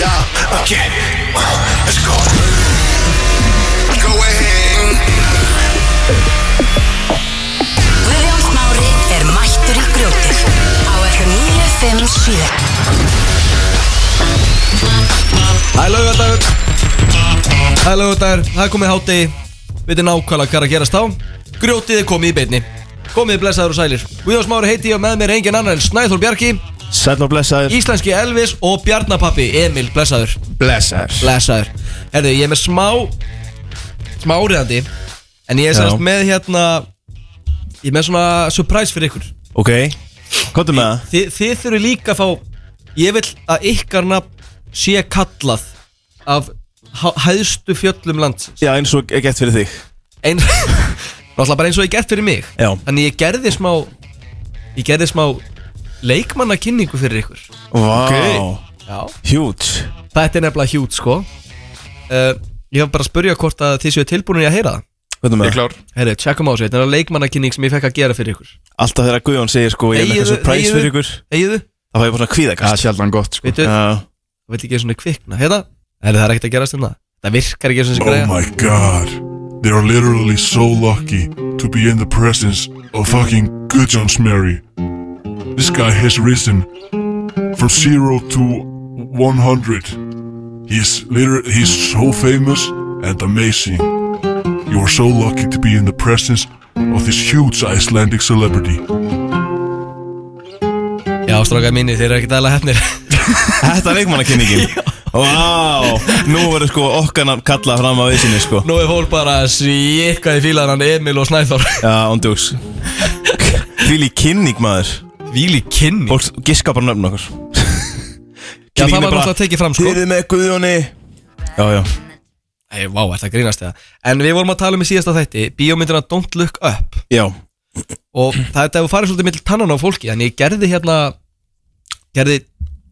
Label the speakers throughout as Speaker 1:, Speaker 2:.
Speaker 1: Fuck it. Let's go. Go ahead.
Speaker 2: Guðjón Smári er mættur í grjótið á FM 957
Speaker 3: Það er laugardagur Það er laugardagur, það er komið hátegi Við veitum nákvæmlega hvað er að gerast á Grjótið er komið í beinni Komið blessaður og sælir Guðjón Smári heiti ég og með mér er engin annar en Snæþór Bjarki
Speaker 4: Sæll og blessaður
Speaker 3: Íslenski Elvis og Bjarnapappi Emil blessaður
Speaker 4: Blessaður
Speaker 3: Blessaður Herðu, ég er með smá Smá áriðandi En ég er
Speaker 4: Já.
Speaker 3: semst með hérna Ég er með svona surprise fyrir ykkur
Speaker 4: Ok, komdu með það
Speaker 3: Þi, Þið þurfi líka að fá Ég vil að ykkar nafn sé kallað Af há- hæðstu fjöllum landsins
Speaker 4: Já, eins og er gett fyrir þig
Speaker 3: eins Náttúrulega bara eins og ég gert fyrir mig
Speaker 4: Já.
Speaker 3: Þannig ég gerði smá Ég gerði smá leikmannakynningu fyrir ykkur
Speaker 4: Vá,
Speaker 3: Já
Speaker 4: huge
Speaker 3: Þetta er nefnilega hjút sko uh, Ég hef bara að spurja hvort að þið séu tilbúinir að heyra það
Speaker 4: Komdu með það
Speaker 1: klár.
Speaker 3: Herri, tjekkum á þessu, þetta er leikmannakynning sem ég fekk að gera fyrir ykkur
Speaker 4: Alltaf þegar Guðjón segir sko Ég er með
Speaker 3: Þegiðu,
Speaker 4: eitthvað surprise
Speaker 3: þegiðu.
Speaker 4: fyrir ykkur
Speaker 3: Egiðu,
Speaker 4: Það fæði bara svona
Speaker 5: Það er
Speaker 4: kvíðakast
Speaker 5: sjaldan gott sko.
Speaker 3: veitu, það
Speaker 4: Já.
Speaker 3: vill ekki svona kvikna Hérna, herri það er ekkert að gerast um það Það virkar ekki svona sem greiða
Speaker 6: Oh my god. They are literally so lucky to be in the presence of fucking good John Smerry. This guy has risen from zero to 100. He's literally, he's so famous and amazing. You are so lucky to be in the presence of this huge Icelandic celebrity.
Speaker 3: Já, strákað mínir, þeir eru ekkert aðlega hefnir
Speaker 4: Þetta er leikmannakynningin Vá, nú verður sko okkarna kallað fram á vissinni sko
Speaker 3: Nú er fólk bara að síkka í fílanan Emil og Snæþór
Speaker 4: Já, ondjúks Fíli kynning maður
Speaker 3: Víli kynning
Speaker 4: Fólk giska bara nöfn okkur
Speaker 3: Já,
Speaker 4: Kynningin
Speaker 3: það var
Speaker 4: er bara,
Speaker 3: náttúrulega tekið fram sko
Speaker 4: Þið eruð með Guðjóni Já, já
Speaker 3: Æ, vá, er það grínast eða En við vorum að tala um í síðasta þætti Bíómyndina Don't Look Up
Speaker 4: Já,
Speaker 3: Og það hefur farið svolítið mitt tannan á fólki Þannig ég gerði hérna Gerði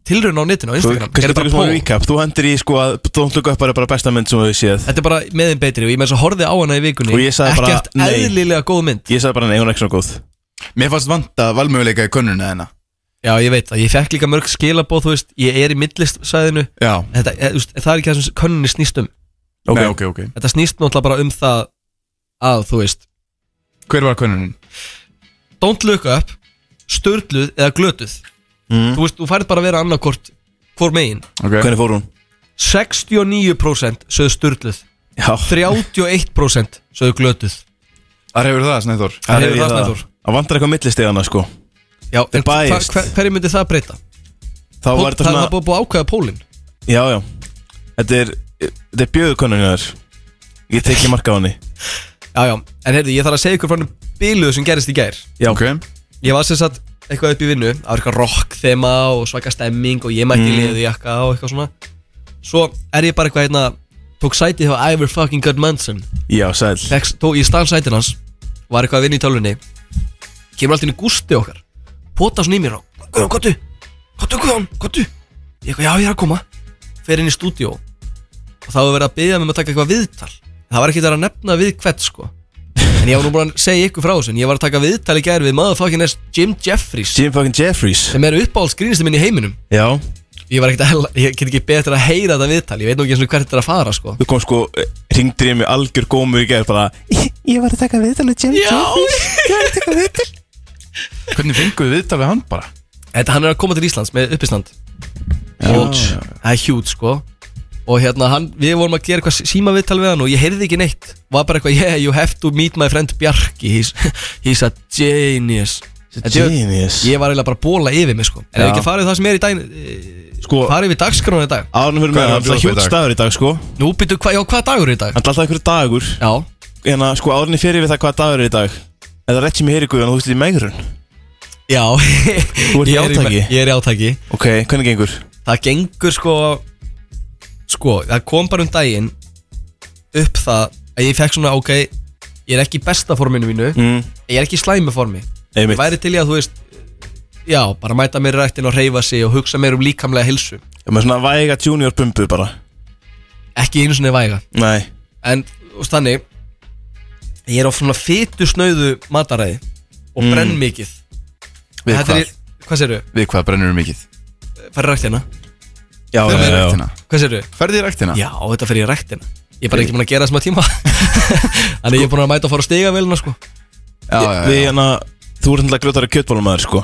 Speaker 3: tilraun á netinu á
Speaker 4: þú
Speaker 3: Instagram
Speaker 4: kannski
Speaker 3: Gerði bara
Speaker 4: tökum smá
Speaker 3: poll.
Speaker 4: recap Þú hendur í sko að Don't Look Up er bara besta mynd sem við séð
Speaker 3: Þetta er bara meðin betri Og ég með þess að horfið á hana í vikunni
Speaker 4: Og ég sagði bara,
Speaker 3: Ekkert
Speaker 4: nei.
Speaker 3: eðlilega góð mynd
Speaker 4: Ég sagði bara nei, hún er ekki svona góð
Speaker 5: Mér fannst vanta valmöguleika í könnuna þeirna
Speaker 3: Já, ég veit það Ég fekk líka mörg skilabóð, þú veist Ég er í millistsæðinu
Speaker 5: Já,
Speaker 3: Þetta, e, þú veist, það er ekki það sem könninni snýst um
Speaker 4: Ok,
Speaker 5: Nei, ok, ok
Speaker 3: Þetta snýst náttúrulega bara um það Að, þú veist
Speaker 5: Hver var könnunin?
Speaker 3: Don't look up Sturluð eða glötuð Þú veist, þú færð bara að vera annarkort Hvor megin
Speaker 5: Ok,
Speaker 4: Hvernig fór hún?
Speaker 3: 69% sögðu sturdluð
Speaker 4: Já,
Speaker 3: 31% sögðu glötuð
Speaker 5: þar hefur það, Snæþór
Speaker 3: Það hefur
Speaker 4: er ég
Speaker 3: það, Snæþór.
Speaker 4: Það vantar eitthvað millistegana sko
Speaker 3: Já, en hva,
Speaker 4: biased.
Speaker 3: hva, hverju myndi það breyta?
Speaker 4: Þá
Speaker 3: Pól,
Speaker 4: var
Speaker 3: það
Speaker 4: þetta
Speaker 3: er það
Speaker 4: svona
Speaker 3: búið búið að ákvæða pólinn
Speaker 4: Já, já Þetta er Þetta er bjöðukonan hjá þér Ég tekið marka á henni
Speaker 3: Já, já, en heyrðu, ég þarf að segja ykkur frá hann bíluðu sem gerist í gær
Speaker 4: Já,
Speaker 5: Ok,
Speaker 3: Ég var sem sagt eitthvað upp í vinnu Það var eitthvað rock þema og svaka stemming Og ég mætti mm. liðu jakka og eitthvað svona Svo er ég bara eitthvað hérna Tók sætið hjá Ivor fucking God Manson
Speaker 4: já, sæl
Speaker 3: Tekst, Tók ég stann sætið hans Var eitthvað að vinna í tölvunni Kemur alltaf inn í gústi okkar Pota svona í mér á Guðjón, kottu Kottu, Guðjón, kottu Ég eitthvað, já, ég er að koma Fer inn í stúdíó Og þá er verið að byggja mig um að taka eitthvað viðtal Það var ekki það að nefna við hvert, sko En ég var nú búin að segja ykkur frá þessu En ég var að taka viðtal í gær við motherfucking S Jim Jeffries
Speaker 4: Jim fucking Jeffries
Speaker 3: Sem er uppáhaldsgrínistið minn í heiminum
Speaker 4: Já
Speaker 3: Ég var ekkert að, ég get ekki betur að heyra þetta viðtal Ég veit nú ekki eins og hvert þetta er að fara, sko
Speaker 4: Þú kom sko Ringdir ég mig algjör gómur í gerð bara Ég var að taka viðtal með Jim Jeffries Ég var að taka viðtal
Speaker 5: hvernig fenguðu viðtal við hann bara?
Speaker 3: Þetta hann er að koma til Íslands með uppistand Huge Það er huge sko Og hérna hann, við vorum að gera eitthvað símaviðtal við hann og ég heyrði ekki neitt Var bara eitthvað, yeah, you have to meet my friend Bjarki He's, he's a genius Þetta ég-
Speaker 4: Genius
Speaker 3: Ég var eiginlega bara að bóla yfir mig sko En
Speaker 4: Já.
Speaker 3: ef ekki farið það sem er í dag
Speaker 4: Sko
Speaker 3: Farið við dagskránu í dag
Speaker 4: Árnum fyrir
Speaker 5: Hvað er
Speaker 4: með
Speaker 5: hann að bjóða
Speaker 4: það Það
Speaker 5: upp í
Speaker 4: hjút
Speaker 5: dag?
Speaker 4: staður í dag sko
Speaker 3: Nú býtu, hva, já, hvað dagur er í dag?
Speaker 4: Hann er alltaf einhverju dagur
Speaker 3: Já,
Speaker 4: Hérna sko árunni fyrir við það hvað dagur er í dag Eða rétt sem ég heyri guðan Þú veist í megrun
Speaker 3: já Þú
Speaker 4: ert í átaki?
Speaker 3: Ég er í átaki
Speaker 4: Ok, hvernig gengur?
Speaker 3: Það gengur sko Sko, það kom bara um daginn Upp það að ég fekk svona, ok Ég er ekki í besta forminu mínu
Speaker 4: Mm.
Speaker 3: Ég er ekki í slæmi formi Ég
Speaker 4: Einmitt.
Speaker 3: væri til í að þú veist Já, bara mæta mér í rættin og reyfa sig og hugsa mér um líkamlega hilsu
Speaker 4: Ég með svona væga junior bumbu bara
Speaker 3: Ekki einu sinni væga
Speaker 4: Nei
Speaker 3: En, þú veist þannig Ég er á svona fytu snöðu mataræði Og
Speaker 4: Mm.
Speaker 3: brenn mikið
Speaker 5: Við
Speaker 3: Þetta
Speaker 5: hvað?
Speaker 3: Er, hvað sérðu?
Speaker 5: Við hvað brennur mikið?
Speaker 3: Færi rættina
Speaker 4: Já,
Speaker 5: Þegar við
Speaker 4: um já, já
Speaker 5: rættina.
Speaker 3: Hvernig Hvað sérðu?
Speaker 5: Ferði í ræktina?
Speaker 3: Já, þetta fer ég ræktin Ég er bara ekki búin að gera það sem að tíma Þannig ég er búin að mæta að fara á stigavélina sko
Speaker 5: já, já,
Speaker 4: Við hérna, þú ert náttúrulega grjótari kjötbólumæður sko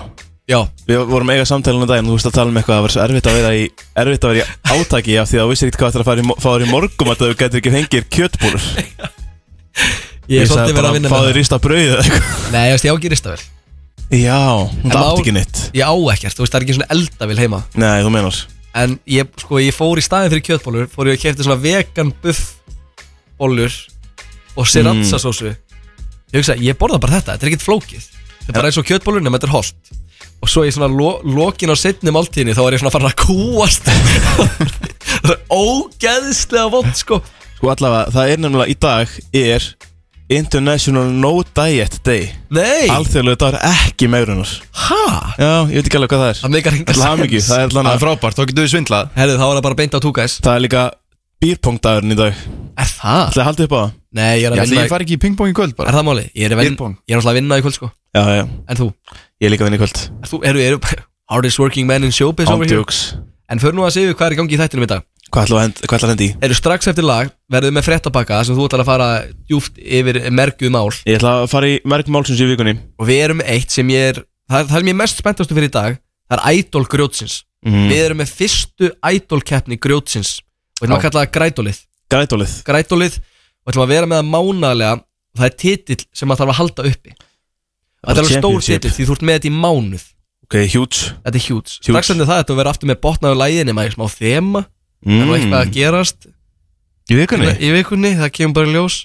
Speaker 3: Já,
Speaker 4: Við vorum að eiga samtælunum daginn og þú veist að tala um eitthvað að það var svo erfitt að vera í erfitt að vera í átaki af því að þú vissir ekkert hvað það er að fara í, mo- fá þér í morgum að þú getur ekki fengið þér kjötbólur
Speaker 3: ég er svolítið verið að vinna
Speaker 4: Fá
Speaker 3: með
Speaker 4: þér rista brauðið eða eitthvað
Speaker 3: það Nei, ég veist, ég á ekki ristavél
Speaker 4: Já, hún
Speaker 3: En má-
Speaker 4: átti ekki neitt
Speaker 3: Ég á ekkert, þú veist, það er ekki svona eldavél heima
Speaker 4: Nei, þú menar
Speaker 3: En ég, sko, ég fór í staðin fyrir kjötbólur Fór ég að kefti svona vegan buff Bólur Og sriracha sósu Ég hugsa, ég borða bara þetta, þetta er ekkert flókið Þetta er bara eins og kjötbólur, nema þetta er holt Og svo ég svona lo, lokin á setni máltíðinni Þá er ég svona farin að kúast Það er ógeðslega vond, sko
Speaker 4: Sko allavega, það er nefnilega í dag er International No Diet Day
Speaker 3: Nei,
Speaker 4: Alþjóðlega dagur ekki meirunar
Speaker 3: hæ?
Speaker 4: Já, ég veit ekki alveg hvað það er
Speaker 3: Það meikar enga
Speaker 4: Til hamingju, það er allan
Speaker 5: Það er
Speaker 4: að
Speaker 5: frábært, þá getur við svindlað
Speaker 3: Herðu, þá var það bara beint á túkæs
Speaker 4: Það er líka býrpongdagurinn í dag Það
Speaker 3: Er það?
Speaker 4: er haldið upp á það
Speaker 3: Nei, ég er
Speaker 5: Ég
Speaker 3: að
Speaker 5: ætli
Speaker 3: vinna
Speaker 5: ég fari ekki í pingpong í kvöld
Speaker 3: Er
Speaker 5: bara
Speaker 3: það máli? Ég er, að vin...
Speaker 5: Beer pong.
Speaker 3: ég er náttúrulega að vinna í kvöld, sko
Speaker 4: Já, já,
Speaker 3: En þú?
Speaker 4: ég er líka að vinna í kvöld
Speaker 3: Er þú eru, eru Hardest working man in showbiz over here
Speaker 4: Ándjóks
Speaker 3: En fyrir nú að segja hvað er í gangi í þættinum í dag
Speaker 4: Hvað ætlar að hend- hvað ætlar að hendi í?
Speaker 3: Eru strax eftir lag Verðu með fréttabakka þar sem þú ætlar að fara djúft yfir mergjuð mál
Speaker 4: Ég ætla að fara í mörg málsins í vikunni
Speaker 3: Og við erum eitt sem ég er Það, er- það er mér mest spenntastu fyrir í dag Það er Idol grjótsins
Speaker 4: mm.
Speaker 3: Við erum með fyrstu Idol keppni grjótsins Og við erum að kalla það grædolið
Speaker 4: Grætólið
Speaker 3: grætólið og ætlum að vera með það mánalega það er titill sem maður þarf að halda uppi og þetta er alveg stór
Speaker 4: Championship.
Speaker 3: titill því þú ert með þetta í mánuð
Speaker 4: Ok, huge
Speaker 3: þetta er hjúts
Speaker 4: Huge.
Speaker 3: strax endur það þetta að vera aftur með botnaðu læginni maður í smá þema það er nú eitthvað að gerast
Speaker 4: Mm. Í vikunni?
Speaker 3: í vikunni það kemur bara í ljós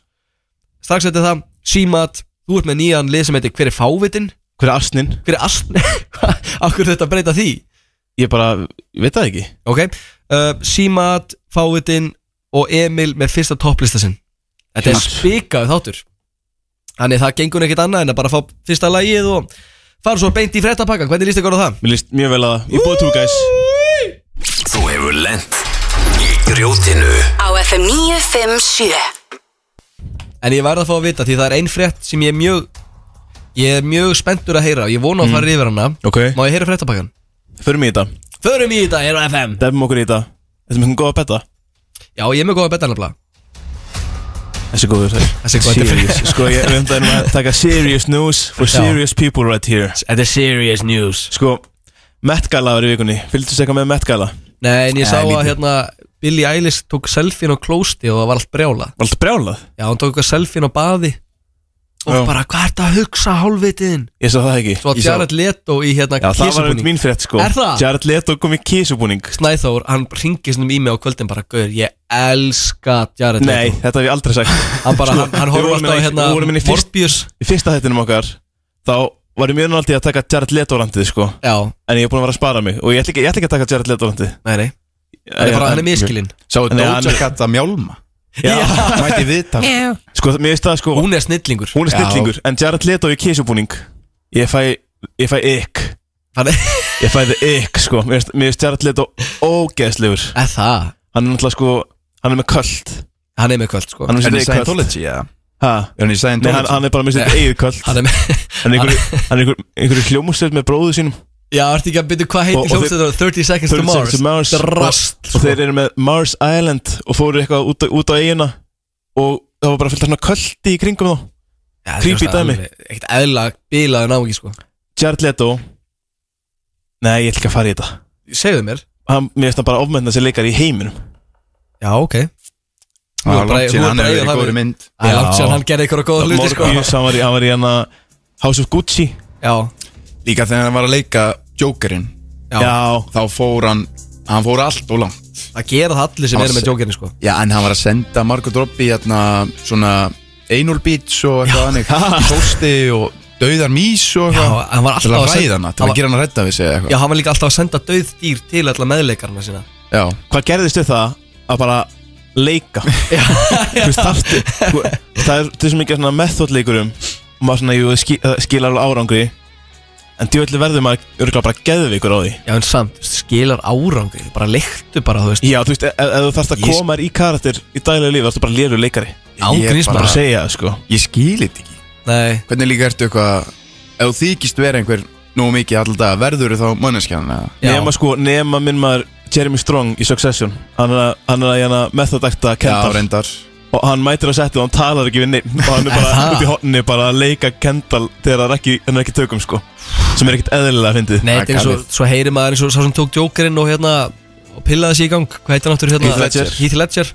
Speaker 3: strax endur það símat þú ert með nýjan lið sem heitir hver er fávitinn
Speaker 4: Hver er arsnin?
Speaker 3: hver er astn okkur þetta að breyta því
Speaker 4: Ég bara, ég veit það ekki
Speaker 3: ok uh, símat fávitinn og Emil með fyrsta topplista sinn Þetta er
Speaker 4: Hjúts.
Speaker 3: spikað þáttur Þannig það gengur ekkert annað en að bara fá fyrsta lagið og fara svo beint í frettapakkan Hvernig líst ykkur á það?
Speaker 4: Mér líst mjög vel að það Ég búið tú guys
Speaker 1: Þú hefur lent í grjótinu
Speaker 2: Á FM 957
Speaker 3: En ég verð að fá að vita því það er ein frett sem ég er mjög Ég er mjög spenntur að heyra og Ég vona að fara yfir hana
Speaker 4: Ok
Speaker 3: Má ég heyra frettapakkan?
Speaker 4: Förum í þetta
Speaker 3: Förum í þetta, hér á FM
Speaker 4: Dæfum okkur í þetta Þetta er mjög góð að betta
Speaker 3: Já, ég er með góða betanabla
Speaker 4: Þessi er góður
Speaker 3: Þessi er góður.
Speaker 4: Serious. Sko ég við ætlum að taka serious news For
Speaker 3: Já.
Speaker 4: serious people right here
Speaker 3: Þetta er serious news
Speaker 4: Sko Met Gala var í vikunni Fylgstu segja með Met Gala
Speaker 3: Nei, en ég sá
Speaker 4: Eh,
Speaker 3: að
Speaker 4: lítið.
Speaker 3: hérna Billie Eilish tók selfie á klósti og það var allt brjála
Speaker 4: Var alltaf brjálað
Speaker 3: Já, hún tók eitthvað selfie á baði Og
Speaker 4: Já.
Speaker 3: bara, hvað ert að hugsa hálfvitiðin?
Speaker 4: Ég sá það ekki
Speaker 3: Svo að
Speaker 4: Ég sá-
Speaker 3: Jared Leto í hérna
Speaker 4: Já það var
Speaker 3: kísabúning.
Speaker 4: einmitt mín frétt sko
Speaker 3: Er það?
Speaker 4: Jared Leto kom í kísubúning
Speaker 3: Snæþór, hann ringir svona í mig á kvöldin bara Gauður, ég elska Jared
Speaker 4: Nei
Speaker 3: Leto
Speaker 4: þetta hef ég aldrei sagt
Speaker 3: Hann bara, hann, hann
Speaker 4: Við
Speaker 3: horfði
Speaker 4: vorum
Speaker 3: alltaf á
Speaker 4: inn í-
Speaker 3: hérna
Speaker 4: við vorum inn í fyrst-
Speaker 3: Morbius
Speaker 4: Í fyrsta þettinum okkar Þá varum ég náttúrulega að taka Jared Leto randið sko
Speaker 3: Já,
Speaker 4: En ég er búin að vera að spara mig Og ég ætla ekki, ég ætla ekki að taka Jared Leto randið
Speaker 3: nei, nei Hann er bara, hann er miskilinn
Speaker 5: Sáu
Speaker 4: Nei, hann-
Speaker 5: Doja Cat að mjálma
Speaker 4: Já
Speaker 5: Mæti viðtal
Speaker 4: Sko mér finnst það sko
Speaker 3: Hún er snillingur
Speaker 4: Hún er
Speaker 5: Já.
Speaker 4: snillingur En Jared Leto í kísubúning Ég fæ Ég fæ ykk
Speaker 3: Hann er,
Speaker 4: Ég fæ það ykk sko Mér finnst- mér finnst Jared Leto ógeðslegur
Speaker 3: er það
Speaker 4: Hann er náttúrulega sko Hann er með köld
Speaker 3: Hann er með kvöld, sko
Speaker 4: Hann er
Speaker 5: Er
Speaker 4: með
Speaker 5: hann í
Speaker 4: sitt eigið köld
Speaker 5: Scientology, já?
Speaker 4: Ha?
Speaker 5: Er hann í
Speaker 4: Nei, hann,
Speaker 5: Scientology?
Speaker 4: hann er bara með sitt
Speaker 3: Nei.
Speaker 4: eigið köld
Speaker 3: Hann er með
Speaker 4: Hann er einhver, hann er einhver, einhver hljómsveit með bróðu sínum
Speaker 3: Já, ertu ekki að byrja hvað
Speaker 4: Og- og
Speaker 3: heitir
Speaker 4: þeir-
Speaker 3: hljómsveitur 30 Seconds to
Speaker 4: 30
Speaker 3: Mars sko.
Speaker 4: Seconds to Mars.
Speaker 3: Drast,
Speaker 4: Og þeir eru með Mars Island Og fóru eitthvað út á, út á eigina Og það var bara fullt af svona köldi í kringum þá creepy dæmi.
Speaker 3: Ekkert eðla, bilaðu náingi, sko
Speaker 4: Jared Leto Nei, ég ætla ekki að fara í þetta
Speaker 3: Segðu mér
Speaker 4: hann, Mér finnst hann bara ofmennast sem leikar í heiminum
Speaker 3: Já, ok
Speaker 5: Já,
Speaker 3: Hún er bara-
Speaker 5: langt síðan
Speaker 3: hún er
Speaker 5: Hann
Speaker 3: bara-
Speaker 5: er verið
Speaker 3: það
Speaker 5: í góðri
Speaker 3: við-
Speaker 5: mynd
Speaker 3: Það er langt sér hann gerði ykkur að góða hluti, sko
Speaker 4: Morbius, hann var í, hann var í hana House of Gucci
Speaker 3: Já,
Speaker 5: Líka þegar hann var að leika Jokerinn
Speaker 3: já,
Speaker 4: Já,
Speaker 5: Þá fór hann Hann fór allt og langt
Speaker 3: það gera það allir sem
Speaker 5: Hann
Speaker 3: eru
Speaker 5: var-
Speaker 3: með jókerni, sko
Speaker 5: Já, en hann var að senda Margot Robbie hérna svona anal beats og eitthvað hannig Tósti og dauðar mís og
Speaker 3: Já,
Speaker 5: eitthvað
Speaker 3: hann var
Speaker 5: Til
Speaker 3: alltaf
Speaker 5: að ræða hana, til að
Speaker 3: hann var-
Speaker 5: gera hana rædda við sig eða
Speaker 3: Já,
Speaker 5: eitthvað
Speaker 3: hann var líka alltaf að senda döð dýr til alla meðleikarna sína
Speaker 5: Já,
Speaker 4: hvað gerðist við það að bara leika Þú veist, þarftu sko, Það er þessum ekki svona methodleikurum og maður svona, jú, það skí- það skilar alveg árangri en djúvöldi verður maður örgulega bara geðvikur á því
Speaker 3: Já, en samt, skilar árangri Bara leiktu bara, þú veist
Speaker 4: Já, þú veist, ef, ef þú þarfst að
Speaker 5: Ég-
Speaker 4: koma þér í karakter í daglega lífi, þá ertu bara lérur leikari
Speaker 5: Ég
Speaker 3: Ángríns
Speaker 5: er
Speaker 4: bara
Speaker 3: bara
Speaker 4: að segja það, sko
Speaker 5: ég skilit ekki
Speaker 3: Nei,
Speaker 5: Hvernig líka ertu eitthvað Ef þú þykist vera einhver nógu mikið alltaf Verður þú þá manneskjan eða
Speaker 3: já,
Speaker 4: Nema sko, nema minn maður Jeremy Strong í Succession Hann er að, hann er að hérna methodækta
Speaker 5: Já,
Speaker 4: Kendall
Speaker 5: reyndar
Speaker 4: Og hann mætir að setja og hann talar ekki við neitt Og hann er bara
Speaker 5: það?
Speaker 4: út í hotni bara að leika Kendall Þegar hann er ekki, hann er ekki í tökum sko Sem er ekkit eðlilega að fyndið
Speaker 3: Nei, þetta er eins og, svo heyri maður eins og sá sem tók Jokerinn og hérna og pillaði sér í gang, hvað heitir hann áttur hérna?
Speaker 4: Heath Ledger.
Speaker 3: Heath Ledger,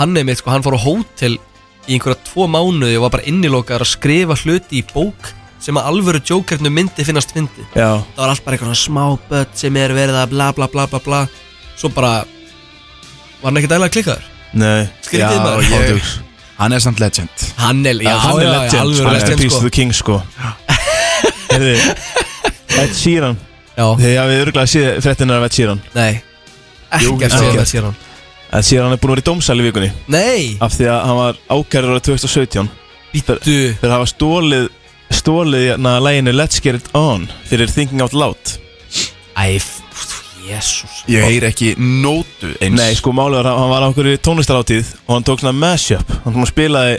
Speaker 3: hann er mitt sko, hann fór á hótel í einhverja tvo mánuði og var bara innilokaður að skrifa hluti í bók sem að alvöru Jokerinu myndi finnast fyndi
Speaker 4: Já,
Speaker 3: það var allt bara einhvern smá börn sem er verið að bla bla bla bla bla svo bara var hann ekki dæla að klikkaður
Speaker 4: nei
Speaker 3: Skrítið
Speaker 5: Já,
Speaker 3: maður.
Speaker 5: ég- Hann er samt legend
Speaker 3: hann er, já,
Speaker 4: hann er
Speaker 3: já, já,
Speaker 4: legend,
Speaker 3: alvöru
Speaker 4: sko. hann er
Speaker 3: legend
Speaker 4: Peace
Speaker 3: sko.
Speaker 4: of the King sko Herði Ed Sheeran
Speaker 3: já,
Speaker 4: Þegar við örgulega séð fréttinnar af Ed Sheeran
Speaker 3: nei,
Speaker 5: Jú,
Speaker 3: ekkert
Speaker 4: já.
Speaker 3: sér það sér hann
Speaker 4: Ed Sheeran er búin að vera í dómsæli í vikunni
Speaker 3: nei,
Speaker 4: Af því að hann var ákærður árið 2017
Speaker 3: býttu
Speaker 4: Þeir hafa stólið Stólið hérna læginu Let's Get It On Fyrir Thinking Out Loud
Speaker 3: æf, jésús
Speaker 5: Ég heyr ekki nótu eins
Speaker 4: Nei, sko málið var að hann var á okkur í tónlistaráttíð Og hann tók svona mashup Hann kom að spilaði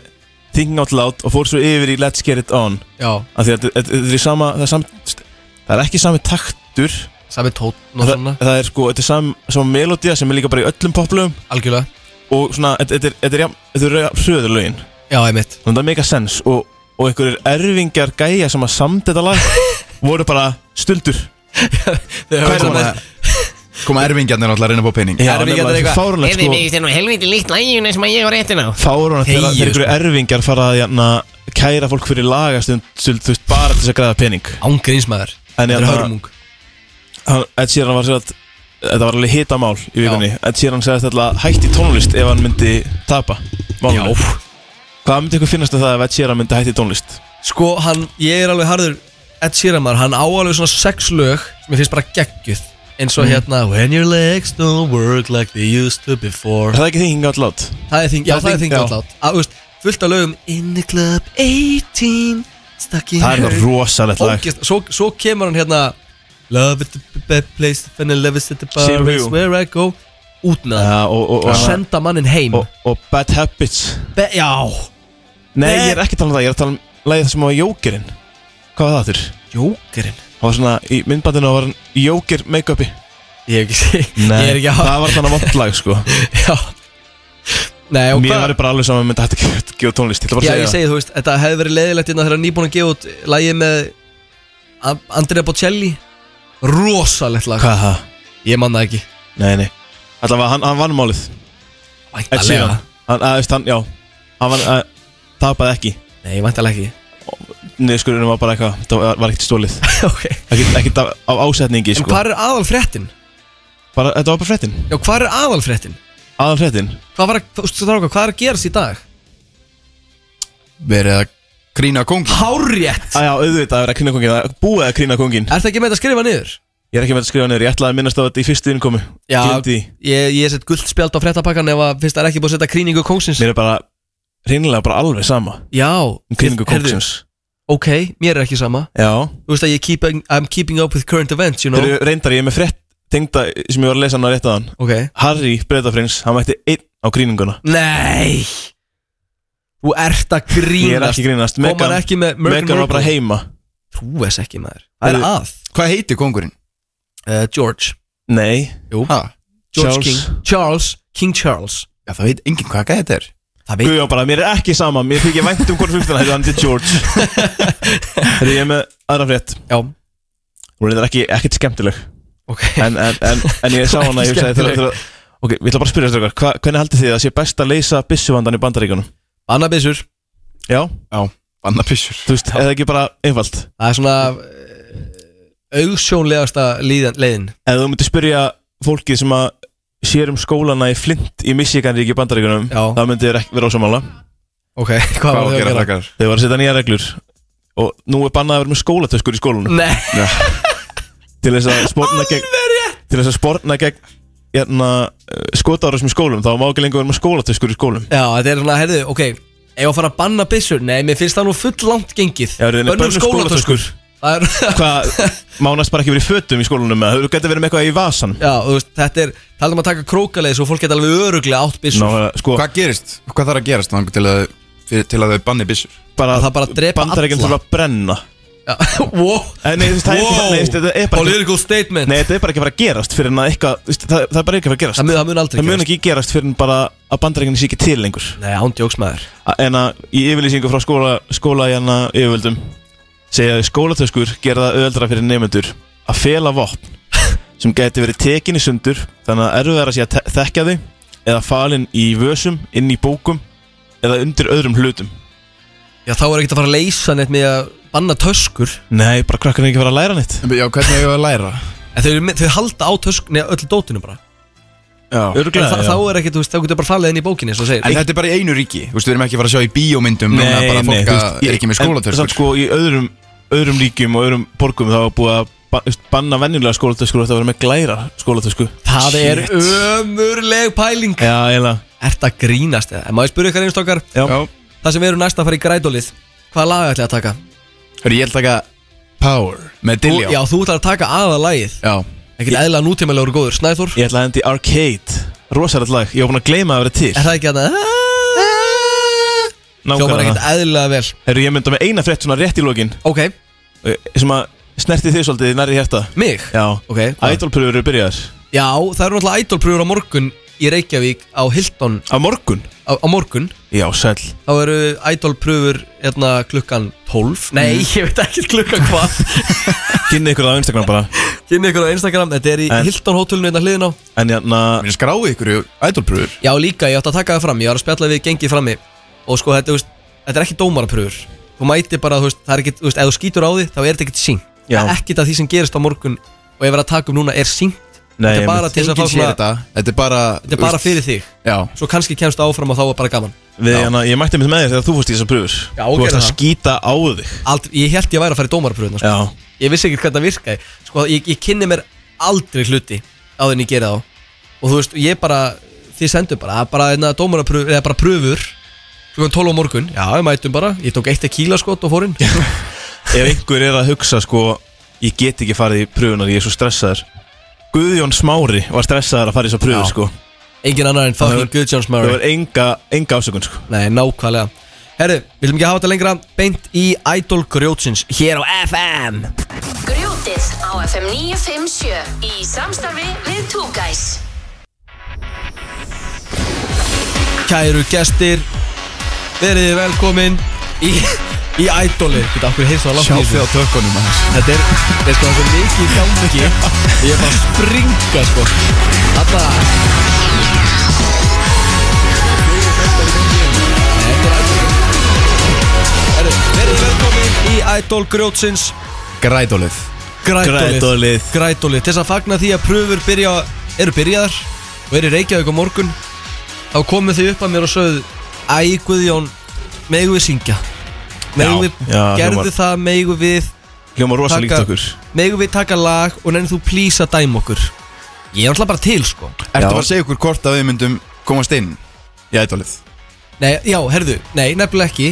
Speaker 4: Thinking Out Loud Og fór svo yfir í Let's Get It On
Speaker 3: já,
Speaker 4: Af því að þetta- þetta þetta er í sama Það er, sam, það er ekki sami taktur
Speaker 3: sami tótt og
Speaker 4: það,
Speaker 3: svona,
Speaker 4: það er sko, þetta er sam, sama melodía Sem er líka bara í öllum poplöfum
Speaker 3: algjörlega
Speaker 4: Og svona, þetta- þetta er- þetta er jafn- þetta eru jafn söður lögin
Speaker 3: já, einmitt
Speaker 4: Þannig að það er mega sens og, og einhverjir erfingjar gæja sem að samt þetta lag voru bara stuldur
Speaker 3: Hvað er það
Speaker 5: Koma,
Speaker 3: með-
Speaker 5: koma erfingjarnir alltaf að reyna að fá pening
Speaker 4: Já,
Speaker 3: Erfingjarnir
Speaker 4: nefnilega,
Speaker 3: eitthvað-
Speaker 4: fáránlegt
Speaker 7: Eða
Speaker 4: sko
Speaker 7: við erum helviti líkt læginu sem að ég var réttin á
Speaker 4: fáránlegt þegar
Speaker 3: Þegir,
Speaker 4: þegar einhverjir
Speaker 3: sko.
Speaker 4: erfingjar fara að jana, kæra fólk fyrir lagastund stuld, þú veist, bara til þess að græða pening
Speaker 3: ángrínsmaður,
Speaker 4: En
Speaker 3: þetta er
Speaker 4: hérna-
Speaker 3: hörmung
Speaker 4: Hann- Ed Sheeran var sér að þetta var alveg hitamál í vikunni Ed Sheeran segði þetta að hætti tónlist ef hann myndi tapa málunum. Hvað myndi ykkur finnast um það ef Ed Sheeran myndi hætti tónlist?
Speaker 3: sko, hann, ég er alveg harður Ed Sheeran maður, hann á alveg svona sex lög sem ég finnst bara geggjuð eins
Speaker 4: Mhm.
Speaker 3: og hérna When your legs don't work like they used to before
Speaker 4: Er það ekki þingi galt lát?
Speaker 3: Það er þing, já
Speaker 4: Það er
Speaker 3: það
Speaker 4: þing-
Speaker 3: er þing
Speaker 4: já.
Speaker 3: alltaf Að, þú veist, fullt af lögum In the club 18 Stuck in
Speaker 4: Það er það rosalegt lag
Speaker 3: Ógist, svo, svo kemur hann hérna Love is the bad place to find a love is at the bar
Speaker 4: Same
Speaker 3: is
Speaker 4: view.
Speaker 3: where I go Út með það
Speaker 4: Ja, og, og,
Speaker 3: Og
Speaker 4: og,
Speaker 3: senda mannin heim
Speaker 4: og, og Bad Habits
Speaker 3: Be, Já
Speaker 4: Nei,
Speaker 3: Nei.
Speaker 4: ég er ekki að tala um það, ég er að tala um lagið það sem var Jókerinn Hvað var það þurr?
Speaker 3: Jókerinn
Speaker 4: Það var svona, í myndbandinu var hann Jóker make-upi
Speaker 3: Ég hef ekki sé Ég er ekki að
Speaker 4: það var þannig vond lag sko
Speaker 3: Já Nei og
Speaker 4: Mér
Speaker 3: hvað
Speaker 4: var bara alveg saman myndi hægt að gefa- gefa tónlist Ég ætla bara
Speaker 3: Já
Speaker 4: að
Speaker 3: ég
Speaker 4: segja
Speaker 3: segi þú veist Þetta hefði verið leiðilegt Hérna þegar nýbúin að gefa út Lægið með A- Andrea Bocelli Rosalegt lag
Speaker 4: það Hvað það?
Speaker 3: Ég man það ekki
Speaker 4: Nei, nei Alltaf hann, hann vann málið Ed Sheeran Hann, að, veist, hann, já Hann vann, að, tapaði ekki
Speaker 3: Nei, vantalega ekki
Speaker 4: Niðurskurðunum var bara eitthvað, það var, var ekkert stólið
Speaker 3: Ok
Speaker 4: Ekki, ekki af, af ásetningi
Speaker 3: En
Speaker 4: sko
Speaker 3: hvað er aðalfréttin?
Speaker 4: bara, Þetta var bara frettin
Speaker 3: Já, hvað er aðalfréttin?
Speaker 4: Aðan frettin
Speaker 3: Hvað var að, þú veist, stráka, hvað er að gerast í dag?
Speaker 5: Verið að grína kóngin
Speaker 3: Hárjett!
Speaker 4: Að já, auðvitað að vera krína kongin að Búið að krína kongin
Speaker 3: Er það ekki með þetta að skrifa niður?
Speaker 4: Ég er ekki með að skrifa niður, ég ætlaði að minnast á þetta í fyrstu innkomu Gleymdi því.
Speaker 3: ég, ég set gullt spjald á fréttapakkan ef að fyrst það er ekki búið að setja kríningu kóngsins
Speaker 4: Mér er bara, reynilega bara alveg sama
Speaker 3: Já,
Speaker 4: um Kríningu
Speaker 3: heyrðu,
Speaker 4: kóksins
Speaker 3: Ok, mér er ekki sama
Speaker 4: Já
Speaker 3: Þú veist að ég keep, I'm keeping up with current events, you know
Speaker 4: Þeir eru reyndar, ég er með frett tengda sem ég var að lesa hann að rétta hann
Speaker 3: Ok
Speaker 4: Harry Bredafrins, hann mætti einn á kríninguna
Speaker 3: Nei Þú ert að
Speaker 4: Ég er
Speaker 3: grínast
Speaker 4: ekki að grínast
Speaker 3: Kom hann
Speaker 4: Megan,
Speaker 3: ekki með Merkin
Speaker 4: Megan var bara heima
Speaker 3: Þú veist ekki maður Það er
Speaker 4: Heyrðu,
Speaker 3: að
Speaker 5: Hvað heitir kóngurinn?
Speaker 3: uh, George
Speaker 4: Nei,
Speaker 5: Jú ha?
Speaker 3: George
Speaker 4: Charles.
Speaker 3: King Charles King Charles
Speaker 5: Já, það veit enginn hvað gæði þetta er
Speaker 3: Það veit
Speaker 4: Guðjón bara, mér er ekki sama Mér fyrir ekki vænt um hvort fylgdana Þetta er hann til George Þegar ég er með aðra frett
Speaker 3: Já,
Speaker 4: Hún er reyndar ekki, ekkert skemmtileg
Speaker 3: ok
Speaker 4: En, en, en, en ég sá
Speaker 3: Ekki
Speaker 4: hana, ég hugsaði
Speaker 3: skemmtileg.
Speaker 4: þegar- þegar- Ok, við ætla bara að spyrja þess eitthvað Hvernig haldið þið að sé best að leysa byssuvandan í bandaríkunum?
Speaker 3: Annabissur
Speaker 4: Já,
Speaker 5: Bannabissur
Speaker 4: þú veist, eða ekki bara einfalt
Speaker 3: Það er svona eh, augsjónlegasta líðan, leiðin
Speaker 4: Ef þú myndir spyrja fólkið sem að sér um skólana í Flint í Michigan ríki bandaríkunum
Speaker 3: Já.
Speaker 4: það myndir ekki vera ósamála
Speaker 3: Ok, hvað
Speaker 5: Hvað á
Speaker 3: var
Speaker 5: að
Speaker 3: þau
Speaker 5: gera frækkar?
Speaker 4: þau var að setja nýja reglur og nú er bannað að vera með skólatöskur í skólunum
Speaker 3: Nei,
Speaker 4: til þess að sporna gegn til þess að sporna gegn hérna, skotára sem í skólum þá má ekki lengur vera með skólatöskur í skólum
Speaker 3: já, þetta er svona, heyrðu, ok Ef að fara að banna byssur, nei, mér finnst það nú full langt gengið
Speaker 4: Já, reyna,
Speaker 3: Bönnum skólatöskur Það er,
Speaker 4: hvað, mánast bara ekki verið í fötum í skólunum eða þú getur verið með eitthvað í vasan
Speaker 3: já, þú veist, þetta er Talum að taka krókaleið svo fólk geta alveg öruglega átt byssur
Speaker 4: Ná, sko,
Speaker 5: Hvað gerist? Hvað þarf að gerast þangað til að, fyrir, til að þau banni bissur?
Speaker 4: bara,
Speaker 3: það bara drepa
Speaker 4: Bandaríkjum
Speaker 3: alla.
Speaker 4: þurfa að brenna
Speaker 3: Wow
Speaker 4: Eh, Nei, þú veist, það er ekki
Speaker 3: Wow.
Speaker 4: bara- nei, þú veist, þetta er bara ekki-
Speaker 3: Political statement
Speaker 4: Nei, þetta er bara ekki að fara að gerast fyrir en að eitthvað þú veist, það, það er bara ekki að fara að gerast
Speaker 3: Það mun, það mun aldrei
Speaker 4: Það mun
Speaker 3: gerast.
Speaker 4: ekki gerast fyrir en bara að bandarækjunni sé ekki til lengur
Speaker 3: Nei, án djóksmaður
Speaker 4: A- En að í yfirlýsingu frá skóla, skóla hérna yfirvöldum segja að skólatöskur gera það öðra fyrir nefnendur að fela vopn sem gæti verið tekin í sundur þannig að erfiðara sé að te- þekkja þau eða falin í vösum, inn í bókum eða undir öðrum hlutum
Speaker 3: Já, þá er ekkert að fara að leysa neitt með að banna töskur
Speaker 4: Nei, bara krakkar ekki fara að læra neitt
Speaker 5: Já, hvernig hefur að læra?
Speaker 3: En þau, eru með- þau halda á tösk, neða öll dótinu bara
Speaker 5: Já.
Speaker 3: En
Speaker 4: Örglega,
Speaker 3: þa- Þá er ekkert, þú veist, þá getur bara falið inn í bókinni Svo segir
Speaker 5: En þetta er bara í einu ríki, þú veist, við erum ekki að fara að sjá í bíómyndum núna
Speaker 4: Nei,
Speaker 5: bara
Speaker 4: nei,
Speaker 5: fólk
Speaker 4: þú
Speaker 5: að er ekki með
Speaker 4: en-
Speaker 5: skólatöskur.
Speaker 4: samt sko í öðrum, öðrum ríkjum og öðrum borgum þá er búið að ba- þú veist, banna venjulega skólatöskur og þetta að vera með glæra skólatösku
Speaker 3: Það er ömurleg pæling
Speaker 4: Já, eiginlega
Speaker 3: Ert að grínast eða? En má ég spyrja ykkur einstokkar
Speaker 4: Já.
Speaker 5: Já.
Speaker 3: Það sem við erum næst að fara í grædólið Hvaða lag ætlaði að taka?
Speaker 5: Hörru, ég ætla að taka Power með
Speaker 3: Þú,
Speaker 5: Dilljá
Speaker 3: já, þú ætlar að taka aðalagið
Speaker 5: Já.
Speaker 3: Ekkert eðla nútímalegur og góður Snæþór
Speaker 4: Ég ætla að hendi Arcade Rosalegt lag, ég var búin að gleyma að vera til
Speaker 3: Er það ekki að
Speaker 4: Ah,
Speaker 3: Hljómar ekkert
Speaker 4: Nákvæmlega
Speaker 3: eðlilega vel
Speaker 4: Herru, ég mynda með eina frétt svona rétt í lokin
Speaker 3: Ok,
Speaker 4: eh, sem að snerti þig svolítið nærri hjarta
Speaker 3: mig
Speaker 4: Já
Speaker 3: Ok, hvað?
Speaker 4: Ædolpröfur eru byrjaðar
Speaker 3: Já, það eru náttúrulega idolpröfur á morgun í Reykjavík á Hilton
Speaker 4: Á morgun
Speaker 3: á, á morgun
Speaker 4: Já, sæll
Speaker 3: þá eru idolpröfur hérna klukkan 12 Nei, ég veit ekki klukkan hvað
Speaker 4: Kynni ykkur á Instagram bara
Speaker 3: Kynni ykkur á Instagram, þetta er í
Speaker 4: En-
Speaker 3: Hilton hótelinu hérna hliðin á
Speaker 4: En hérna- jæna
Speaker 5: Mér skráði ykkur í ædolpröfur
Speaker 3: Já, líka, ég átti að taka það fram, ég var að spjalla við gengið frammi og sko, þetta, þú veist, þetta er ekki dómarapröfur þú mæti bara, þú veist, það er ekki, þú veist, ef þú skýtur á því þá er þetta ekkert sínt
Speaker 4: Já.
Speaker 3: Það er ekkert af því sem gerist á morgun og ég verið að taka um núna er sínt
Speaker 4: Nei,
Speaker 3: þetta er bara
Speaker 4: einmitt.
Speaker 3: til þess að fá
Speaker 5: Engin sér
Speaker 3: svona,
Speaker 5: þetta Þetta er bara
Speaker 3: þetta er bara fyrir þig
Speaker 5: Já,
Speaker 3: svo kannski kemst áfram og þá er bara gaman
Speaker 4: Við, hana, ég mætti mitt með þér þegar þú fórst í þessar pröfur
Speaker 3: Já,
Speaker 4: Þú
Speaker 3: gerðu
Speaker 4: varst að
Speaker 3: það.
Speaker 4: skýta á þig
Speaker 3: Aldrei, ég held ég væri að fara í dómarapröfuna sko.
Speaker 4: Já
Speaker 3: Ég vissi ekki hvernig það virkaði Sko, ég, ég kynni mér aldrei hluti áður en ég gera þá Og þú veist, ég bara, þið sendu bara það er Bara einna dómarapröfur, eða bara pröfur Klukkan 12 á morgun, já, við mætum bara Ég tók eitt tequila skot og fórinn
Speaker 4: Ef einhver er að hugsa sko Ég get ekki farið í pröfunar, ég er svo stressaður Guðjón Smári var stressaður að fara í þessar pröfur
Speaker 3: Já.
Speaker 4: sko
Speaker 3: Engin annar en
Speaker 4: Það
Speaker 3: fucking
Speaker 4: var-
Speaker 3: Good Jones
Speaker 4: Það
Speaker 3: Murray
Speaker 4: var enga, enga ásökun sko
Speaker 3: Nei, nákvæmlega Herru, við viljum ekki hafa þetta lengra Beint í Idol Grjótsins Hér á FM
Speaker 2: Grjótið á FM 957 í samstarfi við Two Guys.
Speaker 3: Kæru gestir Verið velkomin í, í Idoli Þetta okkur heyrst það langt í þessu.
Speaker 5: sjálfið á tökunum maður.
Speaker 3: Þetta er, þetta er sko það er svo mikið í gangi Ég er bara að springa sko Þetta Herru, Verið velkomin í Idol Grjótsins
Speaker 5: Grædolið
Speaker 3: Grætólið
Speaker 4: Grætolið.
Speaker 3: Grætólið Til þess að fagna því að pröfur byrja, eru byrjaðar og eru í Reykjavík á morgun þá komu þau upp að mér og sögðu Æ Guðjón, megum við syngja megum við,
Speaker 4: já,
Speaker 3: gerðu
Speaker 4: hljómar-
Speaker 3: það megum við
Speaker 4: Hljóma rosa líkt
Speaker 3: Taka-
Speaker 4: okkur
Speaker 3: Megum við taka lag og nefnir þú please að dæma okkur Ég er alltaf bara til sko
Speaker 5: Ertu að fara að segja okkur hvort að við myndum komast inn í ædolið
Speaker 3: Nei, já, herðu, nei, nefnilega ekki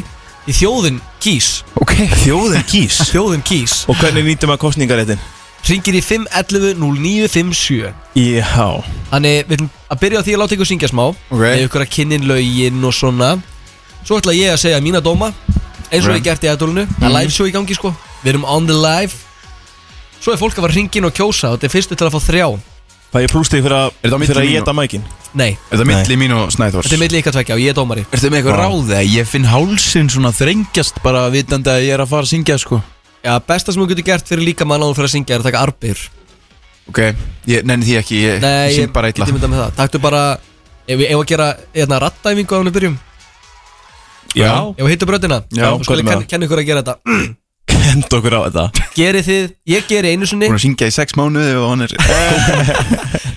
Speaker 3: Í þjóðin kýs
Speaker 5: Ok
Speaker 4: Þjóðin kýs
Speaker 3: Þjóðin kýs
Speaker 4: Og hvernig nýtum að kostningaréttin?
Speaker 3: Ringir í 511-0957
Speaker 4: Já
Speaker 3: Þannig, við ætlum að byrja á því að láta ykkur syngja smá
Speaker 5: Ok.
Speaker 3: Með ykkur að kynnin lögin og svona Svo ætla ég að segja mína dóma Eins og
Speaker 5: Ok. Mhm.
Speaker 3: ég gert í aðdólinu Það er live show í gangi sko Við erum on the live Svo er fólk að fara ringin og kjósa og þetta er fyrstu til að fá þrjá
Speaker 4: Fæ ég plústið fyrir að
Speaker 5: Er það á milli
Speaker 4: Fyrir að
Speaker 5: mínu?
Speaker 4: geta mækin
Speaker 3: Nei,
Speaker 5: Er þetta
Speaker 4: Nei.
Speaker 5: milli mín og Snæþórs?
Speaker 3: þetta er milli ykkar tvekja og ég er dómari
Speaker 5: Ertu með eitthvað ráðið að ég finn hálsin svona þrengjast bara vitandi að ég er að fara að syngja sko
Speaker 3: Já, besta sem þú getur gert fyrir líka mann áður fyrir að syngja er að taka arbir
Speaker 5: Ok, ég nenni því ekki, ég
Speaker 3: Nei,
Speaker 5: syng bara illa
Speaker 3: geti myndað með það Taktu bara, ef við eigum að gera hérna eðna rattæfingu á henni byrjum
Speaker 4: Já
Speaker 3: Ef við hittum bröndina
Speaker 5: Já,
Speaker 3: Þá skulum
Speaker 4: hvernig með
Speaker 3: við kenna- kenna ykkur að gera þetta
Speaker 4: Hend okkur á þetta
Speaker 3: Gerið þið, ég geri einu sinni
Speaker 5: Búin að syngja í sex mánuði og hann er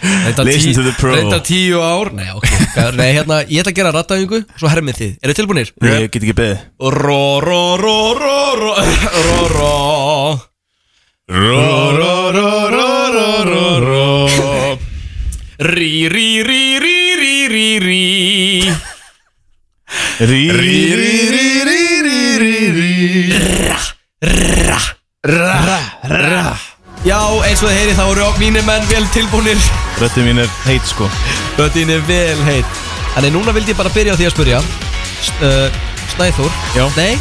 Speaker 3: Reyndar
Speaker 4: Listen to the pro.
Speaker 3: reyndar tíu ár Nei, ok, hvað- nei, hérna, ég ætla að gera rattæfingu Svo hermið þið, eru tilbúinir?
Speaker 4: Ég get ekki beðið
Speaker 3: Ró, ró, ró, ró, ró, ró, ró Rí, rí, rí, rí, rí, rí, rí
Speaker 4: Rí Rí Rí Rí
Speaker 3: Já, eins og þið heyri þá eru mínir menn vel tilbúinir
Speaker 4: Röttu mín er heit sko
Speaker 3: Röddín er vel heitt Þannig núna vildi ég bara byrja á því að spyrja S- uh, Snæþór
Speaker 4: Já.
Speaker 3: Nei,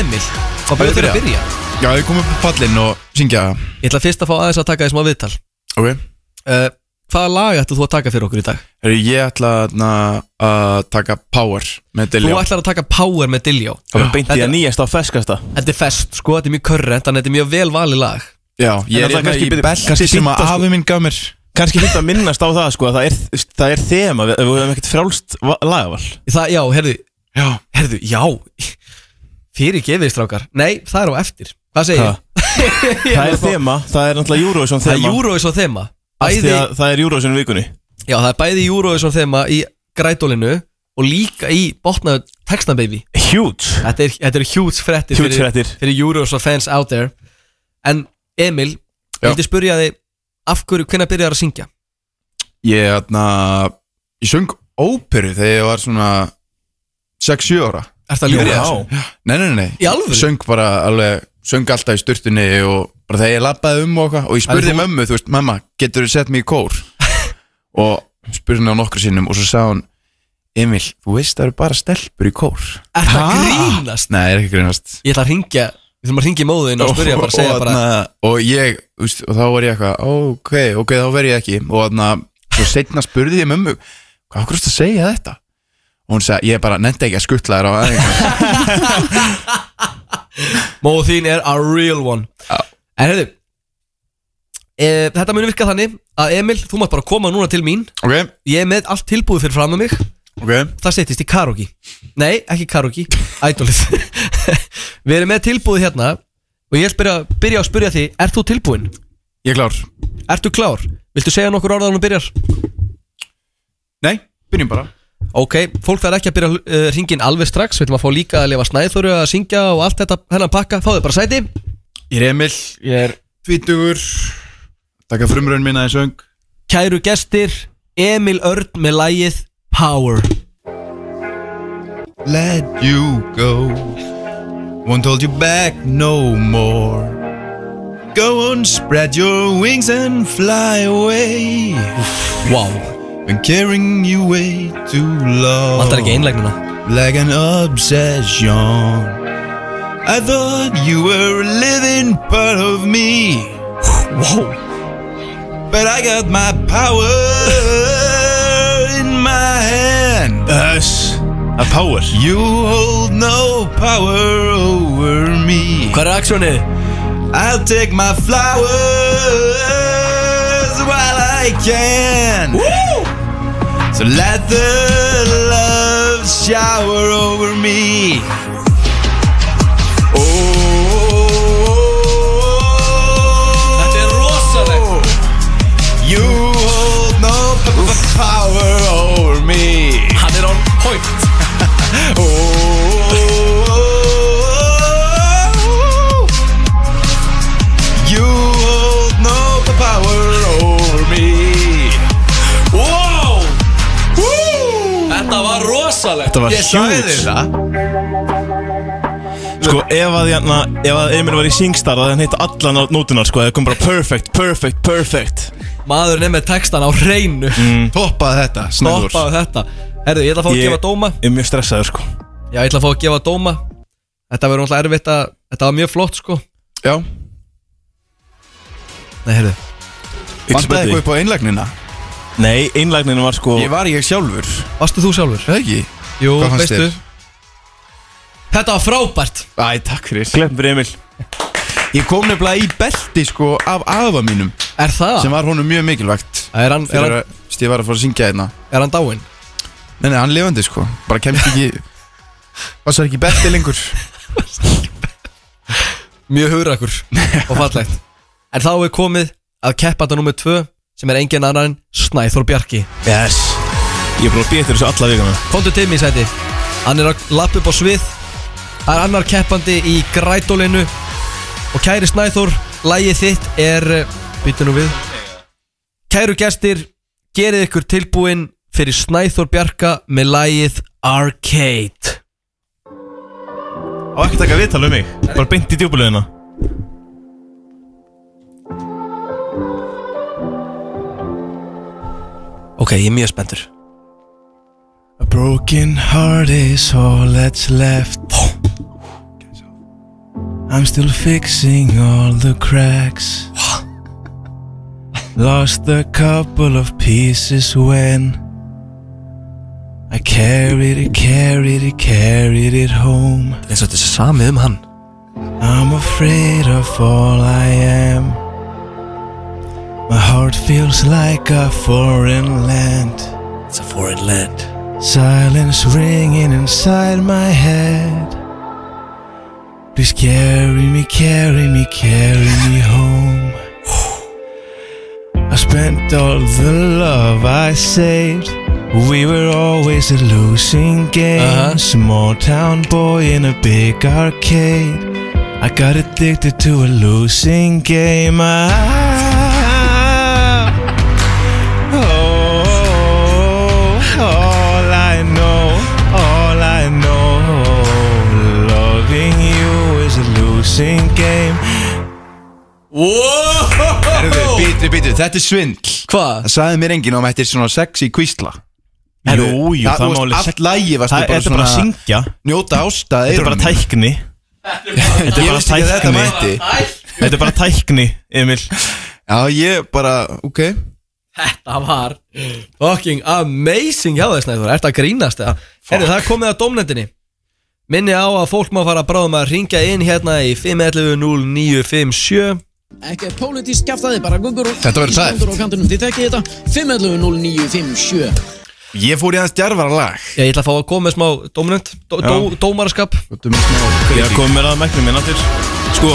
Speaker 3: Emil Hvað byrjuð þér að byrja?
Speaker 5: Já, ég kom upp á pallinn og syngja
Speaker 3: Ég ætla fyrst að fá aðeins að taka því smá viðtal
Speaker 5: Ok
Speaker 3: uh, Hvaða lag ættu þú að taka fyrir okkur í dag?
Speaker 5: Heru, Ég ætla na, að taka Power með
Speaker 3: Þú
Speaker 5: Dilljá
Speaker 3: ætlar að taka Power með Dilljó
Speaker 4: Það var beint í
Speaker 3: Þetta-
Speaker 4: að nýjast á ferskasta
Speaker 3: Þetta er fest, sko, þetta er mjög körrent Þannig að þetta er mjög vel valið lag
Speaker 5: Já, ég
Speaker 4: En
Speaker 5: er
Speaker 4: alltaf
Speaker 5: hérna
Speaker 4: kannski
Speaker 5: í
Speaker 4: byrju-
Speaker 5: belti
Speaker 4: kannski
Speaker 5: sem
Speaker 4: fínt
Speaker 5: að
Speaker 4: að sko-
Speaker 5: afi minn gaf mér
Speaker 4: Kanski hitt að minnast á það sko að Það er, það er þema Við, við höfum ekkert frálst va- lagaval
Speaker 3: Það, já, herðu,
Speaker 5: Já
Speaker 3: herðu, já Fyrir gefið strákar Nei, það er á eftir Hvað segir
Speaker 4: Ha? Það er þema Það er náttúrulega Eurovision
Speaker 3: Það er
Speaker 4: þema
Speaker 3: Eurovision þema
Speaker 4: af því
Speaker 3: Bæði,
Speaker 4: að Það er Eurovision vikunni
Speaker 3: já, það er bæði Eurovision þema í grætólinu Og líka í botnaðu textababy
Speaker 4: Huge
Speaker 3: Þetta er, þetta er huge frettir
Speaker 4: Huge fréttir.
Speaker 3: Fyrir Eurovision fans out there En Emil, ég
Speaker 5: Já.
Speaker 3: vildi spyrja þig Af hverju, hvenær byrjar að syngja?
Speaker 5: Ég, hérna, ég söng óperu þegar ég var svona 6-7 ára
Speaker 3: Er það ljóða?
Speaker 5: Nei, nei, nei,
Speaker 3: Í alvöru?
Speaker 5: Söng bara alveg, söng alltaf í sturtunni og bara þegar ég labbaði um og eitthvað og ég spurði
Speaker 3: þú-
Speaker 5: mömmu, þú veist, mamma, getur þú sett mig í kór? og spurði henni á nokkru sinnum og svo sagði hún Emil, þú veist það eru bara stelpur í kór
Speaker 3: Er það grínast?
Speaker 5: Nei, ég er ekki grunast
Speaker 3: Ég ætla að ringja, við þurfum að ringja í móðin og
Speaker 5: Oh,
Speaker 3: spyrja bara, segja bara
Speaker 5: þarna- og ég, þú veist, og þá var ég eitthvað ok, ok, þá verð ég ekki og þannig að, svo setna spurði ég mömmu hvað okkur erstu að segja þetta og hún sagði, ég bara nefndi ekki að skuttla þér á aðeins
Speaker 3: Móð þín er a real one
Speaker 5: Já.
Speaker 3: En hefðu e, Þetta muni virka þannig að Emil, þú mátt bara koma núna til mín
Speaker 5: ok,
Speaker 3: Ég er með allt tilbúið fyrir fram að mig
Speaker 5: ok,
Speaker 3: Það setjist í karaoke Nei, ekki karaoke, ædolið Við erum með tilbúið hérna Og ég spyrja, byrja að spyrja því Ert þú tilbúin?
Speaker 5: ég er klár
Speaker 3: Ertu klár? Viltu segja nokkur orðan og byrjar?
Speaker 5: nei, byrjum bara
Speaker 3: Ok, fólk þarf ekki að byrja uh, ringin alveg strax Við ætlum að fá líka að lifa snæðþóru að syngja og allt þetta hennan pakka Fáðu bara sæti
Speaker 5: Ég er Emil, ég er tvítugur Takk að frumraun minna í söng
Speaker 3: Kæru gestir, Emil Örn með lægið Power
Speaker 5: Let you go Won't hold you back no more Go on, spread your wings and fly away
Speaker 3: Wow,
Speaker 5: Been carrying you way too long
Speaker 3: vantar ekki einlegnuna
Speaker 5: Like an obsession I thought you were a living part of me
Speaker 3: Wow,
Speaker 5: But I got my power in my hand.
Speaker 4: Öss A power
Speaker 5: You hold no power over me.
Speaker 3: hvað er aksjónið?
Speaker 5: I'll take my flowers while I can. So let the love shower over me. Oh.
Speaker 3: Þetta er rosalegt
Speaker 5: You hold no p- p- power over me.
Speaker 3: Hann er án hóitt
Speaker 5: Oh, you hold no p- power over me.
Speaker 3: Wow, þetta var rosalegt
Speaker 4: Þetta var
Speaker 5: Ég sagði
Speaker 4: huge
Speaker 5: þér það.
Speaker 4: Sko ef að, hérna, ef að Emil var í Singstar Það hann hitt allan á nótunar sko Það kom bara perfect, perfect, perfect
Speaker 3: Maðurinn er með textan á hreinu
Speaker 5: Mm, Toppaði þetta, snöður.
Speaker 3: Stoppaðu þetta Herðu, ég ætla að fá að
Speaker 4: Ég-
Speaker 3: gefa dóma
Speaker 4: Ég er mjög stressaður sko
Speaker 3: Já, ég ætla að fá að gefa dóma Þetta verður náttúrulega erfitt að Þetta var mjög flott sko
Speaker 5: Já,
Speaker 3: Nei, herðu
Speaker 5: vandaði eitthvað upp á einlagnina.
Speaker 4: Nei, einlagninu var sko
Speaker 5: Ég var ég sjálfur.
Speaker 3: Varstu þú sjálfur?
Speaker 5: Það ekki?
Speaker 3: Jú,
Speaker 5: Hvað fannst
Speaker 3: veistu
Speaker 5: þér?
Speaker 3: Þetta var frábært
Speaker 5: Æ, takk fyrir.
Speaker 4: Klepp fyrir Emil
Speaker 5: Ég kom nefnilega í belti sko af afa mínum
Speaker 3: Er það?
Speaker 5: sem var honum mjög mikilvægt.
Speaker 3: Er hann, er
Speaker 5: Fyrir
Speaker 3: hann,
Speaker 5: að ég var að fara að syngja hérna.
Speaker 3: er hann dáinn?
Speaker 5: Nei, nei, hann lifandi sko Bara kemst ekki Vassar ekki belti lengur
Speaker 3: Mjög hugrakur og fallegt En þá er komið að keppanda nummer 2 sem er engin annar en Snæþór Bjarki
Speaker 4: Yes Ég er búin að býja eftir þessu alla vikana
Speaker 3: Komdu til mig sæti Hann er að lappa upp á svið Það er annar keppandi í grætólinu Og kæri Snæþór Lægið þitt er Býtu nú við Kæru gestir Gerið ykkur tilbúin fyrir Snæþór Bjarka Með lægið Arcade
Speaker 4: Á ekki taka viðtal um mig Bara beint í djúbulegina
Speaker 3: Ok, ég er mjög spenntur
Speaker 4: A broken heart is all that's left I'm still fixing all the cracks Lost a couple of pieces when I carried it, carried it, carried it home
Speaker 3: eins og þetta er samið um hann
Speaker 4: I'm afraid of all I am. My heart feels like a foreign land.
Speaker 3: It's a foreign land
Speaker 4: Silence ringing inside my head. Please carry me, carry me, carry me home. I spent all the love I saved. We were always a losing game.
Speaker 3: Uh-huh.
Speaker 4: Small town boy in a big arcade. I got addicted to a losing game. I, oh, all I know, all I know, loving you is a losing game.
Speaker 5: Herðu, bítu, bítu, þetta er svindl
Speaker 3: Hvað?
Speaker 5: Það sagði mér enginn om þetta er svona sexy kvísla
Speaker 4: Jú, jú, það má alveg
Speaker 5: Allt lægi varstu
Speaker 4: Það
Speaker 5: bara
Speaker 4: er bara
Speaker 5: svona
Speaker 4: að syngja
Speaker 5: Njóta ásta
Speaker 4: Þetta er bara tækni Þetta
Speaker 5: Ég
Speaker 4: er bara
Speaker 5: veist ekki að þetta
Speaker 4: tækni
Speaker 5: mætti
Speaker 4: Þetta er bara tækni, Emil
Speaker 5: Já, ég bara, ok
Speaker 3: Þetta var fucking amazing hjá þess næður Ertu að grínast eða? Herri, það er komið að domnendinni Minni á að fólk má fara bráðum að ringja inn hérna í 511-0957
Speaker 8: Ekki pólitísk kæftæði, bara guggur og
Speaker 5: Þetta verður sæft.
Speaker 8: Íslandur á kantunum, þið tekkið þetta 511-0957
Speaker 5: Ég fór í aðeins djarfara lag
Speaker 3: Ég ætla að fá að koma með smá domnend dó, dó, Dómaraskap
Speaker 4: Ég er komið með að megnum minn aftur Sko,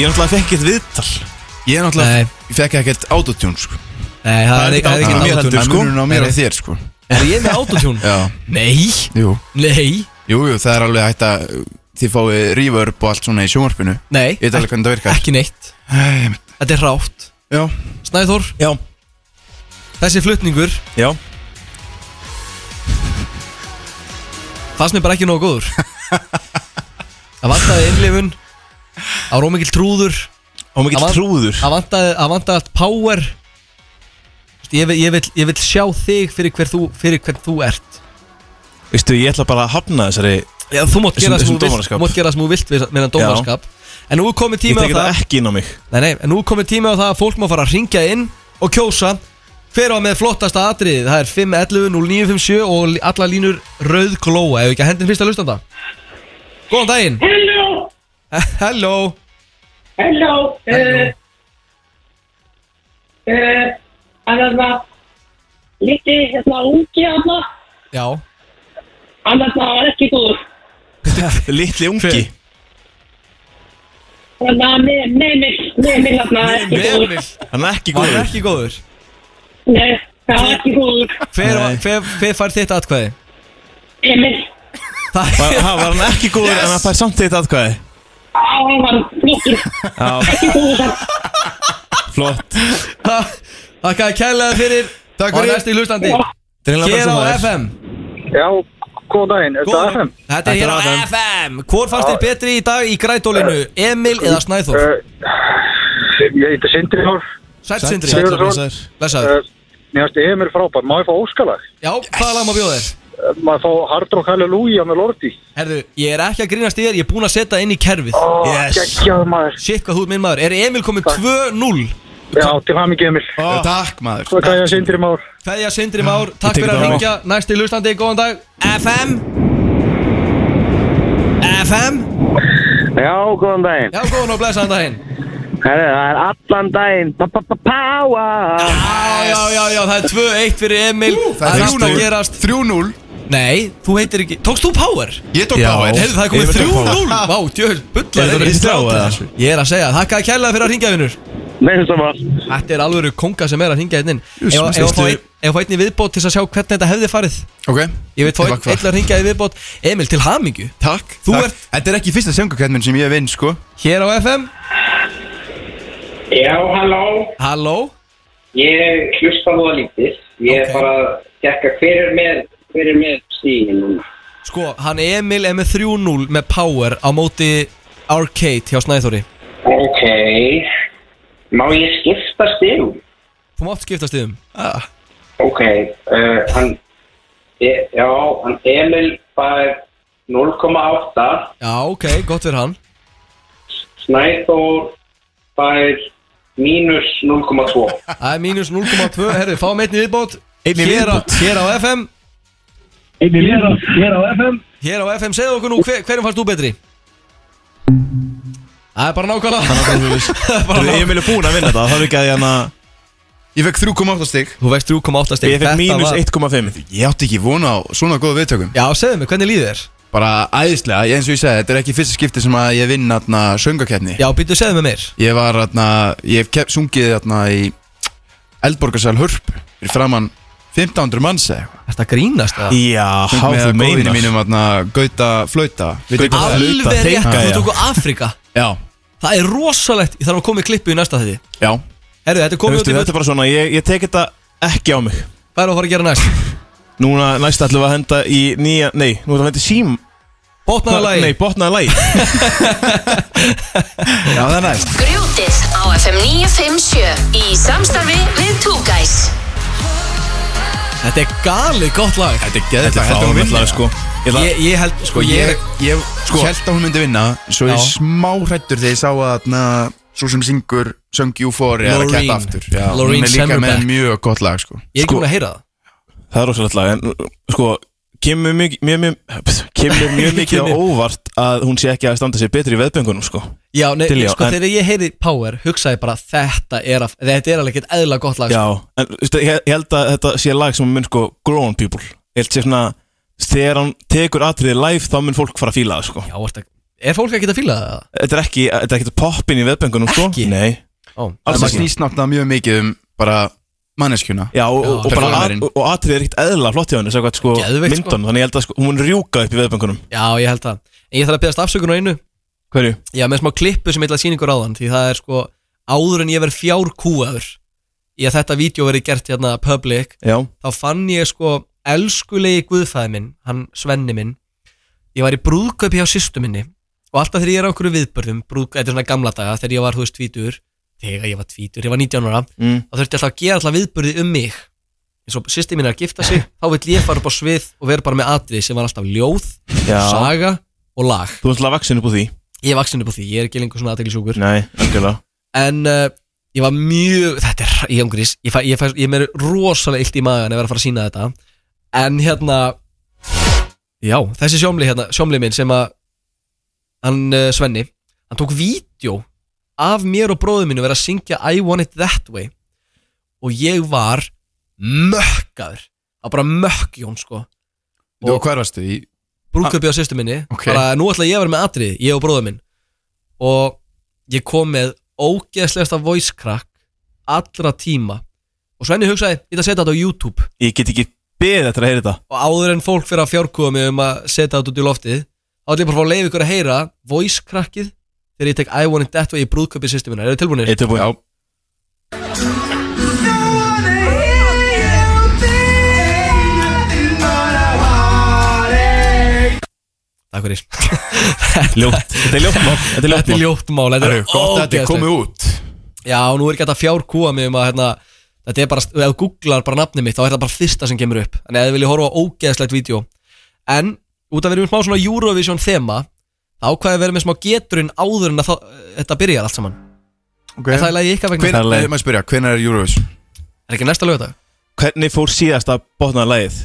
Speaker 4: ég náttúrulega fekk eitt viðtal
Speaker 5: Ég er
Speaker 3: Nei.
Speaker 5: náttúrulega, ég fekk ekkert autotune sko
Speaker 3: Nei, það er
Speaker 4: er
Speaker 3: ekki það er
Speaker 4: ekki
Speaker 3: ekki
Speaker 4: autotune.
Speaker 3: autotune
Speaker 5: Það
Speaker 4: sko.
Speaker 5: munur á mér
Speaker 3: Nei.
Speaker 5: og þér sko
Speaker 3: Er ég með autotune?
Speaker 5: Já,
Speaker 3: Nei,
Speaker 5: jú
Speaker 3: nei,
Speaker 5: Jú, jú, það er alveg hægt að uh, Þið fáið reverb og allt svona í sjónvarpinu
Speaker 3: nei
Speaker 5: Ég veit alveg hvernig það virkar
Speaker 3: Ekki neitt
Speaker 5: Æ, einmitt.
Speaker 3: Þetta er rátt
Speaker 5: Já,
Speaker 3: Snæður,
Speaker 4: Já
Speaker 3: þessi flutningur
Speaker 4: Já
Speaker 3: fannst mér bara ekki nógu góður Það vantaði innlifun Það var ómikil trúður
Speaker 4: Og
Speaker 3: Það
Speaker 4: mikill
Speaker 3: var-
Speaker 4: trúður
Speaker 3: Það vantaði, það vantaði allt power Þú veist, ég vil, ég, vil, ég vil sjá þig fyrir hver þú, fyrir hver þú ert
Speaker 4: Veistu, ég ætla bara að hafna þessari
Speaker 3: Já, Þú mátt
Speaker 4: Þessum-
Speaker 3: gera það sem
Speaker 4: þessum
Speaker 3: þú vilt-
Speaker 4: dómaraskap.
Speaker 3: þú mátt gera það sem þú vilt við- með þann dómaraskap En nú er komið
Speaker 4: Ég
Speaker 3: tími á
Speaker 4: tek
Speaker 3: það
Speaker 4: þetta ekki inn á mig
Speaker 3: Nei, nei, en nú er komið tími á það að fólk má fara að ringja inn og kjósa Hver á með flottasta atriðið, það er 511-0957 og li- allar línur rauð glóa Ef við ekki að hendin fyrsta lustanda Góðan daginn
Speaker 9: Hello,
Speaker 3: Hello
Speaker 9: hello, uh, uh, hann er það lítið hérna ungi hérna,
Speaker 3: Já
Speaker 9: hann er það var ekki góður,
Speaker 4: Littli ungi
Speaker 9: þannig að með, með mig, með mig hérna er ekki góður,
Speaker 3: Emil
Speaker 4: Hann er ekki
Speaker 3: Var hann
Speaker 4: góður
Speaker 3: ekki góður
Speaker 9: nei, það var ekki góður,
Speaker 3: Hver,
Speaker 4: Nei.
Speaker 3: hver, hver fær þitt atkvæði?
Speaker 9: Emil,
Speaker 3: Það
Speaker 4: Var, ha, var hann ekki góður en hann fær samt eitt aðkvæði
Speaker 9: á, hann var flottur,
Speaker 4: Já,
Speaker 9: ekki góður það,
Speaker 4: flott
Speaker 3: Það Þakka þér kærlega fyrir
Speaker 5: Takk fyrir.
Speaker 3: Og næstu hlustandi
Speaker 4: Hérna
Speaker 3: Hér á FM
Speaker 10: Já, góðan daginn, er þetta FM?
Speaker 3: Þetta er hér á
Speaker 4: Þetta er
Speaker 3: FM Hvor fannst þér betri í dag í grætólinu?
Speaker 10: Eh,
Speaker 3: Emil eða Snæþór?
Speaker 10: Ég heiti Sindri Hór,
Speaker 3: Sætt Sindri
Speaker 10: Sigurður.
Speaker 3: Blessaður
Speaker 10: Eh, mér finnst Emil frábær, má ég fá óskalag?
Speaker 3: Já, hvaða lag má bjóða þér?
Speaker 10: Eh, Má ég fá Hard Rock Hallelujah með Lordi?
Speaker 3: Herðu, ég er ekki að grínast í þér Ég er búinn að setja inn í kerfið
Speaker 10: Ó,
Speaker 4: Yes.
Speaker 10: geggjað maður,
Speaker 3: Shit hvað þú ert minn maður Er Emil kominn 2-0?
Speaker 10: já, til hamingi Emil.
Speaker 5: Já, takk maður
Speaker 10: Hvað er ég að Sindri Már?
Speaker 3: Þegar Sindri Már, takk
Speaker 4: tek
Speaker 3: fyrir að
Speaker 4: þetta á.
Speaker 3: ringja Næsti hlustandi, góðan dag FM FM
Speaker 10: Já, góðan daginn.
Speaker 3: Já, góðan og blessaðan daginn
Speaker 10: Herri, það er allan daginn, pa-pa-pa-power!
Speaker 3: Já, já, já, já, það er 2-1 fyrir Emil Það er allt að gerast
Speaker 5: 3-0
Speaker 3: Nei, þú heitir ekki Tókst þú Power?
Speaker 5: Ég tók
Speaker 4: Já.
Speaker 5: power
Speaker 3: Heyrðu, það er komið
Speaker 4: Emil tók
Speaker 3: 3-0 Vá, djöður,
Speaker 4: Er
Speaker 3: bullar
Speaker 4: þetta
Speaker 3: Emil.
Speaker 4: ristið á eða?
Speaker 3: Ég er að segja, þakka að kærlega fyrir að ringja vinnur
Speaker 10: Nei, sem var.
Speaker 3: Þetta er alvöru konga sem er að ringja hérna inn Ef
Speaker 4: sem
Speaker 3: ef að fá
Speaker 4: snistu-
Speaker 3: einn- ef að fá einn í viðbót til þess að sjá hvernig þetta hefði farið
Speaker 5: Ok
Speaker 3: Ég veit fá
Speaker 5: Ef
Speaker 3: einn
Speaker 5: að hvað?
Speaker 3: einn að ringja í viðbót Emil, til hamingju
Speaker 5: Takk
Speaker 3: Þú
Speaker 5: takk.
Speaker 3: ert-
Speaker 5: Þetta er ekki fyrsta söngukeppnin sem ég vinn sko
Speaker 3: Hér á FM
Speaker 9: já, halló,
Speaker 3: Halló
Speaker 9: ég hlusta nú að lítið,
Speaker 3: Ok.
Speaker 9: ég er bara að tekka hver er með, hver er með stíðin núna,
Speaker 3: Sko, hann Emil er með 3-0 með Power á móti Arcade hjá Snæþóri
Speaker 9: ok, má ég skipta stíðum?
Speaker 3: Þú mátt skipta stiðum
Speaker 9: Ok, uh, hann, e, já, hann Emil fær 0,8,
Speaker 3: Já, ok, gott fyrir hann
Speaker 11: Snæþór fær mínus 0,2
Speaker 3: Það er mínus 0,2, herri, fáum einni viðbót
Speaker 11: Einni
Speaker 3: Hér á-
Speaker 11: viðbót.
Speaker 3: Hér á FM
Speaker 11: Einni viðbót, hér á FM
Speaker 3: Hér á FM, segðu okkur nú, hver, hverjum fannst þú betri? Það er bara nákvæmlega
Speaker 4: Þú, Emil er búinn að vinna þetta, það þarf ekki að hérna, ég hann að
Speaker 5: Ég fekk 3,8 stygg
Speaker 3: Þú veist 3,8 stygg
Speaker 5: Ég fekk mínus
Speaker 4: 1,5
Speaker 5: Ég átti ekki vona á svona góða viðtökum
Speaker 3: Já, segðu mig, hvernig líður þér?
Speaker 5: Bara æðislega, ég- eins og ég segi, þetta er ekki fyrsta skipti sem að ég vinn atna söngakeppni
Speaker 3: Já, býttu segðu mig meir
Speaker 5: Ég var atna, ég hef kepp, sungið atna í Eldborgarsal Hörp Fyrir framann 1500 manns eða eitthvað
Speaker 3: Þetta grínast það
Speaker 4: Já,
Speaker 5: Sung
Speaker 4: há,
Speaker 5: með
Speaker 4: þú
Speaker 5: góðvinum
Speaker 4: meinar.
Speaker 5: mínum atna, Gauta Flauta Vitið hvað það er?
Speaker 3: Alveg
Speaker 5: Flauta,
Speaker 3: rétt,
Speaker 5: þeika,
Speaker 3: þú
Speaker 5: já.
Speaker 3: tóku Afrika
Speaker 5: Já
Speaker 3: Það er rosalegt, ég þarf að koma í klippu í næsta þetti
Speaker 5: Já
Speaker 3: Herru, þetta er
Speaker 4: Þú
Speaker 3: komið
Speaker 4: veistu,
Speaker 3: út í
Speaker 4: Þetta er bara svona, ég, ég tek þetta ekki á mig
Speaker 3: Hvað er að fara að gera næst?
Speaker 4: Núna næst ætlum við að henda í nýja, nei, nú ætlum við að henda í sím
Speaker 3: Botnaða
Speaker 4: Hvað-
Speaker 3: lagi.
Speaker 4: Nei, botnaða lagi
Speaker 5: Já, það er næst
Speaker 2: Grjótið á FM 957 í samstarfi við Two Guys.
Speaker 3: Þetta er galið gott lag
Speaker 5: Þetta er geðvægt
Speaker 4: Þetta er
Speaker 5: Heldur hún
Speaker 4: fáránlegt
Speaker 5: vinni?
Speaker 4: lag, sko. Ég ætla-
Speaker 3: Ég, ég held,
Speaker 5: Sko ég, ég sko, held að hún myndi vinna Svo ég
Speaker 3: Já.
Speaker 5: smá hrættur þegar ég sá að na, Svo sem syngur Söng Euphoria er að
Speaker 3: Loreen.
Speaker 5: kæta aftur Já,
Speaker 3: Loreen
Speaker 5: Hún er líka
Speaker 3: Semmerbeck.
Speaker 5: með mjög gott lag sko.
Speaker 3: Ég er ekki búin að heyra það
Speaker 4: Það er rosalegt lag, en sko kemur mjög, mjög, mjög, kemur mjög mikið á
Speaker 3: Kemur.
Speaker 4: óvart að hún sé ekki að standa sér betri í veðböngunum sko
Speaker 3: Já, nei,
Speaker 4: Til já,
Speaker 3: sko
Speaker 4: en-
Speaker 3: þegar ég heyri Power hugsaði ég bara þetta er, að, þetta er alveg eitthvað eðla gott lag
Speaker 4: Já, en veistu, ég ég held að þetta sé lag sem mun sko grown people Ég held sé svona, þegar hann tekur atriðið live þá mun fólk fara að fíla það sko
Speaker 3: Já, ertu- er fólk ekki að fíla það?
Speaker 4: Þetta er ekki, þetta er ekki poppin í veðböngunum sko
Speaker 3: Ekki?
Speaker 4: Nei
Speaker 3: Ó,
Speaker 5: Það
Speaker 4: Alls
Speaker 5: maður
Speaker 4: ekki
Speaker 5: snýst náttúrulega mjög mikið um bara manneskjuna
Speaker 4: Já, og, og, bara
Speaker 5: performerinn.
Speaker 4: að, og atriðið er ekkert eðla flott hjá henni sagði, sko,
Speaker 3: Geðveikt, sko.
Speaker 4: myndun, Þannig ég held að sko, hún mun rjúka upp í veðböngunum
Speaker 3: Já, ég held það En ég þarf að beðast afsökunar á einu
Speaker 4: Hverju?
Speaker 3: Já, með smá klippu sem ég ætla að sýningur áðan Því það er sko áður en ég verð fjárkúaður Í að þetta vídeo verið gert hérna public
Speaker 4: Já,
Speaker 3: Þá fann ég sko elskulegi guðfæði minn Hann Svenni minn Ég var í brúðkaupi hjá sýstu minni Og alltaf þegar ég er á okkur viðbörðum brúð, eh, Þetta er svona gamla daga þegar ég var, þú veist, tvítur Þegar ég var tvítur, ég var 19 ára
Speaker 4: mm.
Speaker 3: þá þurfti alltaf að gera alltaf viðburði um mig eins og sýsti mín er að gifta sig þá vill ég fara upp á svið og vera bara með atrið sem var alltaf ljóð,
Speaker 4: Já.
Speaker 3: saga og lag
Speaker 4: þú ert alltaf vaksin upp á því
Speaker 3: ég er vaksin upp á því, ég er ekki lengur svona aðteglisjúkur
Speaker 4: Nei, algjörlega
Speaker 3: en uh, ég var mjög þetta er, ég umgrís, ég, fæ, ég, fæ, ég er mér rosalega illt í magan að vera að fara að sína þetta en hérna já, þessi sjómli hérna, sjómli minn sem að hann uh, Svenni, hann tók vídeo af mér og bróðu mínu vera að syngja I want it that way og ég var mökkaður, það var bara mökkjón sko,
Speaker 5: Og hvað varstu í?
Speaker 3: brúköpi á sýstu minni
Speaker 5: Ok.
Speaker 3: bara nú ætla ég að vera með atrið, ég og bróður minn og ég kom með ógeðslegasta voice crack allra tíma og Svenni hugsaði, ég ætla að setja þetta á YouTube
Speaker 4: Ég get ekki beðið eftir að heyra þetta
Speaker 3: og áður en fólk fyrir að fjárkúa mig um að setja þetta út í loftið þá ætla ég bara að fá að leiða ykkur að heyra voice crackið þegar ég tek I want it that way í brúðköpi sýstu minna, eru þið tilbúinir?
Speaker 4: Eitt upp og
Speaker 5: Já,
Speaker 3: Takk fyrir
Speaker 4: Ljótt, þetta er ljótt mál Þetta er ljótt
Speaker 3: Þetta er
Speaker 4: mál
Speaker 3: ljótt mál, þetta
Speaker 5: það
Speaker 3: er
Speaker 5: er gott að þetta er
Speaker 3: ógeðslegt.
Speaker 5: komið út
Speaker 3: Já, nú er ekki hægt að fjárkúa mig um að hérna, þetta er bara, ef þú googlar bara nafnið mitt þá er þetta bara fyrsta sem kemur upp Þannig að ef þið viljið horfa á ógeðslegt vídeo En, út af við erum smá svona Eurovision þema þá hvað er verið með smá geturinn áður en að það, þetta byrjar allt saman
Speaker 5: okay.
Speaker 3: En það er lagið ykkar vegna,
Speaker 5: Hvenær,
Speaker 4: Það er leið.
Speaker 5: ef maður spyrja, hvenær er Eurovision?
Speaker 3: er ekki næsta lögadag?
Speaker 4: Hvernig fór síðast að botnaða lagið?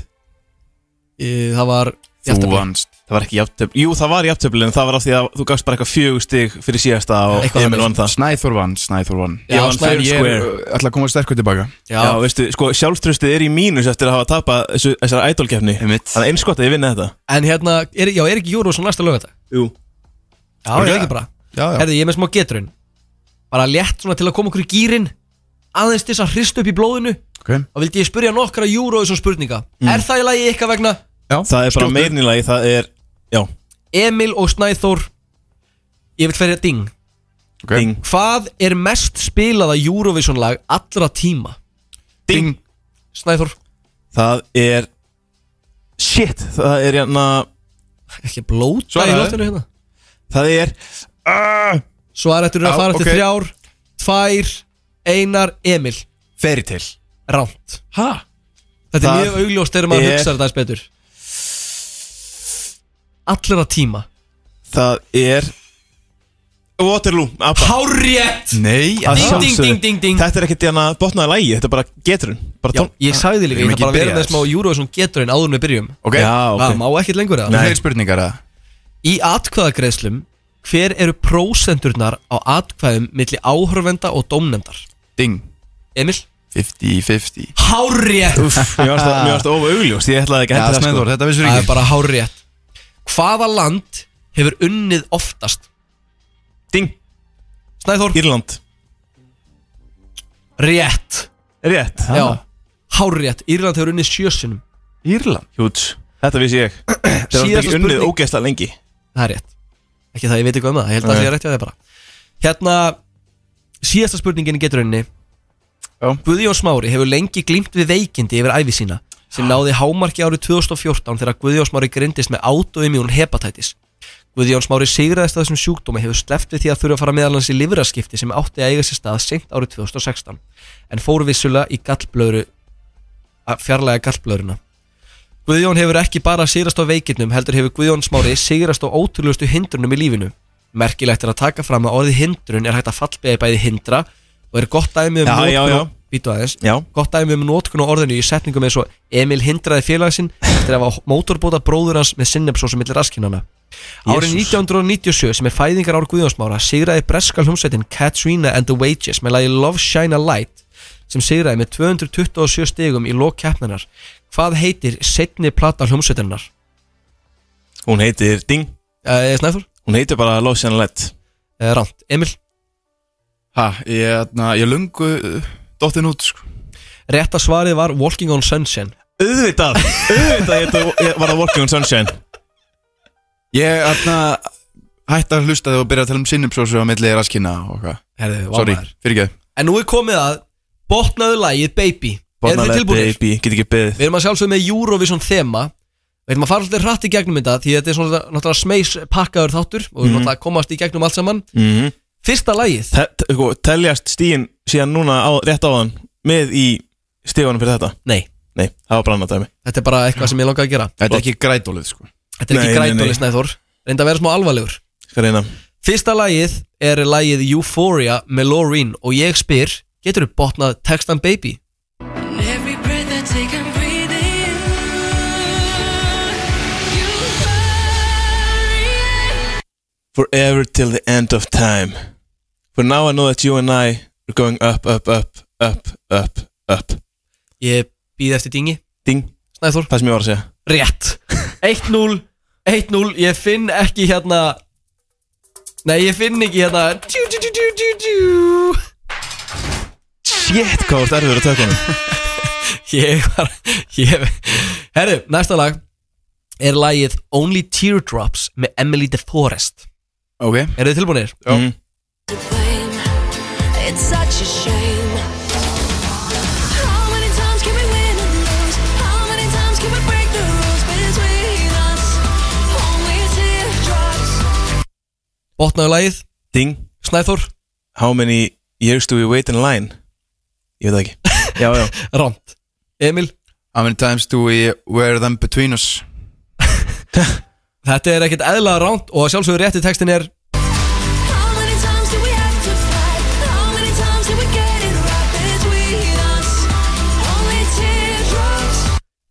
Speaker 3: Það var
Speaker 5: Þú
Speaker 3: jafntefli.
Speaker 5: vannst
Speaker 4: Það var ekki jafntöfli Jú, það var jafntöfli En það var af því að þú gafst bara eitthvað fjögur stig fyrir síðasta og
Speaker 3: eitthvað
Speaker 4: Emil
Speaker 3: þannig.
Speaker 4: vann það
Speaker 5: Snæþór vann, Snæþór vann
Speaker 3: Já,
Speaker 4: Ég vann
Speaker 3: Snæþór
Speaker 4: fair
Speaker 5: Ég er
Speaker 4: square
Speaker 5: uh, ætla að koma sterkur tilbaka
Speaker 3: Já,
Speaker 4: Já, veistu, sko, sjálfströstið er í mínus eftir að hafa tapað þessu, þessara idolkeppni
Speaker 5: Einmitt.
Speaker 4: Þannig að eins gott að ég vinna þetta
Speaker 3: en hérna, er, já, er ekki Eurovision næsta lögadag?
Speaker 4: Jú
Speaker 3: Já, er það ekki bara
Speaker 5: Já, já
Speaker 3: Herði, ég er með smá geturinn Bara létt svona til að koma okkur í gýrin Aðeins til þess að hrist upp í blóðinu
Speaker 5: Ok.
Speaker 3: Og vildi ég spyrja nokkra Eurovision spurninga
Speaker 5: Mm.
Speaker 3: Er það í lagi ykkar vegna
Speaker 4: Það er bara
Speaker 5: Skjóttu.
Speaker 4: meirnilagi, það er, já,
Speaker 3: Emil og Snæþór Ég vil ferja ding
Speaker 5: Ok.
Speaker 4: ding
Speaker 3: Hvað er mest spilaða Eurovision lag allra tíma?
Speaker 5: Ding
Speaker 3: Snæþór
Speaker 4: Það er, shit, það er hérna,
Speaker 3: Ekki blóta í
Speaker 5: Svaraðu.
Speaker 3: loftinu hérna
Speaker 4: það er
Speaker 3: Svar eftir eru
Speaker 5: Já,
Speaker 3: að fara
Speaker 5: ok.
Speaker 3: til þrjár Tvær, einar, Emil
Speaker 5: Fairy Tale
Speaker 3: Ránt
Speaker 5: Ha?
Speaker 3: Þetta
Speaker 4: Það
Speaker 3: er mjög augljóst þegar maður
Speaker 4: er-
Speaker 3: hugsa þetta aðeins betur Allra tíma
Speaker 4: Það er Waterloo apa.
Speaker 3: Hárrétt
Speaker 5: Nei
Speaker 3: Ding, ding, ding, ding, ding
Speaker 4: Þetta er ekkert hérna botnaði lægi Þetta er bara geturinn bara tón...
Speaker 3: Ég sagði líka, ég ætla bara að vera með smá Eurovision getur en áður en við byrjum
Speaker 4: Ok. Já, Ah, ok.
Speaker 3: Það má ekkert lengur eða?
Speaker 4: Nei. Fleiri
Speaker 5: spurningar eða?
Speaker 3: Í atkvæðagreiðslum, hver eru prósendurnar á atkvæðum milli áhörvenda og dómnefndar?
Speaker 5: Ding
Speaker 3: Emil?
Speaker 5: 50-50
Speaker 3: Hárrétt
Speaker 4: Úff, mér varst það- mér varst það óaugljóst, ég ætlaði ekki að henda það, sko.
Speaker 5: Þetta vissur
Speaker 3: Það
Speaker 5: ekki
Speaker 3: er bara hárrétt Hvaða land hefur unnið oftast?
Speaker 4: Ding
Speaker 3: Snæþór
Speaker 4: Írland
Speaker 3: Rétt
Speaker 4: Rétt
Speaker 3: Já Hárrétt Írland hefur unnið sjösunum
Speaker 5: Írland?
Speaker 4: Hjúts Þetta vissi ég Þetta var
Speaker 3: Síðasta
Speaker 4: ekki unnið
Speaker 3: spurning.
Speaker 4: ógeðslega lengi
Speaker 3: Það er rétt Ekki það ég veit eitthvað um það, ég held að
Speaker 4: Nei.
Speaker 3: það sé rétt hjá þér bara Hérna, síðasta spurningin í geturunni Guðjón Smári hefur lengi glýmt við veikindi yfir æfi sína sem náði hámarki árið 2014 þegar Guðjón Smári grindist með autoimmune hepatitis Guðjón Smári sigraðist að þessum sjúkdómi hefur sleppt við því að þurfa að fara meðalans í livraskipti sem átti að eiga sér stað seint árið 2016 en fór vissulega í gallblöðru að fjarlæga gallblöðruna Guðjón hefur ekki bara sigrast á veikindum heldur hefur Guðjón Smári sigrast á ótrúlustu hindrunum í lífinu. Merkilegt er að taka fram að orðið hindrun er hægt að fallbega í bæði hindra og er gott dæmi um
Speaker 4: Já, já, já.
Speaker 3: notkun Býtu aðeins
Speaker 4: Já.
Speaker 3: Gott dæmi um notkun á orðinu í setningum eins og Emil hindraði félagsinn eftir að hafa mótorbóta bróður hans með sinnepsósu millir raskinnana Árið 1997 sem er fæðingar ár Guðjónsmára sigraði breska hljómsveitin Katrina and the Wages með lagi Love Shine a Light sem sigraði með 227 stigum í lok keppninar Hvað heitir setni plata hljómsveitinnar?
Speaker 4: Hún heitir Ding
Speaker 3: Uh, Snæður?
Speaker 4: Hún heitir bara Love Shine a Light
Speaker 3: Uh, Rant, Emil?
Speaker 5: Ha, ég, hérna, ég lungu uh, dottin út sko.
Speaker 3: Rétta svarið var Walking on Sunshine
Speaker 4: Auðvitað Auðvitað ég þetta- ég var það Walking on Sunshine
Speaker 5: Ég hérna, hætti að hlusta þegar að byrja að tala um sinnumsósu á milli raskinna og hvað
Speaker 3: Herðu, vá
Speaker 5: Sorry,
Speaker 3: maður.
Speaker 5: fyrir
Speaker 3: En nú er komið að botnaðu lagið Baby Eru þið tilbúinir?
Speaker 4: Baby, get ekki beðið
Speaker 3: Við erum að sjálfsögum með Eurovision þema Við erum að fara svolítið hratt í gegnum þetta Því þetta er svona náttúrulega smeys pakkaður þáttur Og við erum
Speaker 4: Mhm.
Speaker 3: náttúrulega að komast í gegnum allt saman
Speaker 4: Mhm.
Speaker 3: Fyrsta lagið
Speaker 4: Te- te- sko, Teljast stíin síðan núna á, rétt áðan Með í stígunum fyrir þetta
Speaker 3: Nei,
Speaker 4: Nei, það var brannað dæmi
Speaker 3: þetta er bara eitthvað sem ég langaði að gera
Speaker 5: Þetta er ekki grætólið sko
Speaker 3: Þetta er
Speaker 4: Nei,
Speaker 3: ekki
Speaker 4: nei, nei.
Speaker 3: grætóli snæður Reynda að vera smá alvarlegur
Speaker 4: Skal reyna
Speaker 3: Fyrsta lagið er lagið Euphoria með Loreen Og ég spyr, getur þú botnað textan Baby?
Speaker 2: Every breath I take I'm breathing
Speaker 4: Forever till the end of time For now I know that you and I Are going up, up, up, up, up, up
Speaker 3: Ég býð eftir dingi
Speaker 4: Ding
Speaker 3: Snæður
Speaker 4: Það sem ég var að segja
Speaker 3: Rétt 1-0 1-0 Ég finn ekki hérna Nei, ég finn ekki hérna Tjú, tjú, tjú, tjú, tjú, tjú
Speaker 4: Shit, hvað var erfiður að taka hann
Speaker 3: Ég var ég, Herru, næsta lag Er lagið Only Teardrops með Emily DeForest
Speaker 5: Ok
Speaker 3: Eru þið tilbúinir?
Speaker 4: Já
Speaker 2: It's such a shame How many times can we win and lose? How many times can we break the rules between us? Only teardrops
Speaker 3: Botnaðu lagið
Speaker 4: Ding
Speaker 3: Snæþór
Speaker 4: How many years do we wait in line? Ég veit það ekki Já, já
Speaker 3: Rand Emil
Speaker 5: How many times do we wear them between us?
Speaker 3: Þetta er ekkert eðla ránt og að sjálfsögur rétti textin er
Speaker 2: How many times do we have to fight? How many times do we get it right between us? Only teardrops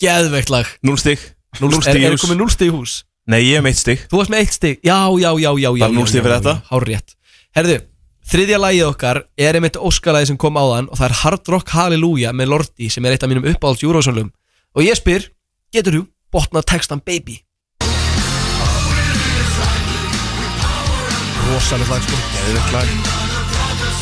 Speaker 3: Geðveikt lag
Speaker 4: Núl stig Núll
Speaker 3: Er,
Speaker 4: stig í
Speaker 3: er
Speaker 4: hús
Speaker 3: komið núlstig í hús?
Speaker 4: Nei, ég er meitt stig
Speaker 3: Þú varst með eitt stig Já, já, já, já já,
Speaker 4: Bara núll
Speaker 3: já,
Speaker 4: stig
Speaker 3: já,
Speaker 4: fyrir
Speaker 3: já,
Speaker 4: þetta.
Speaker 3: já, Hárrétt Herðu, þriðja lagið okkar er einmitt óskalagið sem kom áðan og það er Hard Rock Hallelujah með Lordi sem er eitt af mínum uppáhalds júrósónlum og ég spyr, getur þú botnað textan Baby? Rosalega lag sko
Speaker 5: Geðvegt lag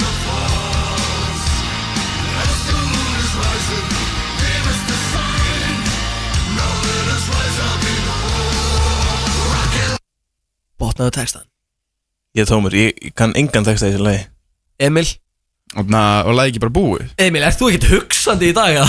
Speaker 3: Botnaðu textan
Speaker 4: Ég er tómur, ég ég kann engan texta í þessu lagi
Speaker 3: Emil,
Speaker 5: Og na, og lagi ekki bara búið
Speaker 3: Emil, ert þú ekkert hugsandi í dag? Ég,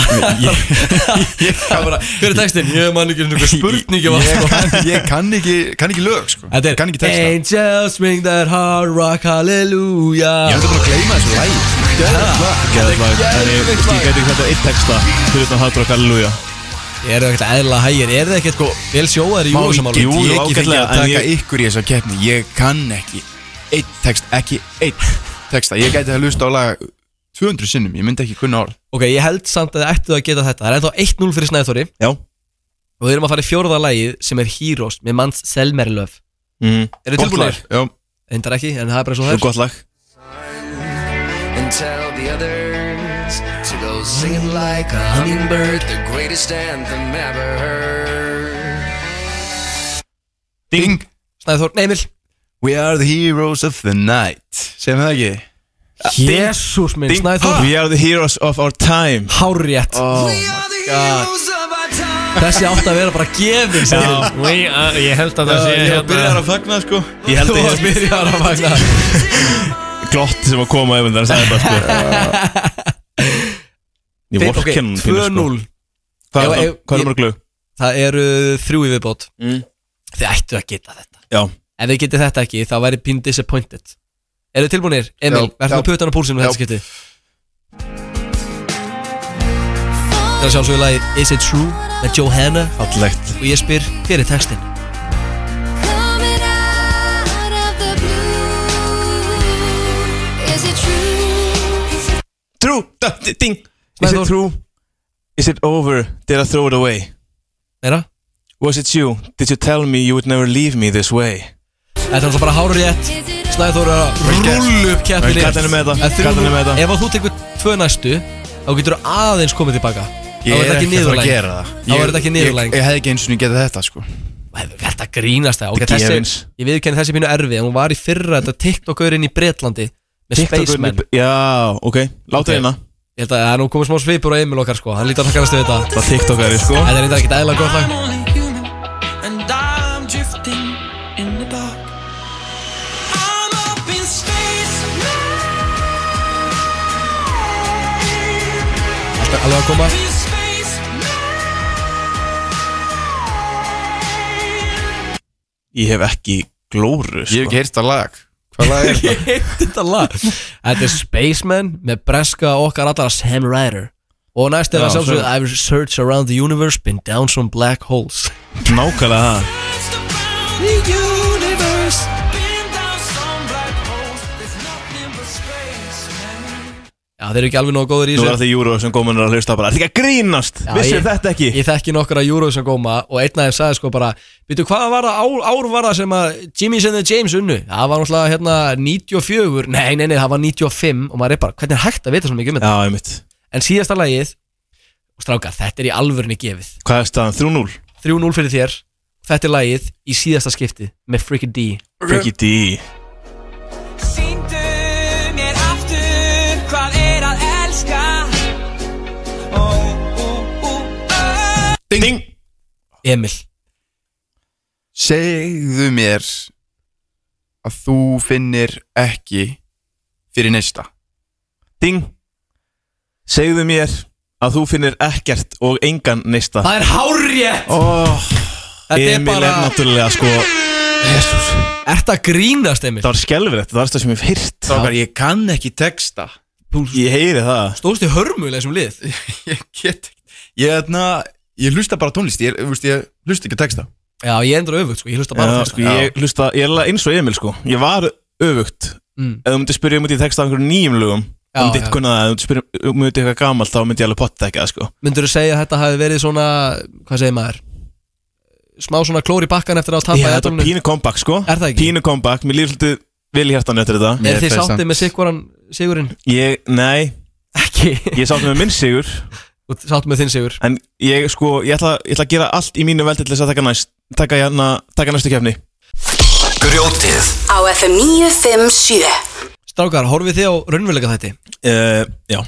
Speaker 3: ég, bara, hver er textin? Ég man ekki einhver spurningi var
Speaker 5: Ég
Speaker 3: sko
Speaker 5: kann, ég kann ekki, kann ekki lög sko
Speaker 3: Þetta
Speaker 5: Kann ekki
Speaker 3: er
Speaker 5: texta
Speaker 3: Angels ring that hard rock hallelujah
Speaker 5: Ég ætla bara að gleyma þessu lagi Geðvegt lag
Speaker 4: Geðað lag Þannig,
Speaker 3: geðveikt
Speaker 4: ég
Speaker 3: lag.
Speaker 4: gæti ekki þetta eitt texta Fyrir utan Hard Rock Hallelujah
Speaker 3: Ég er ekkert eðla hægir, er þið ekkert sko vel sjóðar í
Speaker 5: Má ekki,
Speaker 3: júlusamálum?
Speaker 5: jú,
Speaker 4: Jú,
Speaker 5: ekki fengið
Speaker 4: ágætlega,
Speaker 5: að
Speaker 4: en
Speaker 5: taka
Speaker 4: ég-
Speaker 5: ykkur í þessa keppni Ég kann ekki eitt text, ekki eitt texta Ég gæti að hlusta á lag 200 sinnum, ég myndi ekki kunna orð
Speaker 3: Ok, ég held samt að þið ættu að geta þetta Það er ennþá 1-0 fyrir Snæðþóri
Speaker 5: Já
Speaker 3: Og við erum að fara í fjórða lagið sem er Heroes með manns Selmerlöf
Speaker 4: mm.
Speaker 3: Er þið
Speaker 4: Gott
Speaker 3: tilbúinir?
Speaker 5: Já
Speaker 3: Endar ekki, en það er bara svo það
Speaker 4: Svo gott lag
Speaker 12: and tell the others to go singing like a hummingbird, the greatest anthem ever heard.
Speaker 5: Ding
Speaker 3: Snæður, neymil
Speaker 5: We are the heroes of the night Segum við það ekki?
Speaker 3: Jesús minn,
Speaker 5: Ding.
Speaker 3: Snæþór.
Speaker 5: We are the heroes of our time
Speaker 3: Hárrétt
Speaker 5: oh.
Speaker 3: Þessi átt að vera bara gefin
Speaker 5: Já.
Speaker 7: We are- ég held að það sé
Speaker 4: Ég var
Speaker 7: hérna-
Speaker 4: byrjar að fagna sko Ég held
Speaker 3: Þú
Speaker 4: að
Speaker 3: varst
Speaker 4: ég
Speaker 3: byrjar að fagna
Speaker 4: glotti sem að koma ef það sagði bara sko Ég
Speaker 3: Fimm- ok,
Speaker 4: vorkenn hann pínu, sko.
Speaker 3: 2-0
Speaker 4: Hvað er-
Speaker 3: Ef-
Speaker 4: hvað
Speaker 3: ef-
Speaker 4: er
Speaker 3: ég-
Speaker 4: mörg lög?
Speaker 3: Það eru þrjú í viðbót
Speaker 4: mm.
Speaker 3: Þið ættu að geta þetta
Speaker 4: Já.
Speaker 3: Ef þið getið þetta ekki, þá væri pín disappointed Eru þið tilbúinir? Emil,
Speaker 5: Já, já.
Speaker 3: verður þú að putan á púlsinu
Speaker 5: Já.
Speaker 3: þetta skipti? Það er sjálfsögur lagi Is it true? með Johanna
Speaker 4: Allegt
Speaker 3: Og ég spyr, hver er textin?
Speaker 2: Is it true?
Speaker 4: True, da, di- ding Is it true? Is it over? Did I throw it away?
Speaker 3: Meira?
Speaker 4: Was it you? Did you tell me you would never leave me this way?
Speaker 3: Þetta er náttúrulega bara hárið rétt Snæður er að rullu upp keppinni
Speaker 4: Vel gert. Katlan er með þetta.
Speaker 3: En þrjú-
Speaker 4: Katlan er með þetta.
Speaker 3: Ef að þú tekur tvö næstu Þá getur þú aðeins komið tilbaka Þá
Speaker 5: Ég
Speaker 3: er
Speaker 5: er
Speaker 3: þetta
Speaker 5: ekki að fara
Speaker 3: ekki
Speaker 5: að
Speaker 3: niðurlæg
Speaker 5: gera það
Speaker 3: Þá er þetta ekki niðurlæg
Speaker 5: Ég, ég, ég hefði ekki eins og niður getað þetta sko
Speaker 3: Þetta grínast það okay,
Speaker 5: Þetta er
Speaker 3: þessi,
Speaker 5: gefins.
Speaker 3: Ég viðkenni þessi pínu erfi En hún var í fyrra þetta TikTokurinn í Bretlandi Með
Speaker 4: TikTokurinn í
Speaker 3: Spaceman
Speaker 4: Bre- Já, ok, láta hérna
Speaker 3: Ég held að það er nú komið smá svipur á Emil okkar sko Hann lítur að takkast við þetta
Speaker 4: Það TikTokari sko
Speaker 3: Þetta er eitthvað ekki eðla gott lag
Speaker 13: I'm only human and I'm drifting in the dark. I'm up in space
Speaker 3: Alltaf alveg að koma
Speaker 13: in space
Speaker 4: Ég hef ekki glóru sko
Speaker 5: Ég hef ekki heyrt það lag Hvað lag er
Speaker 3: Ég heiti þetta lag Þetta er Spaceman með breska okkar allara Sam Ryder Og næst er
Speaker 4: Já,
Speaker 3: að sjálfsögðu
Speaker 4: svo-
Speaker 3: I've searched around the universe Been down some black holes
Speaker 4: Nákvæmlega það
Speaker 13: The universe Been down some black holes There's nothing but space
Speaker 3: Já, þeir eru ekki alveg nógu góður í
Speaker 4: Nú
Speaker 3: þessu
Speaker 4: er allir júru sem komin að hlusta bara Það er ekki að grínast
Speaker 3: Já,
Speaker 4: Vissir
Speaker 3: ég-
Speaker 4: þetta ekki
Speaker 3: Ég þekki nokkra Eurovision góma og einn aðeins sagði sko bara Býtu, hvað var það, ár, ár var það sem að Jimmy's and the James unnu? Það var náttúrulega hérna 94, nei, nei, nei, það var 95 og maður er bara, hvernig er hægt að vita svona mikið um þetta?
Speaker 4: Já, einmitt
Speaker 3: En síðasta lagið, og strákar, þetta er í alvörni gefið
Speaker 4: Hvað er staðan? 3-0?
Speaker 3: 3-0 fyrir þér, þetta er lagið í síðasta skipti með Freaky D
Speaker 4: Freaky D
Speaker 13: Sýndu mér aftur Hvað er að elska Ó, ó, ó, ó
Speaker 4: Ding, Ding.
Speaker 3: Emil
Speaker 5: Segðu mér að þú finnir ekki fyrir næsta
Speaker 4: Ding Segðu mér að þú finnir ekkert og engan neista
Speaker 3: Það er hárjétt!
Speaker 4: oh,
Speaker 3: Þetta er
Speaker 4: Emil
Speaker 3: bara-
Speaker 4: er náttúrulega sko Jesus.
Speaker 3: Ert að grínast, Emil?
Speaker 4: Það var skelfilegt, það var það sem ég hef hýrt
Speaker 5: Strákar, ég kann ekki texta
Speaker 4: Ég heyri það
Speaker 3: Stóðst í hörmulega sem lið
Speaker 5: Ég get ekki Ég, þarna, ég hlusta bara á tónlist Ég, ég, ég hlusta ekki á texta
Speaker 3: Já, ég endur öfugt, sko, ég hlusta
Speaker 4: Já,
Speaker 3: bara á
Speaker 4: sko,
Speaker 3: texta
Speaker 4: ég, hlusta, ég er alveg eins og Emil sko Ég var öfugt
Speaker 3: Mm.
Speaker 4: Ef þú myndir spyrja um út í texta af einhverjum nýjum lögum
Speaker 3: Já,
Speaker 4: Þá myndi
Speaker 3: já.
Speaker 4: ég kunna það, ef þú myndir spyrja um út í eitthvað gamalt Þá myndi ég alveg potta ekki það sko
Speaker 3: Myndur þú segja að þetta hafi verið svona, hvað segir maður? Smá svona klóri bakkan eftir að hafa
Speaker 4: Já,
Speaker 3: tappa í
Speaker 4: Þetta var
Speaker 3: aðdólinu
Speaker 4: pínu comeback sko
Speaker 3: Er það ekki?
Speaker 4: Pínu comeback, mér líður svolítið vel í hjartan eftir þetta
Speaker 3: Er þið sáttið með Sigurinn? Sigurinn?
Speaker 4: Ég, nei,
Speaker 3: Ekki
Speaker 4: ég sátt með minn sigur
Speaker 3: Og Sáttið með þinn Sigur
Speaker 4: En ég sko, ég ætla, ég ætla að gera allt í mínu veldi til þess að taka næst Taka, hérna, taka næstu kefni
Speaker 1: Grjótið
Speaker 14: á FM 957
Speaker 3: Strákar, horfið þið á raunveruleika þætti?
Speaker 4: uh, Já,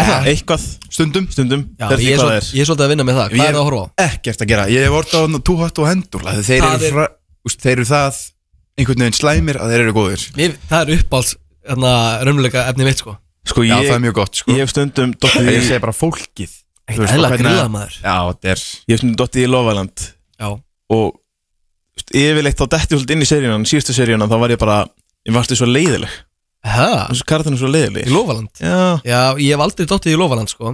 Speaker 3: það?
Speaker 4: eitthvað
Speaker 5: Stundum
Speaker 4: Stundum,
Speaker 3: Já,
Speaker 4: það er
Speaker 3: ég
Speaker 4: því
Speaker 3: er,
Speaker 4: hvað
Speaker 3: svol,
Speaker 4: það er
Speaker 3: ég er svolítið að vinna með það Hvað
Speaker 5: Ég-
Speaker 3: er það að horfa á?
Speaker 5: Ekkert að gera Ég hef orðið á hann og tú hatt og hendur Þeir
Speaker 3: Það
Speaker 5: eru
Speaker 3: er-
Speaker 5: fra- úst, Þeir eru það einhvern veginn slæmir að þeir eru góðir
Speaker 3: Mér, það er uppáhalds hérna, raunveruleika efni mitt sko
Speaker 4: Sko,
Speaker 5: Já,
Speaker 4: ég,
Speaker 5: það er mjög gott sko
Speaker 4: ég hef stundum dottið í
Speaker 5: Ég segi bara fólkið Þú
Speaker 3: Ekkert
Speaker 5: veist,
Speaker 3: eðla
Speaker 5: og hvernig-
Speaker 3: grillað maður
Speaker 5: Já, þetta er
Speaker 4: Ég hef stundum dottið í Lofaland
Speaker 3: Já,
Speaker 4: Og þú veist, yfirleitt þá detti ég svolítið inn í seríunan Síðustu seríunan, þá var ég bara Ég varstu svo leiðileg
Speaker 3: hæ?
Speaker 4: Þessu karðinu svo leiðileg
Speaker 3: Í Lofaland?
Speaker 4: Já,
Speaker 3: Já, ég hef aldrei dottið í Lofaland sko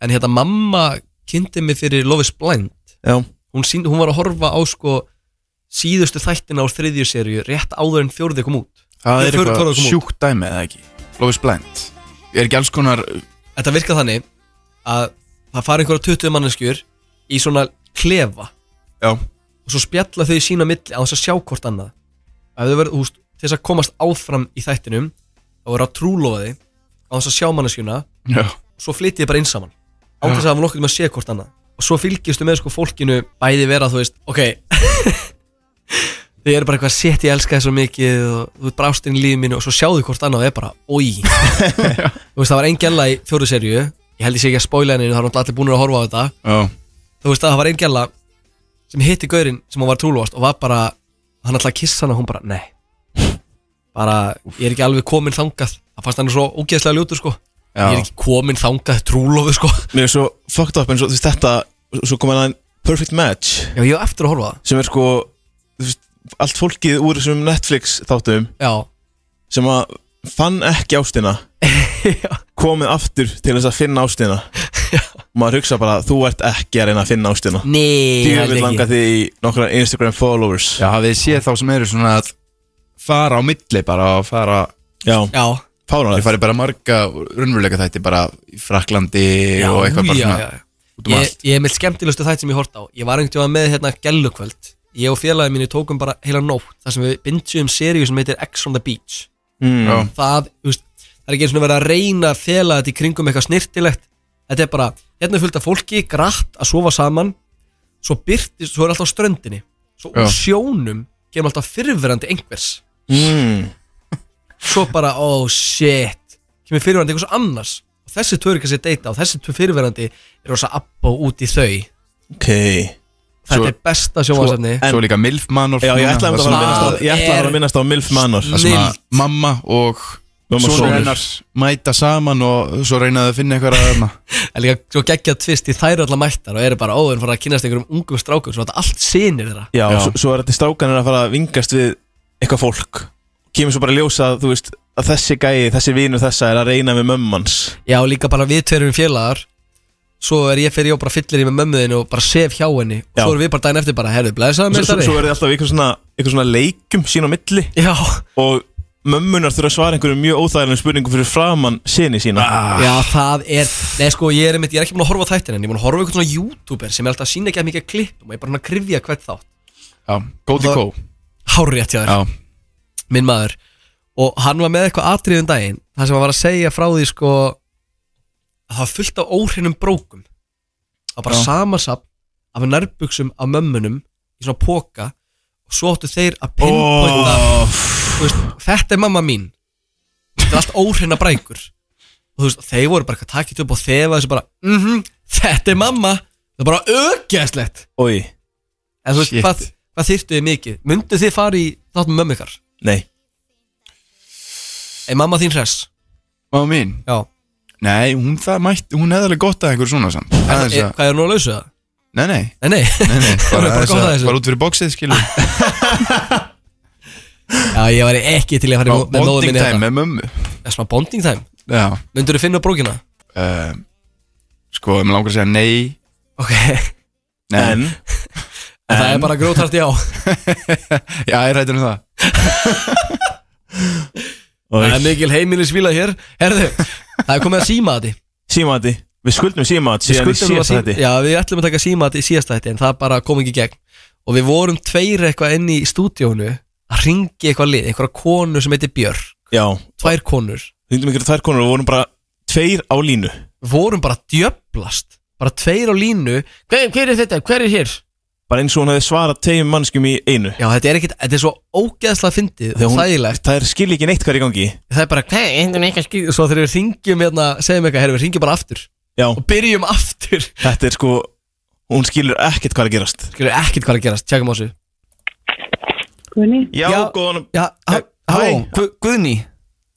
Speaker 3: En hérna mamma kynnti mig fyrir Lofis Blind
Speaker 4: já
Speaker 3: hún, sín, hún var að horfa á sko síðustu þættina á þriðju serju rétt áður en fjórði kom út
Speaker 5: Það
Speaker 3: Ég
Speaker 5: er
Speaker 3: fór- fór að
Speaker 5: eitthvað
Speaker 3: koma út.
Speaker 5: sjúkt dæmi eða ekki Lofis Blind Er ekki alls konar
Speaker 3: Þetta virkar þannig að það fara einhverja 20 manneskjur í svona klefa
Speaker 5: Já
Speaker 3: Og svo spjalla þau í sína milli á þess að sjá hvort annað Ef þau verður, húst, til þess að komast áfram í þættinum Þá verður að trúlofa þau á þess að sjá manneskjuna
Speaker 5: Já.
Speaker 3: Svo flytið þið bara inn saman Án
Speaker 5: Já.
Speaker 3: þess að hafa nokkuð með að sé hvort annað Og svo fylgistu með sko fólkinu bæði vera þú veist Ok Þau eru bara eitthvað sétt ég elska þér svo mikið og þú ert brástin í lífið mínu og svo sjáðu hvort annað og er bara, oi Þú veist, það var einn gælla í fjóru serju Ég held ég sé ekki að spóila henni, það var náttúrulega allir búinir að horfa á þetta
Speaker 5: Já.
Speaker 3: Þú veist, það var einn gælla sem hitti gaurinn sem hún var trúlóast og var bara, hann ætlaði að kissa hana og hún bara, nei Bara, ég er ekki alveg komin þangað Það fannst hann svo ógeðslega ljótur, sko
Speaker 4: Já.
Speaker 3: Ég er ekki komin þangað, trúlófu, sko
Speaker 4: Mér er svo fucked up eins og þú veist þetta Svo kom hann að Perfect Match
Speaker 3: Já, ég hef eftir að horfa á það
Speaker 4: Sem er sko þú veist, Allt fólkið úr þessum Netflix þáttum
Speaker 3: Já
Speaker 4: Sem að fann ekki ástina Komið aftur til þess að finna ástina Og maður hugsa bara Þú ert ekki að reyna að finna ástina
Speaker 3: Nei,
Speaker 5: held
Speaker 4: Djöfið
Speaker 5: ekki.
Speaker 4: langa þig í nokkra Instagram followers
Speaker 5: Já, hafið þið séð þá sem eru svona að fara á milli bara og fara
Speaker 4: Já,
Speaker 3: já.
Speaker 5: Fáránlega Ég farið bara marga raunveruleika þætti bara í Fraklandi
Speaker 3: Já,
Speaker 5: og eitthvað bara
Speaker 3: já,
Speaker 5: svona
Speaker 3: já, já.
Speaker 5: út um
Speaker 3: ég,
Speaker 5: allt
Speaker 3: ég hef meilt skemmtilegustu þætt sem ég hort á Ég var einhvern veginn með hérna gellukvöld Ég og félagið mínu tókum bara heila nótt Þar sem við bindjum seríu sem heitir X on the Beach
Speaker 4: Mm. Já.
Speaker 3: Það, þú veist, það er ekki einu sinni verið að reyna að fela þetta í kringum eitthvað snirtilegt Þetta er bara, hérna er fullt af fólki Gratt að sofa saman Svo byrtist, svo er alltaf á ströndinni Svo úr
Speaker 5: Já.
Speaker 3: sjónum kemur alltaf fyrrverandi einhvers
Speaker 4: mm.
Speaker 3: Svo bara, oh shit Kemur fyrirverandi einhvers annars Og þessi tvö er ekki að segja deyta Og þessi tvö fyrirverandi er rosa abba út í þau
Speaker 4: Ok
Speaker 3: Þetta er besta sjónvarpsefni.
Speaker 5: Svo, svo líka Milf Manor
Speaker 4: Já, ég ætla að vera að minnast á- ég ætla að vera
Speaker 5: er
Speaker 4: að minnast á Milf Manor
Speaker 5: Það sem að mamma og
Speaker 4: Mamma
Speaker 5: sonur
Speaker 4: sonur.
Speaker 5: hennar mæta saman og svo reynaðu að finna eitthvað að þarna
Speaker 3: En líka svo geggja tvist í þær allar mættar og eru bara óðurinn fara að kynast einhverjum ungum strákum svo þetta allt sinir þeirra
Speaker 4: Já, Svo, svo er þetta strákanir að fara að vingast við eitthvað fólk Kemur svo bara að ljósa að, þú veist, að þessi gæi, þessi vinur þessa er að reyna við mömmans
Speaker 3: Já, og líka bara við tverum félagar svo er ég fyrir ég og bara fyllir í með mömmuðinu og bara sef hjá henni
Speaker 4: Já.
Speaker 3: og svo erum við bara daginn eftir bara, herðu,
Speaker 4: Svo,
Speaker 3: blæsaðum
Speaker 4: svo, svo er þið alltaf í eitthvað svona, eitthvað svona leikum sín á milli
Speaker 3: Já.
Speaker 4: Og mömmunar þurfa að svara einhverjum mjög óþægilegum spurningum fyrir framann sinni sína
Speaker 3: Já, það er, nei sko, ég er, einmitt, ég er ekki búin að horfa á þættin en ég er búin að horfa á einhvern svona youtuber sem er alltaf að sína ekki að mikið klippum og ég er bara hann að krifja hvert þátt
Speaker 5: Já, Góti Kó
Speaker 3: Hárétt hjá þér Minn maður Og hann var með eitthvað atriðum daginn Það sem hann var að segja frá því sko að Það var fullt af óhreinum brókum Það var bara
Speaker 5: Já.
Speaker 3: samansapn Af nærbuksum af mömmunum Í svona póka Og svo áttu þeir að pinpointa þú veist, Þetta er mamma mín Þetta er allt óhreina brækur Og þú veist, þeir voru bara eitthvað takkið upp Og þefa þessu bara mm Þetta er mamma Það er bara auðgæðslegt
Speaker 4: Oi.
Speaker 3: En þú veist,
Speaker 4: Shit.
Speaker 3: hvað, hvað þyrftu þið mikið? Mundu þið fara í þátt með mömmu ykkar?
Speaker 4: Nei
Speaker 3: Er mamma þín hress?
Speaker 5: Mamma mín?
Speaker 3: Já
Speaker 5: Nei, hún það mætti, hún hefði alveg gott að einhver svona samt
Speaker 3: Er,
Speaker 5: Aðeins
Speaker 3: er,
Speaker 5: að-
Speaker 3: hvað er nú að lausa það?
Speaker 5: Nei, nei
Speaker 3: Nei, nei,
Speaker 5: nei, nei
Speaker 3: Bara
Speaker 5: Bara, aðeins
Speaker 3: gott að
Speaker 5: að-
Speaker 3: þessu.
Speaker 5: bara út fyrir bóksið, skilur
Speaker 3: Já, ég væri ekki til í að fara í mó- með móður
Speaker 5: Bonding
Speaker 3: minni
Speaker 5: time með mömmu
Speaker 3: Það er smá bonding time
Speaker 5: Já
Speaker 3: Myndur þú finna brókina?
Speaker 5: uh, Sko, ég með langar að segja nei
Speaker 3: Ok
Speaker 5: Nei
Speaker 4: En
Speaker 3: En það er bara grótart já
Speaker 5: Já, ég rættur um það
Speaker 3: Það er mikil heimilisvíla hér Herðu, það er komið að síma þetta
Speaker 4: Símaði, við skuldum símaði síðan í
Speaker 3: nú að
Speaker 4: síðasta
Speaker 3: sím-
Speaker 4: þetta
Speaker 3: Já, við ætlum að taka símat í síðasta þetta En það bara kom ekki í gegn Og við vorum tveir eitthvað inn í stúdíónu Að ringi eitthvað lið, einhverja konu sem heitir Björk
Speaker 4: Já
Speaker 3: Tvær konur
Speaker 4: Þingdum ykkur tvær konur og vorum bara tveir á línu
Speaker 3: Vorum bara djöblast Bara tveir á línu hver, hver er þetta? Hver er hér?
Speaker 4: Bara eins og hún hefði svarað tveim mannskjum í einu
Speaker 3: Já, þetta er, ekkit, þetta er svo ógeðslega fyndið
Speaker 4: Þegar
Speaker 3: og
Speaker 4: hún-
Speaker 3: þægilegt
Speaker 4: Það er skil ekki neitt hvað er í gangi
Speaker 3: Það er bara, hvað, hendur ekki að skýða Svo þegar við ringjum hérna, segjum eitthvað, herru, við ringjum bara aftur
Speaker 4: Já.
Speaker 3: Og byrjum aftur
Speaker 4: Þetta er sko, hún skilur ekkert hvað er að gerast
Speaker 3: Skilur ekkert hvað er að gerast, tjekkum á þessu
Speaker 15: Guðni
Speaker 4: Já, góðan
Speaker 15: Já, hæ, hæ
Speaker 16: Gu Guðni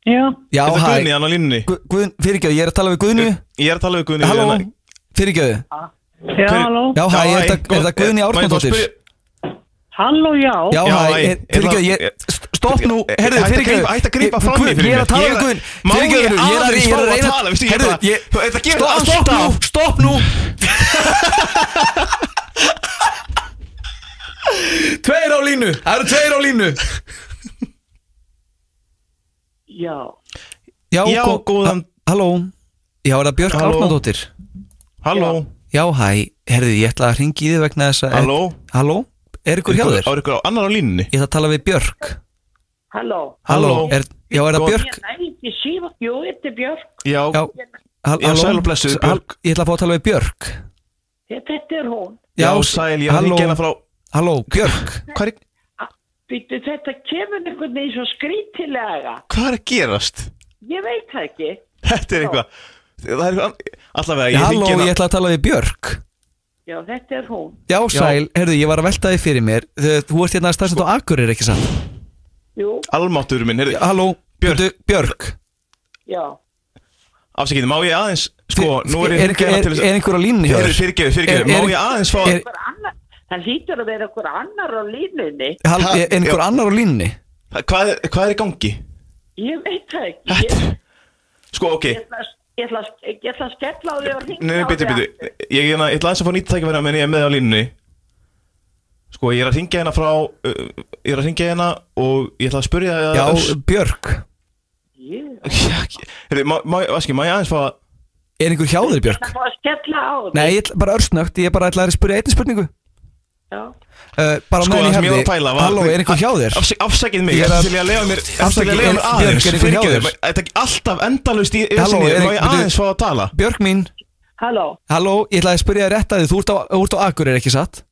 Speaker 15: Já
Speaker 16: Já,
Speaker 4: Er það
Speaker 16: hæ.
Speaker 4: Guðni, hann á línunni?
Speaker 16: Gu Guðn, fyrirgjöðu, ég er að tala við Guðni
Speaker 4: Ég er að tala við Guðni
Speaker 16: Halló,
Speaker 4: hérna.
Speaker 16: fyrirgjöðu
Speaker 15: Já, halló
Speaker 16: Já, hæ, er
Speaker 4: hæ,
Speaker 16: þetta- er
Speaker 4: góð-
Speaker 16: það Guðni
Speaker 4: Má ég fá að
Speaker 16: Árnadóttir?
Speaker 4: spyrja-
Speaker 15: Halló, já
Speaker 16: Já, hæ, er- fyrirgjöðu, ég st- Stopp nú, herðu,
Speaker 4: Hættu að
Speaker 16: fyrirgjöðu
Speaker 4: grípa- hættu að grípa fram í
Speaker 16: Guðn, Ég er
Speaker 4: fyrir mér.
Speaker 16: að tala
Speaker 4: Ég
Speaker 16: við
Speaker 4: er-
Speaker 16: Guðni
Speaker 4: Má ég
Speaker 16: Fyrirgjöðu, ég er að ég
Speaker 4: aðeins
Speaker 16: er að
Speaker 4: fá að
Speaker 16: reyna
Speaker 4: tala, veistu, ég er
Speaker 16: Herðu,
Speaker 4: bara-
Speaker 16: ég
Speaker 4: Þetta gerir
Speaker 16: Stopp,
Speaker 4: alltaf.
Speaker 16: stopp nú, Stopp nú
Speaker 3: Tveir á línu, það eru tveir á línu
Speaker 15: já.
Speaker 3: Já,
Speaker 15: Já,
Speaker 3: góðan Halló Já, er það Björk
Speaker 15: Halló.
Speaker 3: Árnadóttir?
Speaker 4: Halló
Speaker 3: Já, hæ, herðu, ég ætla að ringi í þið vegna þess að
Speaker 4: Halló?
Speaker 3: Halló, er ykkur hjá
Speaker 4: Ykkur-
Speaker 3: þér?
Speaker 4: er ykkur á annar á línunni?
Speaker 3: Ég ætla að tala við Björk
Speaker 15: Halló.
Speaker 3: Halló, er, já, er það Björk?
Speaker 15: Ég næði ekki síma. Jú, þetta er Björk.
Speaker 4: Já,
Speaker 3: já, hall,
Speaker 4: Já, sæl og blessuð,
Speaker 3: s- hall- Ég ætla að fá að tala við Björk
Speaker 15: Þetta er hún.
Speaker 4: Já, sæl, ég
Speaker 3: halló.
Speaker 4: hringi hérna frá
Speaker 3: Halló, Björk
Speaker 4: Hvað er,
Speaker 15: Býttu, þetta kemur einhvern veginn svo skrítilega.
Speaker 4: hvað er að gerast?
Speaker 15: Ég veit það ekki.
Speaker 4: Þetta er eitthvað Það er eitthvað Allavega, ég
Speaker 3: Halló,
Speaker 4: hringi hérna
Speaker 3: ég ætla að tala við Björk
Speaker 15: Já, þetta er hún.
Speaker 3: Já, sæl, herðu, ég var að velta þið fyrir mér Þú þú ert hérna að staðsett á Akureyri, ekki sann?
Speaker 15: Jú,
Speaker 4: Almáttur minn, heyrðu
Speaker 3: Halló, Björk, Björk.
Speaker 15: já.
Speaker 4: Afsakið, má ég aðeins Sko, nú er ég
Speaker 3: er- er- er einhver á línunni hjá þér?
Speaker 4: Fyrirgeðu,
Speaker 3: Er-
Speaker 4: fyrirgeðu,
Speaker 3: er-
Speaker 4: má ég aðeins fá
Speaker 3: er-
Speaker 15: Einhver annar- Það hlýtur að vera einhver annar á línunni.
Speaker 3: Hall, er er einhver annar á línni?
Speaker 4: Hvað, er- hvað er í gangi?
Speaker 15: Ég veit það ekki. Ég,
Speaker 4: Sko, ok
Speaker 15: ég, ætla, að- ég, ætla, að- ég ætla að skella á því og ringa
Speaker 4: Nei, nei,
Speaker 15: á
Speaker 4: bitu,
Speaker 15: þig
Speaker 4: bitu
Speaker 15: aftur.
Speaker 4: Ég ég ætla aðeins að fá nýtt tækifæri á meðan ég er með á línunni Sko, ég er að ringja hérna frá uh, Ég er að ringja hérna og ég ætla að spurja
Speaker 3: Já, Björk
Speaker 4: Heyrðu, má- má ég Aski, má ég aðeins fá að
Speaker 3: Er einhver hjá þér, Björk?
Speaker 15: Það fór að skella á því.
Speaker 3: Nei, ég ætla, bara örsnögt, ég bara ætla að spyrja einni spurningu
Speaker 15: Já.
Speaker 3: uh, Bara
Speaker 4: Sko,
Speaker 3: meðan
Speaker 4: það
Speaker 3: ég
Speaker 4: sem ég var
Speaker 3: hefði
Speaker 4: að pæla var-
Speaker 3: Halló, er einhver hjá þér?
Speaker 4: Afs- Afsakið mig,
Speaker 3: Ég er að-
Speaker 4: til ég að leiða mér Til ég
Speaker 3: Afsakið,
Speaker 4: að leiða mér
Speaker 3: er-
Speaker 4: aðeins
Speaker 3: Björk, er einhver hjá
Speaker 4: Fyrirgeðu,
Speaker 3: þér?
Speaker 4: ma- Þetta er alltaf endalaust í
Speaker 3: Halló,
Speaker 4: Halló,
Speaker 3: er-
Speaker 4: Má ég
Speaker 3: bitu-
Speaker 4: aðeins fá að tala?
Speaker 3: Björk mín
Speaker 15: Halló.
Speaker 3: Halló, ég ætla að spyrja þér rétt að því, þú ert á, þú ert á Akureyri, ekki satt?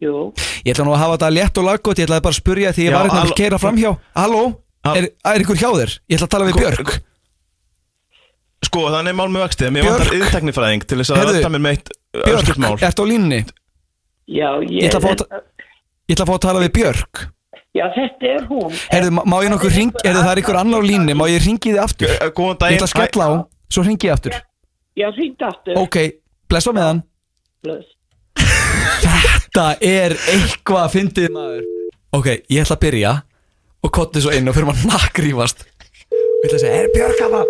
Speaker 15: Jú.
Speaker 3: Ég ætla nú að hafa þetta létt og laggótt, ég ætlaði bara að spyrja því ég
Speaker 4: Já,
Speaker 3: var eitthvað að
Speaker 4: halló.
Speaker 3: keira framhjá Halló, er, er ykkur hjá þér? Ég ætla að tala við
Speaker 4: Sko,
Speaker 3: Björk
Speaker 4: Sko, þannig er mál með vexti Mér
Speaker 3: Björk.
Speaker 4: vantar yðteknifræðing til þess að
Speaker 3: Heyrðu,
Speaker 4: rætta mér með eitt uh,
Speaker 3: Björk,
Speaker 4: örstutt mál
Speaker 3: ertu á línni?
Speaker 15: Já, ég,
Speaker 3: Ég ætla að fá að ta- Ég ætla að fá að tala við Björk
Speaker 15: Já, þetta er hún.
Speaker 3: Herðu, má ég nokkuð ring, herðu það er ykkur annar á línni, má ég ringi þið aftur?
Speaker 4: Eh, Góðan
Speaker 3: Ég ætla að
Speaker 15: daginn.
Speaker 3: skella á, svo ringi ég aftur
Speaker 15: Já, hringd aftur.
Speaker 3: Ok, blessa með hann
Speaker 15: Bless.
Speaker 3: Þetta er eitthvað að fyndið maður Ok, ég ætla að byrja og kotti svo inn og fyrir maður nakrífast Ég ætla að segja, er Björk að það?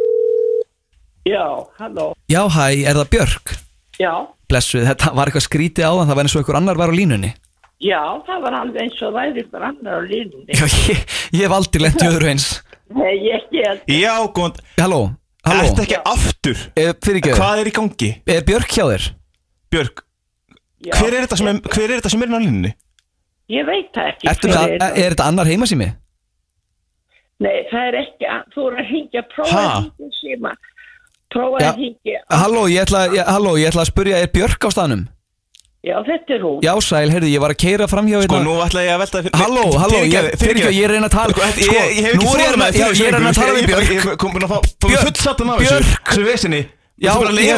Speaker 15: Já, halló.
Speaker 3: Já, hæ, er það Björk?
Speaker 15: Já,
Speaker 3: Blessuð, þetta var eitthvað skrítið áðan, það var eins og einhver annar var á línunni
Speaker 15: já, það var alveg eins og væri ykkur annar á línunni.
Speaker 3: Já, ég, ég hef aldrei lent í öðru eins
Speaker 15: Nei, ég held.
Speaker 4: Já, góðan
Speaker 3: Halló, halló
Speaker 4: Ertu ekki aftur?
Speaker 3: Er,
Speaker 4: Hvað er í gangi?
Speaker 3: Er Björk hjá þér?
Speaker 4: Björk, hver er þetta sem er, hver er, þetta sem er inn á línunni?
Speaker 15: Ég veit það ekki.
Speaker 3: Ertu
Speaker 15: hver
Speaker 3: það,
Speaker 15: það.
Speaker 3: er þetta annar heimasými?
Speaker 15: Nei, það er ekki, þú er að hingja, prófa
Speaker 3: Ha?
Speaker 15: að hingja síma. Prófa
Speaker 3: Já.
Speaker 15: að hingja.
Speaker 3: Halló, ég ætla, ég, halló, ég ætla að spurja, er Björk á staðnum?
Speaker 15: Já, þetta er hún.
Speaker 3: Já, sæl, heyrðu, ég var að keira framhjá hérna.
Speaker 4: Sko, nú ætla ég að velta fyrir-
Speaker 3: Halló,
Speaker 4: Nei,
Speaker 3: halló, ég-
Speaker 4: fyrirgefðu,
Speaker 3: fyrirgefðu, ég er að reyna að tala-
Speaker 4: Sko, þetta-
Speaker 3: sko,
Speaker 4: ég, ég hef ekki
Speaker 3: nú er ég að-
Speaker 4: þolinmæði fyrir
Speaker 3: já, ég er að reyna að
Speaker 4: þessu
Speaker 3: tala við
Speaker 4: lengur.
Speaker 3: Björk.
Speaker 4: Ég er komin að fá, fá
Speaker 3: Björk,
Speaker 4: fullsatan af
Speaker 3: Björk.
Speaker 4: þessu Þessu vesinni
Speaker 3: Já, ég ætla rétt að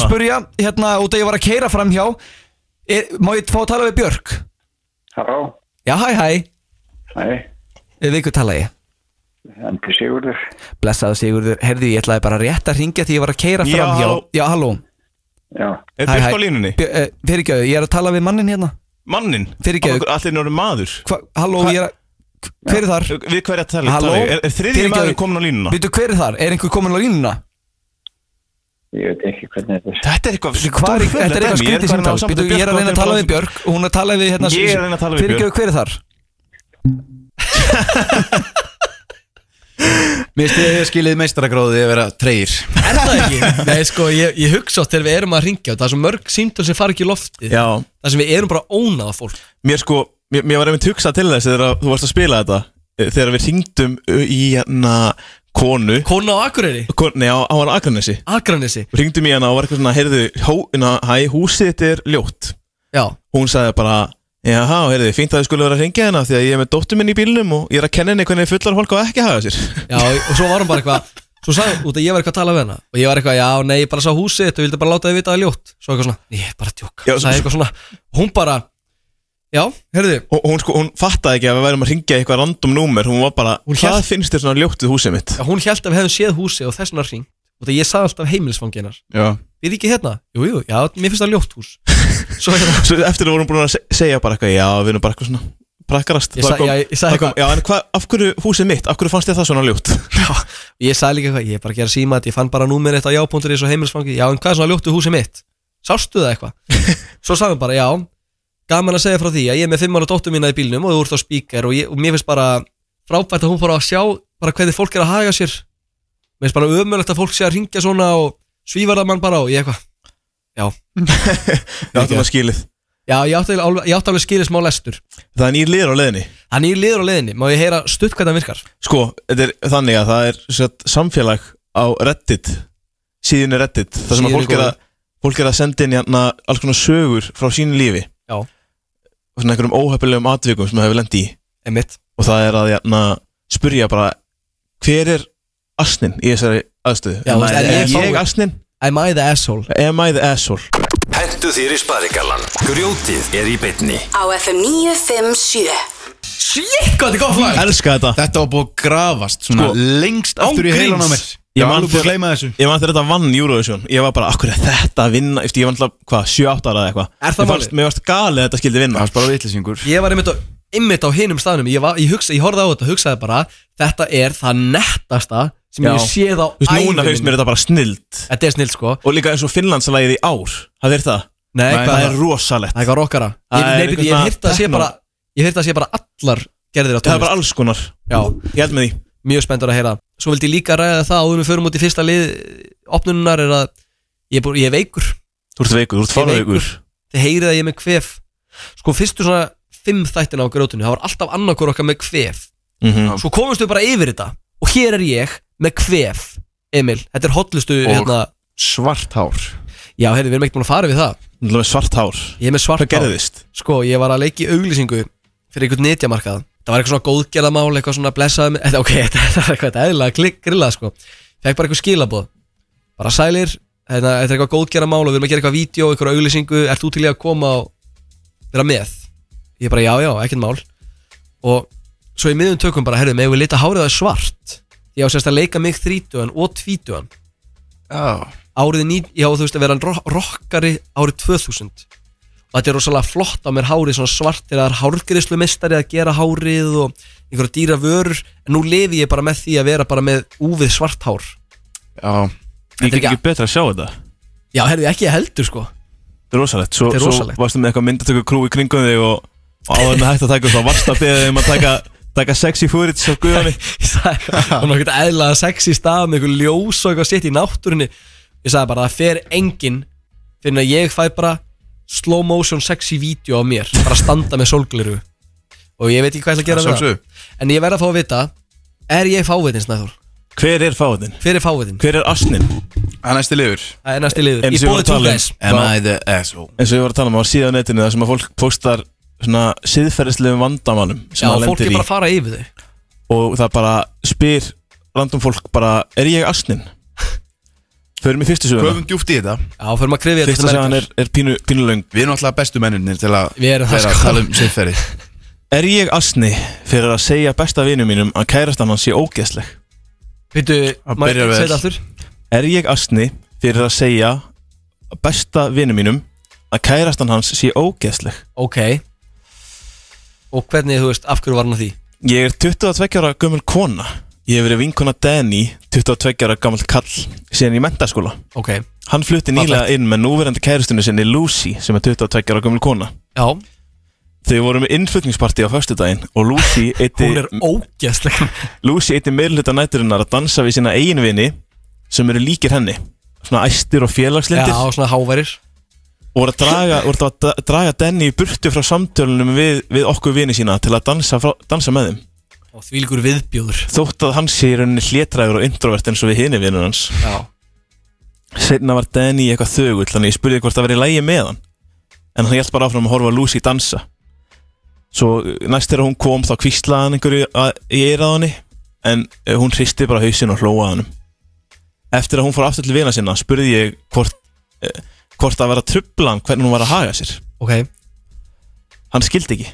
Speaker 3: spurja, hérna, út að ég var að keira framhjá er, Má ég fá að tala við Björk?
Speaker 17: Halló,
Speaker 3: Já, hæ, hæ,
Speaker 17: nei,
Speaker 3: við ykkur tala ég
Speaker 17: endur Sigurður.
Speaker 3: Blessaðu Sigurður, heyrðu, ég ætlaði bara rétt að ringja því ég var að keira
Speaker 17: Já,
Speaker 3: framhjá
Speaker 17: halló.
Speaker 3: Já, halló
Speaker 17: Já.
Speaker 4: Er Björk á línunni?
Speaker 3: Fyrirgjöðu, eh, ég er að tala við mannin hérna
Speaker 4: Mannin?
Speaker 3: Fyrirgefðu.
Speaker 4: Allir eru maður
Speaker 3: Hva, Halló, ég er að Hver er þar?
Speaker 4: Við hverja tala
Speaker 3: Halló?
Speaker 4: tala ég? Er, er þriðji
Speaker 3: Fyrirgefðu.
Speaker 4: maður komin á línuna?
Speaker 3: Veitu hver er þar? Er einhver komin á línuna?
Speaker 17: Ég veit ekki hvernig þetta er.
Speaker 4: Þetta er eitthvað
Speaker 3: Hvað er, þetta er eitthvað skrítið símtál Býtu, ég er að reyna að tala við Björk og hún er að tala við hérna
Speaker 4: Ég er að reyna að tala við
Speaker 3: Fyrirgefðu,
Speaker 4: Björk.
Speaker 3: hver er þar?
Speaker 18: Mér stiði skilið meistaragróðið að vera treyir
Speaker 19: Nei, sko, ég, ég hugsa oft þegar við erum að ringja Það er svo mörg símtöl sem fara ekki í loftið
Speaker 4: Já
Speaker 19: Það sem við erum bara ónaða fólk
Speaker 4: Mér sko, mér, mér var einmitt hugsað til þess þegar að þú varst að spila þetta eh, Þegar við hringdum uh, í hérna konu
Speaker 19: Kona á Akureyri?
Speaker 4: Kon, nei, á, á hann Akranesi
Speaker 19: Akranesi
Speaker 4: Hringdum í hana og var eitthvað svona, heyrðu, hó, na, hæ, húsið þetta er ljótt
Speaker 19: Já
Speaker 4: Hún sagði bara, jáhá, heyrðu, fínt að þið skulle vera að hringja hana Því að ég er með dóttur minn í bílnum og ég er að kenna henni hvernig fullar fólk á ekki að haga sér
Speaker 19: Já, og svo var hún bara eitthvað Svo sagði hún út að ég var eitthvað að tala við hana Og ég var eitthvað, já, nei, ég bara sá húsið þetta og vildi bara láta þið vita að það er ljótt Svo eitthvað svona, ég er bara að djóka
Speaker 4: Já,
Speaker 19: Sagði eitthvað svona, hún bara Já, herðu
Speaker 4: Hún, hún, sko, hún fattaði ekki að við værum að ringja eitthvað random númer Hún var bara, hvað
Speaker 19: hélt-
Speaker 4: finnst þér svona ljóttið húsið mitt?
Speaker 19: að hún held að við hefðum séð húsið og þess vegna hring Út að ég sagði alltaf heimilisfanginar
Speaker 18: Já.
Speaker 19: Við ekki hérna, jú, jú, já, mér finnst það ljótt hús Svo,
Speaker 4: Svo eftir að vorum búin að se- segja bara eitthvað Já, við erum bara eitthvað svona prakkarast
Speaker 19: Ég
Speaker 4: Það
Speaker 19: sa- já, ég sagði
Speaker 4: það kom, Já, en hvað, af hverju húsið mitt, af hverju fannst þér það svona ljótt?
Speaker 19: Ég sagði líka eitthvað, ég er bara að gera síma Ég fann bara númer eitt á jápunktur í þessu heimilisfangi Já, en hvað er svona ljóttu húsið mitt? Sástu það eitthvað? Svo sagði hann bara, já Gaman að segja frá því að ég er með fimm ára dóttur mína í bílnum Og þú ert á spíker og, ég- og mér finnst bara
Speaker 3: frábært að hún fór að sjá bara hvernig fólk er að haga sér mér finnst bara ömulegt að fólk sé að ringja svona og svífar það mann bara og ég eitthvað já
Speaker 4: Ég átti maður skilið
Speaker 3: já, ég átti alveg, ég átti alveg skilið smá lestur
Speaker 4: Það er nýr liður á leiðinni
Speaker 3: Það er nýr liður á leiðinni, má ég heyra stutt hvernig það virkar
Speaker 4: Sko, þetta er þannig að það er sett, samfélag á Reddit síðan er Reddit, það sem að
Speaker 3: Síðunni
Speaker 4: fólk er að,
Speaker 3: góðu.
Speaker 4: fólk er að senda inn hérna alls konar sögur frá sínu lífi
Speaker 3: Já.
Speaker 4: og svona einhverjum óhefnilegum atvikum sem það hefur lendi í
Speaker 3: Einmitt.
Speaker 4: og það er að hérna, spyrja bara hver er asnin í þessari aðstöðu
Speaker 3: Já, þú veist,
Speaker 4: er,
Speaker 3: er ég
Speaker 4: ég,
Speaker 3: fáið?
Speaker 4: asnin?
Speaker 3: Am I the asshole?
Speaker 4: Am I the asshole?
Speaker 1: Hentu þér í sparigallan Grjótið er í bytni
Speaker 14: Á FM 957
Speaker 3: Shit, hvað þetta er gott lag
Speaker 4: Elska þetta
Speaker 5: Þetta var búið að grafast svona lengst aftur í heilan á mér
Speaker 4: Ég
Speaker 5: var
Speaker 4: man
Speaker 5: alveg búið að
Speaker 4: þegar-
Speaker 5: gleyma þessu
Speaker 4: Sko, Ég man þegar þetta vann Eurovision Ég var bara, akkur er þetta að vinna Eftir ég var alltaf, hvað, 7-8 ára eða eitthvað
Speaker 3: Er það
Speaker 4: Mér fannst-
Speaker 3: málið?
Speaker 4: Mér varst galið að þetta skildi vinna
Speaker 5: Það var bara vitlisingur
Speaker 3: Ég var einmitt á, einmitt á hinum staðnum Ég, var, ég, hugsa, ég horfði á þetta og hugsaði bara Þetta er það nettasta sem ég séð á
Speaker 4: Þú veist, núna finnst
Speaker 3: ævi minni.
Speaker 4: mér þetta bara snild
Speaker 3: Þetta er snill sko
Speaker 4: Og líka eins og Finnlandslægið í ár Það er það
Speaker 3: Nei, hvað
Speaker 4: það
Speaker 3: er
Speaker 4: er
Speaker 3: það?
Speaker 4: rosalegt
Speaker 3: Það er eitthvað rockara Ég,
Speaker 4: Það er
Speaker 3: nei, byrju, ég
Speaker 4: eitthvað
Speaker 3: hef hýrt að sé
Speaker 4: techno.
Speaker 3: bara Ég hef hýrt að sé bara allar gerðir á tónlist
Speaker 4: Það er bara alls konar
Speaker 3: Já,
Speaker 4: ég held með því
Speaker 3: Mjög spenntur að heyra Svo vildi ég líka ræða það áður en við förum út í fyrsta lið opnununar er að ég, er bú- ég er veikur
Speaker 4: Þú ert veikur, þú ert fara veikur
Speaker 3: Þið heyrið að ég er með kvef Sko fyrstu svona fimm þættina á grótinu Það var alltaf annarkur okkar með kvef
Speaker 4: Mhm.
Speaker 3: Svo komumst við bara yfir þetta Og hér er ég með kvef Emil, þetta er hotlustu
Speaker 5: Og
Speaker 3: hérna
Speaker 5: svart hár
Speaker 3: Já, heyrðu, við erum ekki búin að fara við það
Speaker 4: Þú ert með svart hár
Speaker 3: Ég er með svart
Speaker 4: Hvað gerðist?
Speaker 3: Sko, ég var að leiki auglýsingu Fyrir einhvern netjamarkað Það var eitthvað svona góðgerðamál Eitthvað svona blessaði mig Þetta, ok, þetta er eitthvað eðlilega klik- grillað sko Fekk bara eitthvað skilaboð Bara sælir Þetta þetta er eitthvað góðgerðamál Og við erum að gera eitthvað vídeo Eitthvað auglýsingu Ert þú til í að koma og vera með? Ég bara, já, já, ekkert mál Og svo í miðjum tökum bara Herðu, megum við lita hárið það svart Ég á sérst að leika mig þrítugan og tvítugan
Speaker 5: Já
Speaker 3: Árið ný, já, þú veist að vera ro- rokkari árið 2000 og þetta er rosalega flott á mér hárið svona svart þegar það er hárgriðslu mistari að gera hárið og einhverja dýra vörur en nú lifi ég bara með því að vera bara með úfið svart hár
Speaker 5: Já
Speaker 4: Ég get ekki betra að sjá þetta
Speaker 3: Já, herðu, ekki heldur sko
Speaker 4: Þetta er rosalegt Svo,
Speaker 3: Þetta er
Speaker 4: svo
Speaker 3: rosalegt.
Speaker 4: varstu með eitthvað myndatöku krú í kringum þig og, og áður með hægt að taka upp þá varst að beða um að taka, taka sexy footage á guðanni
Speaker 3: Það var ekkert eðlaða sexy stað með einhver ljós og eitthvað sitt í náttúrinni Ég sagði bara, það fer enginn fyrir að ég fæ bara slow motion sexy vídeo á mér bara að standa með sólgliru og ég veit ekki hvað ég ætla að
Speaker 5: Að
Speaker 3: gera við það En ég verð að fá að vita, er ég fávitinn Snæður?
Speaker 4: Hver er fáðin?
Speaker 3: Hver er fávitinn?
Speaker 4: Hver er asnin?
Speaker 5: Það er næsti liður
Speaker 3: Það er næsti liður
Speaker 4: En
Speaker 3: Ég
Speaker 4: sem við vorum
Speaker 3: bóði
Speaker 4: að tala um-
Speaker 3: 2S
Speaker 5: Am I the asshole?
Speaker 4: eins og ég var að tala um á síðan netinu þar sem að fólk postar svona siðferðislegum vandamálum sem
Speaker 3: Já,
Speaker 4: það
Speaker 3: fólk
Speaker 4: lendir
Speaker 3: er
Speaker 4: í
Speaker 3: bara að fara yfir þau
Speaker 4: og það bara spyr random fólk bara, er ég asnin? Förum í fyrstu söguna
Speaker 5: Köfum djúft í þetta
Speaker 3: Já, förum að krifja
Speaker 4: Fyrsta söguna er, er pínu, pínu löng
Speaker 5: Við erum alltaf bestu mennirnir til að
Speaker 3: Við erum það,
Speaker 5: vera
Speaker 3: sko.
Speaker 5: að tala um siðferði
Speaker 4: Er ég asni fyrir að segja besta vinum mínum að kærastan hans sé ógeðsleg?
Speaker 3: Vittu,
Speaker 5: Það
Speaker 3: maður
Speaker 5: byrjar vel.
Speaker 3: segir aftur
Speaker 4: Er ég asni fyrir að segja besta vinum mínum að kærastan hans sé ógeðsleg?
Speaker 3: Ok Og hvernig, þú veist, af hverju var hann að því?
Speaker 4: Ég er 22 ára gömul kona Ég hef verið vinkona Danny 22 ára gammal kall síðan í mentaskóla
Speaker 3: Ok,
Speaker 4: Hann flutti nýlega inn með núverandi kærustunni sinni Lucy sem er 22 ára gömul kona
Speaker 3: já,
Speaker 4: Þau voru með innflutningsparti á föstudaginn og Lucy eitti,
Speaker 3: hún er ógeðsleg
Speaker 4: Lucy eitti meirluta næturinnar að dansa við sína eiginvinni sem eru líkir henni svona æstir og
Speaker 3: Já,
Speaker 4: félagslindir
Speaker 3: og svona háværir
Speaker 4: og voru að draga, voru að dra- draga Danny í burtu frá samtölunum við, við okkur vini sína til að dansa, frá, dansa með þeim
Speaker 3: Og þvílíkur viðbjóður
Speaker 4: þótt að hann sé í rauninni hlétræður og introvert eins og við hinni vinur hans
Speaker 3: Já
Speaker 4: Seinna var Danny eitthvað þögull Þannig ég spurði hvort það verið lægi með hann En hann hjælt bara áfram að horfa á Lucy dansa Svo eh, næst þegar hún kom Þá kvíslaði hann einhverju að- í eyrað henni En eh, hún hristi bara hausinn og hlóaði hann Eftir að hún fór aftur til vina sinna Spurði ég hvort eh, Hvort það var að trubla hann hvernig hún var að haga sér
Speaker 3: Ok,
Speaker 4: Hann skildi ekki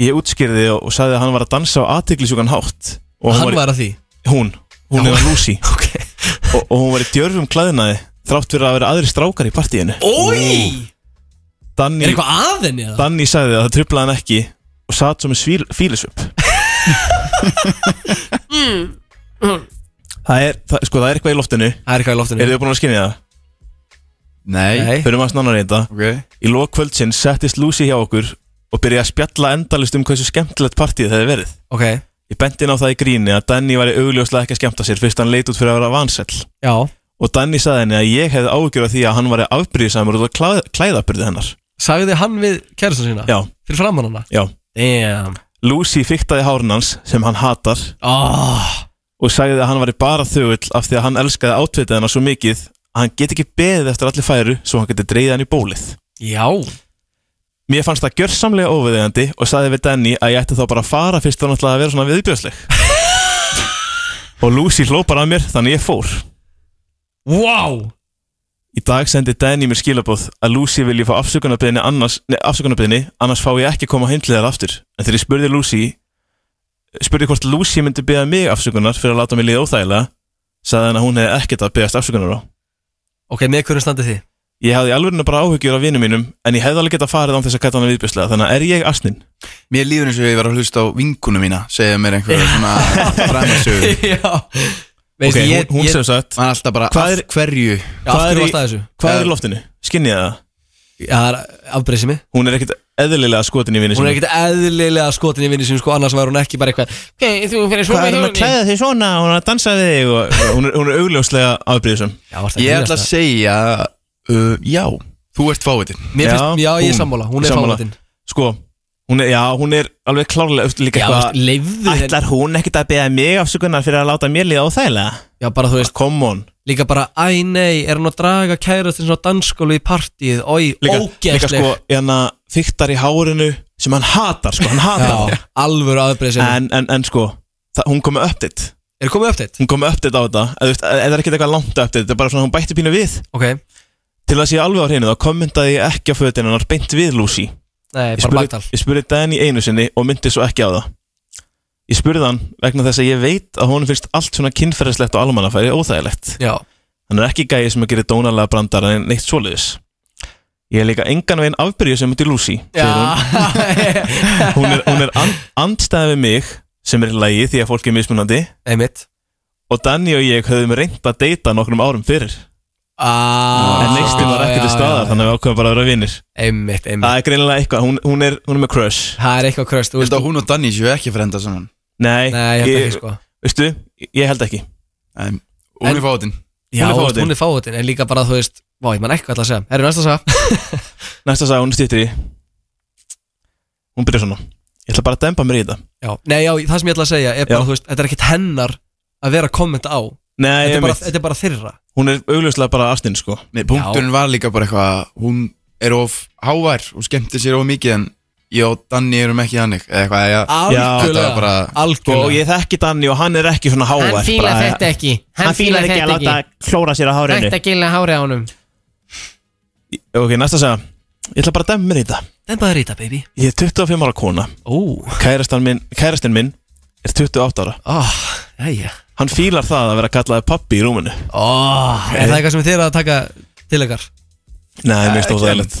Speaker 4: Ég útskýrði og, og sagði að hann var að dansa á aðtiklisjúkan hátt Og
Speaker 3: hann var að því
Speaker 4: Hún, hún
Speaker 3: Já.
Speaker 4: hefði Lucy
Speaker 3: Ok
Speaker 4: og, og hún var í djörfum klæðinaði Þrátt fyrir að vera aðri strákar í partíinu
Speaker 3: Ói,
Speaker 4: Danni,
Speaker 3: er eitthvað að henni eða?
Speaker 4: Danni sagði að það trublaði hann ekki og satt svo með svíl, fílisvöp það, er, það, sko, það er eitthvað í loftinu
Speaker 3: Það er eitthvað í loftinu
Speaker 4: Eru þið búin að skynja það?
Speaker 5: Nei
Speaker 3: Nei,
Speaker 4: Förum að snána reynda
Speaker 5: Ok
Speaker 4: Í lok kvöldsinn settist Lucy hjá okkur og byrjaði að spjalla endalist um hversu skemmtilegt partíð það hefði verið
Speaker 3: ok,
Speaker 4: Ég benti inn á það í gríni að Danny væri augljóslega ekki að skemmta sér fyrst hann leit út fyrir að vera vansell
Speaker 16: Já
Speaker 4: Og Danny sagði henni að ég hefði ágjör af því að hann væri afbríðisamur út af klæð, klæðaburði hennar
Speaker 3: Sagði hann við kærasta sína?
Speaker 4: Já,
Speaker 3: Fyrir framann hana?
Speaker 4: já
Speaker 3: Damn
Speaker 4: Lucy fiktaði hárn hans sem hann hatar
Speaker 3: oh.
Speaker 4: Og sagði að hann væri bara þögull af því að hann elskaði átvitað hennar svo mikið að hann get ekki beðið eftir að allir færu svo hann geti dreigðið hann í bólið
Speaker 3: Já
Speaker 4: Mér fannst það gjörsamlega óviðeigandi og sagði við Danny að ég ætti þá bara að fara fyrst þannig að vera svona viðbjörsleg Og Lucy hló bara að mér þannig ég fór
Speaker 3: Wow
Speaker 4: Í dag sendi Danny mér skilabóð að Lucy vilji fá afsökunarbyðinni annars, nei, afsökunarbyðinni annars fá ég ekki að koma heim til þér aftur En þegar ég spurði Lucy spurði hvort Lucy myndi byggja mig afsökunar fyrir að láta mig liða óþægilega sagði hann að hún hefði ekkert að byggjast afsökunar á
Speaker 3: Ok, með hverju standið þið?
Speaker 4: Ég hafði alveg bara áhugjur af vinum mínum en ég hefði alveg getað farið án þess að kalla hann viðbjörslega þannig að er ég asnin?
Speaker 5: Mér líður eins og ég var að hlusta á vinkunu mína segja mér einhverja svona fræmasögu
Speaker 3: Já
Speaker 5: Ok,
Speaker 4: Veist, ég-
Speaker 5: hún, hún
Speaker 4: ég-
Speaker 5: sem sagt
Speaker 4: Maður
Speaker 5: er alltaf bara
Speaker 4: Hvað er-
Speaker 5: af hverju
Speaker 4: Hvað er, í, hvað er í loftinu? Skinnið það?
Speaker 3: Já, það er afbreyðsimi
Speaker 4: Hún er ekkert eðlilega skotin í vinni
Speaker 3: Hún er ekkert eðlilega skotin í vinni sinni sko annars var hún ekki bara eitthvað Ok, þú fyrir
Speaker 4: Hvað er hún að klæða þig svona og hún er að dansa við þig og og hún er, hún er augljóslega afbríðisum
Speaker 5: Ég ætla að segja uh, Já, þú ert fáitin
Speaker 3: Mér finnst- já, ég er sammála, hún er fávitin.
Speaker 4: Sko, hún er, já, hún er alveg klárlega eftir líka
Speaker 3: Já, veist, leifðu henni-
Speaker 4: Ætlar hún ekkert að beða mig afsökunar fyrir að láta mér líða óþægilega?
Speaker 3: Já, bara þú veist
Speaker 4: Come on
Speaker 3: Líka bara, æ nei, er hún að draga kærastinn svona á dansskólu í partíið Ói,
Speaker 4: Líka,
Speaker 3: ógeðsleg
Speaker 4: líka sko, hérna, þyktar í hárinu sem hann hatar, sko, hann hatar
Speaker 3: Já, alvöru aðbreyðsimi
Speaker 4: en, en, en sko, það, hún kom með update
Speaker 3: Er komið update?
Speaker 4: Hún kom með update á þetta eða, þú veist, eða er ekkert eitthvað langt update, þetta er bara svona hún bætti pínu við
Speaker 3: Ok.
Speaker 4: Til að sé alveg á hreinu þá kommentaði ég ekki á fötin hennar beint við Lucy
Speaker 3: Nei,
Speaker 4: Ég
Speaker 3: bara
Speaker 4: spurði-
Speaker 3: baktal.
Speaker 4: Ég spurði Danny einu sinni og myndi svo ekki á það Ég spurði hann vegna þess að ég veit að honum finnst allt svona kynferðislegt og almannafæri óþægilegt
Speaker 3: Já
Speaker 4: Hann er ekki gæði sem að gera dónalega brandar en neitt svoleiðis Ég er líka engan veginn afbyrjuð sem út í Lucy segir
Speaker 3: Já.
Speaker 4: hún. hún er, hún er and, andstæði við mig sem er í lagi því að fólk er mismunandi
Speaker 3: Einmitt
Speaker 4: Og Danny og ég höfum reynt að deyta nokkrum árum fyrir
Speaker 3: ah,
Speaker 4: En neistinn var ekki til staðar þannig að við ákveðum bara að vera vinnir
Speaker 3: Einmitt, einmitt
Speaker 4: Það er greinilega eitthvað, hún, hún, er, hún er með crush
Speaker 3: Það er eitthvað kröst
Speaker 5: Ég held að hún og Danny séu ekki frenda saman
Speaker 4: Nei,
Speaker 3: Nei, ég held ekki, sko.
Speaker 4: Veistu, ég held ekki
Speaker 5: um, Hún er fáitin
Speaker 3: Já, þú veist, hún er fáutin En líka bara, þú veist, vá, ég man ekki hvað það að segja Erum næsta að segja
Speaker 4: Næsta saga, hún er stýttir í Hún byrjar svona Ég ætla bara að dempa mér í þetta
Speaker 3: Já, nei, já, það sem ég ætla að segja er bara,
Speaker 4: Já.
Speaker 3: þú veist, þetta er ekkit hennar að vera að kommenta á
Speaker 4: Nei,
Speaker 3: þetta er, bara,
Speaker 4: einmitt.
Speaker 3: þetta er bara þeirra
Speaker 4: Hún er augljóslega bara astinn sko
Speaker 5: Nei, punkturinn var líka bara eitthvað að Hún er of hávær og skemmtir sér of mikið En ég og Danny erum ekki þannig Eða eitthvað, já Þetta var bara
Speaker 4: Algjörlega Og Sko, ég þekki Danni og hann er ekki svona hávær
Speaker 20: Hann fílar
Speaker 4: bara-
Speaker 20: þetta ekki.
Speaker 4: Hann,
Speaker 20: Hann
Speaker 4: fílar
Speaker 20: fílar
Speaker 4: ekki að
Speaker 20: þetta
Speaker 4: láta
Speaker 20: ekki.
Speaker 4: klóra sér á hárinu
Speaker 20: Rætt að gilla hárið á honum
Speaker 4: Ok, næsta saga Ég ætla bara að dempa mér í þetta
Speaker 3: Den bara rýta, baby
Speaker 4: Ég er 25 ára kona
Speaker 3: Ó.
Speaker 4: Kærastan minn, kærastin minn er 28 ára
Speaker 3: oh, jæja.
Speaker 4: Hann fílar það að vera kallaði pappi í rúminu
Speaker 3: oh, Er það eitthvað sem þið er að taka til ykkar?
Speaker 4: Nei, mér
Speaker 3: Ekki
Speaker 4: finnst óþægilegt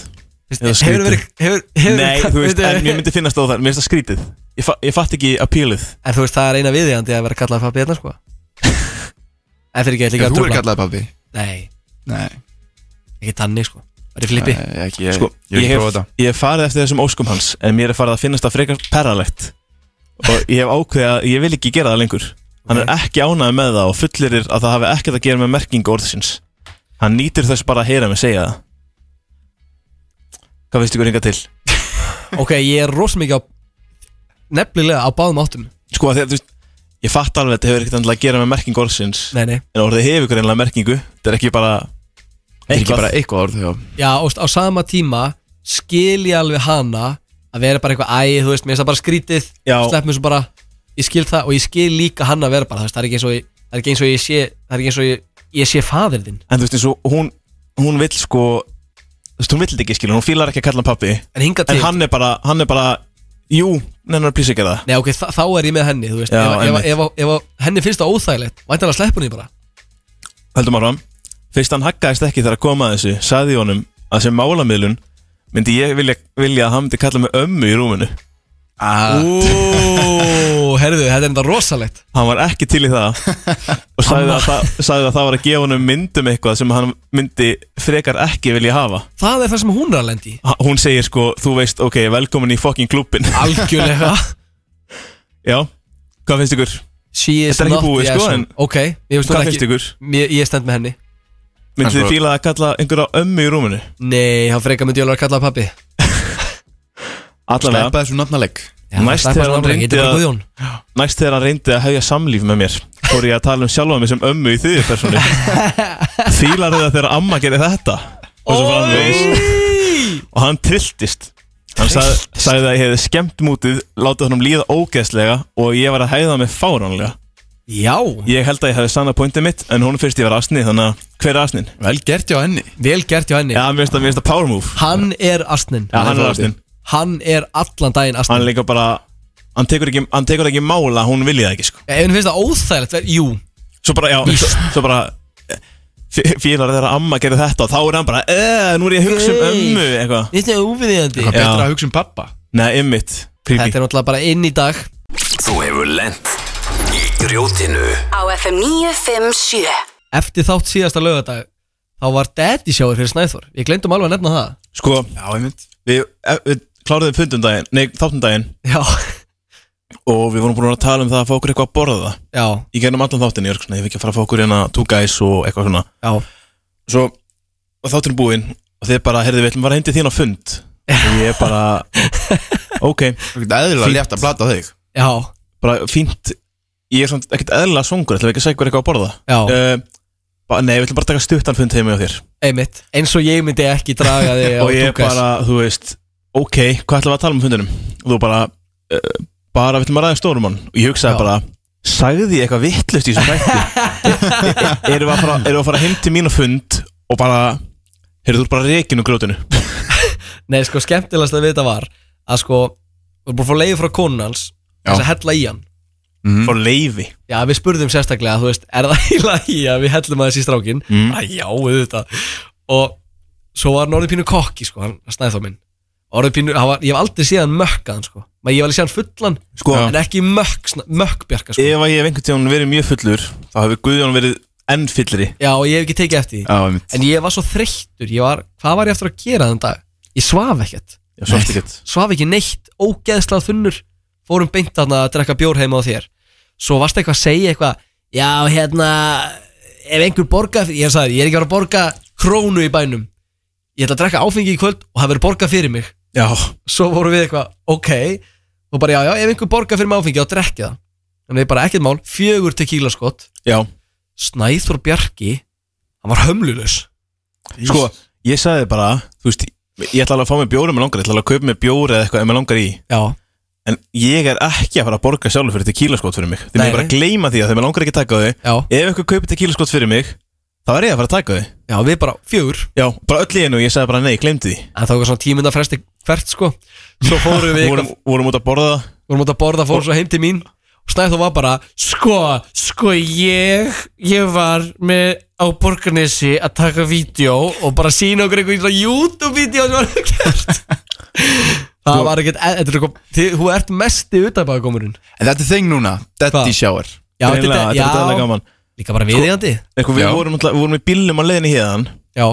Speaker 3: Veist,
Speaker 4: Eða
Speaker 3: hefur
Speaker 4: skrítið.
Speaker 3: verið- hefur- hefur verið
Speaker 4: Nei,
Speaker 3: kall-
Speaker 4: þú veist,
Speaker 3: veitu-
Speaker 4: en mér myndi finnast óþægilegt Mér finnst það skrítið Ég, fa ég fatt ekki appealið
Speaker 3: En þú veist, það er eina viðjandi að vera kallað pappi hérna, sko En fyrir ekki, ég
Speaker 5: En
Speaker 3: ætla ekki
Speaker 5: þú
Speaker 3: að
Speaker 5: er
Speaker 3: trufla.
Speaker 5: kallaði pabbi
Speaker 3: Nei,
Speaker 5: Nei
Speaker 3: ekki tanni, sko Það er flippi
Speaker 5: Nei, ekki, ég-
Speaker 4: sko,
Speaker 5: ég vil
Speaker 4: ég, hef,
Speaker 5: prófa þetta.
Speaker 4: ég hef farið eftir þessum óskum hans en mér er farið að finnast það frekar perralegt og ég hef ákveðið að ég vil ekki gera það lengur hann er ekki ánægð með það og fullirir að það hafi ekkert að gera með merkingu orðsins hann nýtur þess bara að heyra mig segja það hvað veistu ykkur enga til?
Speaker 3: Ok, ég er rosa mikið á Nefnilega á báðum áttum
Speaker 4: sko að því að þú veist ég fatt alveg að þetta hefur ekkert endilega að gera með merkingu orðsins
Speaker 3: Nei, nei.
Speaker 4: en orðið hefur greinlega merkingu þetta er ekki bara
Speaker 5: Þetta er ekki bara eitthvað orð, já
Speaker 3: Já, og á sama tíma skil ég alveg hana að vera bara eitthvað æ, þú veist, mér finnst það bara skrítið
Speaker 4: Já.
Speaker 3: slepp mér svo bara, ég skil það og ég skil líka hann að vera bara, þú veist, það er ekki eins og ég, það er ekki eins og ég sé, það er ekki eins og ég, ég sé fadir þinn
Speaker 4: en þú veist eins og hún hún vill sko þú veist hún vill þetta ekki skilur hún fílar ekki að kalla hann pappi
Speaker 3: en, til-
Speaker 4: en hann er bara hann er bara jú nennar að plýsa ekki það
Speaker 3: Nei, ok, þa þá er ég með henni, þú veist
Speaker 4: Já,
Speaker 3: ef, ef,
Speaker 4: einmitt.
Speaker 3: ef, ef, ef henni finnst það óþægilegt væntanlega sleppur henni bara
Speaker 4: Heldum áfram Fyrst hann haggaðist ekki þegar að koma að þessu Saði ég honum að sem málamiðlun Myndi ég vilja, vilja að hann myndi kalla mig ömmu í rúminu
Speaker 3: Ó, herðu, þetta er enda rosalegt
Speaker 4: Hann var ekki til í það Og sagði að, það, sagði að það var að gefa honum myndum eitthvað Sem hann myndi frekar ekki vilja hafa
Speaker 3: Það er það sem hún er að lendi
Speaker 4: Ha- Hún segir sko, þú veist, ok, velkomin í fucking klúbbin
Speaker 3: Algjörlega
Speaker 4: Já, Hvað finnst ykkur?
Speaker 3: She is
Speaker 4: Þetta er
Speaker 3: not
Speaker 4: ekki búið
Speaker 3: the
Speaker 4: sko
Speaker 3: asshole.
Speaker 4: en
Speaker 3: Ok, ég veist hún
Speaker 4: Hvað
Speaker 3: ekki-
Speaker 4: finnst ykkur?
Speaker 3: Mér- Ég stend með henni
Speaker 4: Myndið þið fíla að kalla einhverja ömmu í rúminu?
Speaker 3: Nei, hann frekar myndi ég alveg að kalla það pappi
Speaker 4: Allavega
Speaker 5: Sleppa þessu nafnaleg
Speaker 3: Já,
Speaker 4: Næst þegar
Speaker 3: sleppa þessu
Speaker 4: hann
Speaker 3: nafnalegg,
Speaker 4: reyndi
Speaker 3: þetta er bara
Speaker 4: að
Speaker 3: Guðjón.
Speaker 4: Næst þegar hann reyndi að hefja samlíf með mér Fór ég að tala um sjálfa mig sem ömmu í þriðju persónu Fílar þau að þegar amma gerir þetta Og svo framvegis Og hann trilltist Hann sag, sagði að ég hefði skemmt mútið Látið honum líða ógeðslega Og ég var að hæða mig fáránlega
Speaker 3: Já
Speaker 4: Ég held að ég hefði sannað pointið mitt En hún finnst ég vera asni Þannig að hver er asnin?
Speaker 5: Vel gert hjá henni
Speaker 3: Vel gert hjá henni
Speaker 4: Já, mér finnst það- mér finnst það power move
Speaker 3: Hann er astnin
Speaker 4: Já, hann er asnin
Speaker 3: Hann er allan daginn astnin
Speaker 4: Hann er líka bara Hann tekur ekki, hann tekur ekki mála Hún vilja það ekki sko
Speaker 3: Ef henni finnst það óþægilegt, ver- jú
Speaker 4: Svo bara, já, svo, svo bara eh, fí- Fílar þegar amma gerir þetta og þá er hann bara Eh, nú er ég að hugsa um
Speaker 3: Nei.
Speaker 4: ömmu eitthvað
Speaker 3: Þetta er óviðiðandi
Speaker 4: Eitthvað betra Já. að
Speaker 5: hugsa um pappa
Speaker 4: Nei, ymmit
Speaker 3: Þetta er náttúrulega bara inn í dag
Speaker 1: Þú hefur lent í grjótinu
Speaker 14: Á FM 957
Speaker 3: Eftir þátt síðasta lögadag Þá var daddy sjáir fyrir Snæþór Ég glemdum alveg að nefna það
Speaker 4: Sko,
Speaker 5: já, einmitt
Speaker 4: Við, eh, við kláruðum fundum daginn, nei, þáttum daginn
Speaker 3: Já
Speaker 4: Og við vorum búin að tala um það að fá okkur eitthvað að borða
Speaker 3: Já
Speaker 4: Í gennum allan þáttin, ég er svona, ég fikk að fara að fá okkur hérna Two guys og eitthvað svona
Speaker 3: Já
Speaker 4: Svo, og þáttin búinn Og þeir bara, heyrðu, við ætlum bara hindi þín á fund Og ég bara, ok
Speaker 5: Ekkert eðlilega létt að blata þig
Speaker 3: Já
Speaker 4: Bara fínt Ég er svona ekkert eðlilega songur Ætlum við ekki að segja hver eitthvað að borða
Speaker 3: Já.
Speaker 4: uh, bara, Nei, við ætlum bara að taka stuttan fund heima hjá þér
Speaker 3: Einmitt Eins og ég myndi ekki draga þig á
Speaker 4: Og ég
Speaker 3: Dukas.
Speaker 4: bara, þú veist Ok, hvað ætlum við að tala um á fundinum? Og þú bara uh, Bara, við ætlum að ræða stórum hann Og ég hugsaði bara Sagði ég eitthvað vittlust í þessum þætti? E- Erum við að fara, erum við að fara heim til mín á fund Og bara Heyrðu, þú ert bara rekin úr grótinu
Speaker 3: Nei, sko, skemmtilegast að við þetta var Að sko, við erum búin að fá leiði frá konun hans
Speaker 4: Já.
Speaker 3: Þess að hella í hann
Speaker 4: mm. Fá leiði
Speaker 3: Já, við spurðum sérstaklega, þú veist, er það í lagi að við hellum aðeins í strákin?
Speaker 4: Mm.
Speaker 3: Æ, já, auðvitað. Og svo var hann orðið pínu kokki, sko, hann snæði þá minn. Orðið pínu, hann var, ég hef aldrei séð hann mökkaðan, sko. Maður ég hef alveg séð hann fullan,
Speaker 4: Sko.
Speaker 3: en ekki mökk, sna- mökkbjarga, sko.
Speaker 4: Ef að ég hef einhvern tíðan verið mjög fullur Þá hefur Guðjón verið enn fyllri
Speaker 3: Já, og ég hef ekki tekið eftir því.
Speaker 4: Já, einmitt.
Speaker 3: en ég var svo þreyttur, ég var, hvað var ég eftir að gera þann dag? Ég svaf ekkert.
Speaker 4: Já, svafst ekkert.
Speaker 3: Svaf ekki neitt, ógeðslað þunnur. Fórum beint þarna að drekka bjór heima á þér. Svo varstu eitthvað að segja eitthvað, já, hérna, ef einhver borga, fyrir- ég sagði, ég er ekki að fara að borga krónu í bænum. Ég ætla að drekka áfengi í kvöld og það verður borga fyrir mig.
Speaker 4: Já.
Speaker 3: Svo vorum við eitthvað, ok, og bara, já, já, ef einhver borga fyrir mig áfengi, þá drekki það. En við bara ekkert mál, fjögur tequila skott.
Speaker 4: Já.
Speaker 3: Snæþór Bjarki, hann var hömlulös.
Speaker 4: Sko, ég sagði bara Þú veist, ég ætla alveg að fá mig bjóri með langar Ég ætla alveg að kaupa mig bjóri eða eitthvað ef maður langar í
Speaker 3: Já
Speaker 4: En ég er ekki að fara að borga sjálfur fyrir tequila skot fyrir mig Þegar
Speaker 3: Nei.
Speaker 4: ég bara að gleyma því að þegar maður langar ekki að taka þau
Speaker 3: Já.
Speaker 4: Ef eitthvað kaupir tequila skot fyrir mig Þá er ég að fara að taka þau
Speaker 3: Já, við bara fjögur
Speaker 4: Já, bara öll í einu og Ég sagði bara nei, glemdi því
Speaker 3: En það var svona tímynda fresti hvert sko Svo fórum við
Speaker 4: Vorum- vorum út að borða
Speaker 3: Vorum út að borða, fórum svo heim til mín Og Snæþór var bara Sko, sko ég Ég var með á Borgarnesi Að taka vídeo og bara sína okkur Einhver YouTube-vídeó sem var gert Það var ekkert e- Þetta er eitthvað, þið- þú ert mesti utanbæðakomurinn
Speaker 5: En þetta er þeng núna,
Speaker 3: Ah.
Speaker 5: daddy shower
Speaker 3: Já, þetta er-
Speaker 4: Greinilega, þetta er
Speaker 3: já.
Speaker 4: dæðlega gaman
Speaker 3: Líka bara viðeigandi.
Speaker 4: Sko, við
Speaker 3: Já.
Speaker 4: vorum, náttúrulega- við vorum í bílnum á leiðinni hérðan
Speaker 3: Já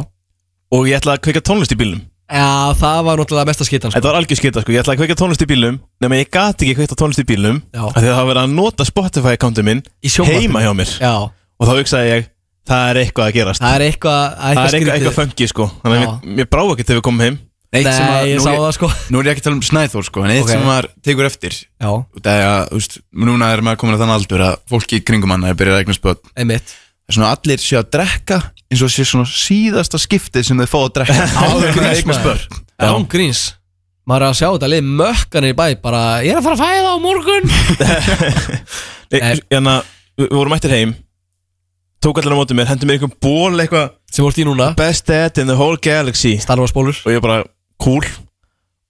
Speaker 4: Og ég ætlaði að kveika tónlist í bílnum
Speaker 3: Já, það var náttúrulega mesta skitan sko.
Speaker 4: Þetta var algjör skita sko, ég ætlaði að kveika tónlist í bílnum Nefnum ég gat ekki kveikta tónlist í bílnum
Speaker 3: Já.
Speaker 4: af Því að það var verið að nota Spotify-akkántum minn
Speaker 3: Í sjónvarpinu.
Speaker 4: Heima hjá mér
Speaker 3: Já.
Speaker 4: Og þá hugsaði ég, það er eitthvað að gerast
Speaker 3: Það er eitthvað
Speaker 4: Það er eitthvað,
Speaker 3: skrítið.
Speaker 4: eitthvað funky sko Þannig að
Speaker 3: Já.
Speaker 4: mér- mér brá ekkert þegar við komum heim
Speaker 5: Eitt sem að- nú er-
Speaker 3: sko
Speaker 5: Nú er ég ekki að tala um Snæþór sko En eitt
Speaker 4: Ok.
Speaker 5: sem maður tekur eftir
Speaker 3: Já
Speaker 5: Það er að, þú veist, núna er maður komin að þann aldur að fólki í kringum hann er byrjað að eignast börn
Speaker 3: Einmitt
Speaker 5: Það er svona að allir séu að drekka eins og sé svona síðasta skiptið sem þau fá að drekka áður en að eignast börn
Speaker 3: Já. Án gríns Maður er að sjá þetta lið mökkanir í bæ Bara ég er að fara að fæða á morgun
Speaker 4: Þannig að hérna, við við vorum mættir heim Tók allir á móti mér, hendur mér einhver ból eitthvað
Speaker 3: Sem vorst í núna
Speaker 4: Best dad in the whole galaxy
Speaker 3: Star Wars bólur
Speaker 4: Og ég bara, cool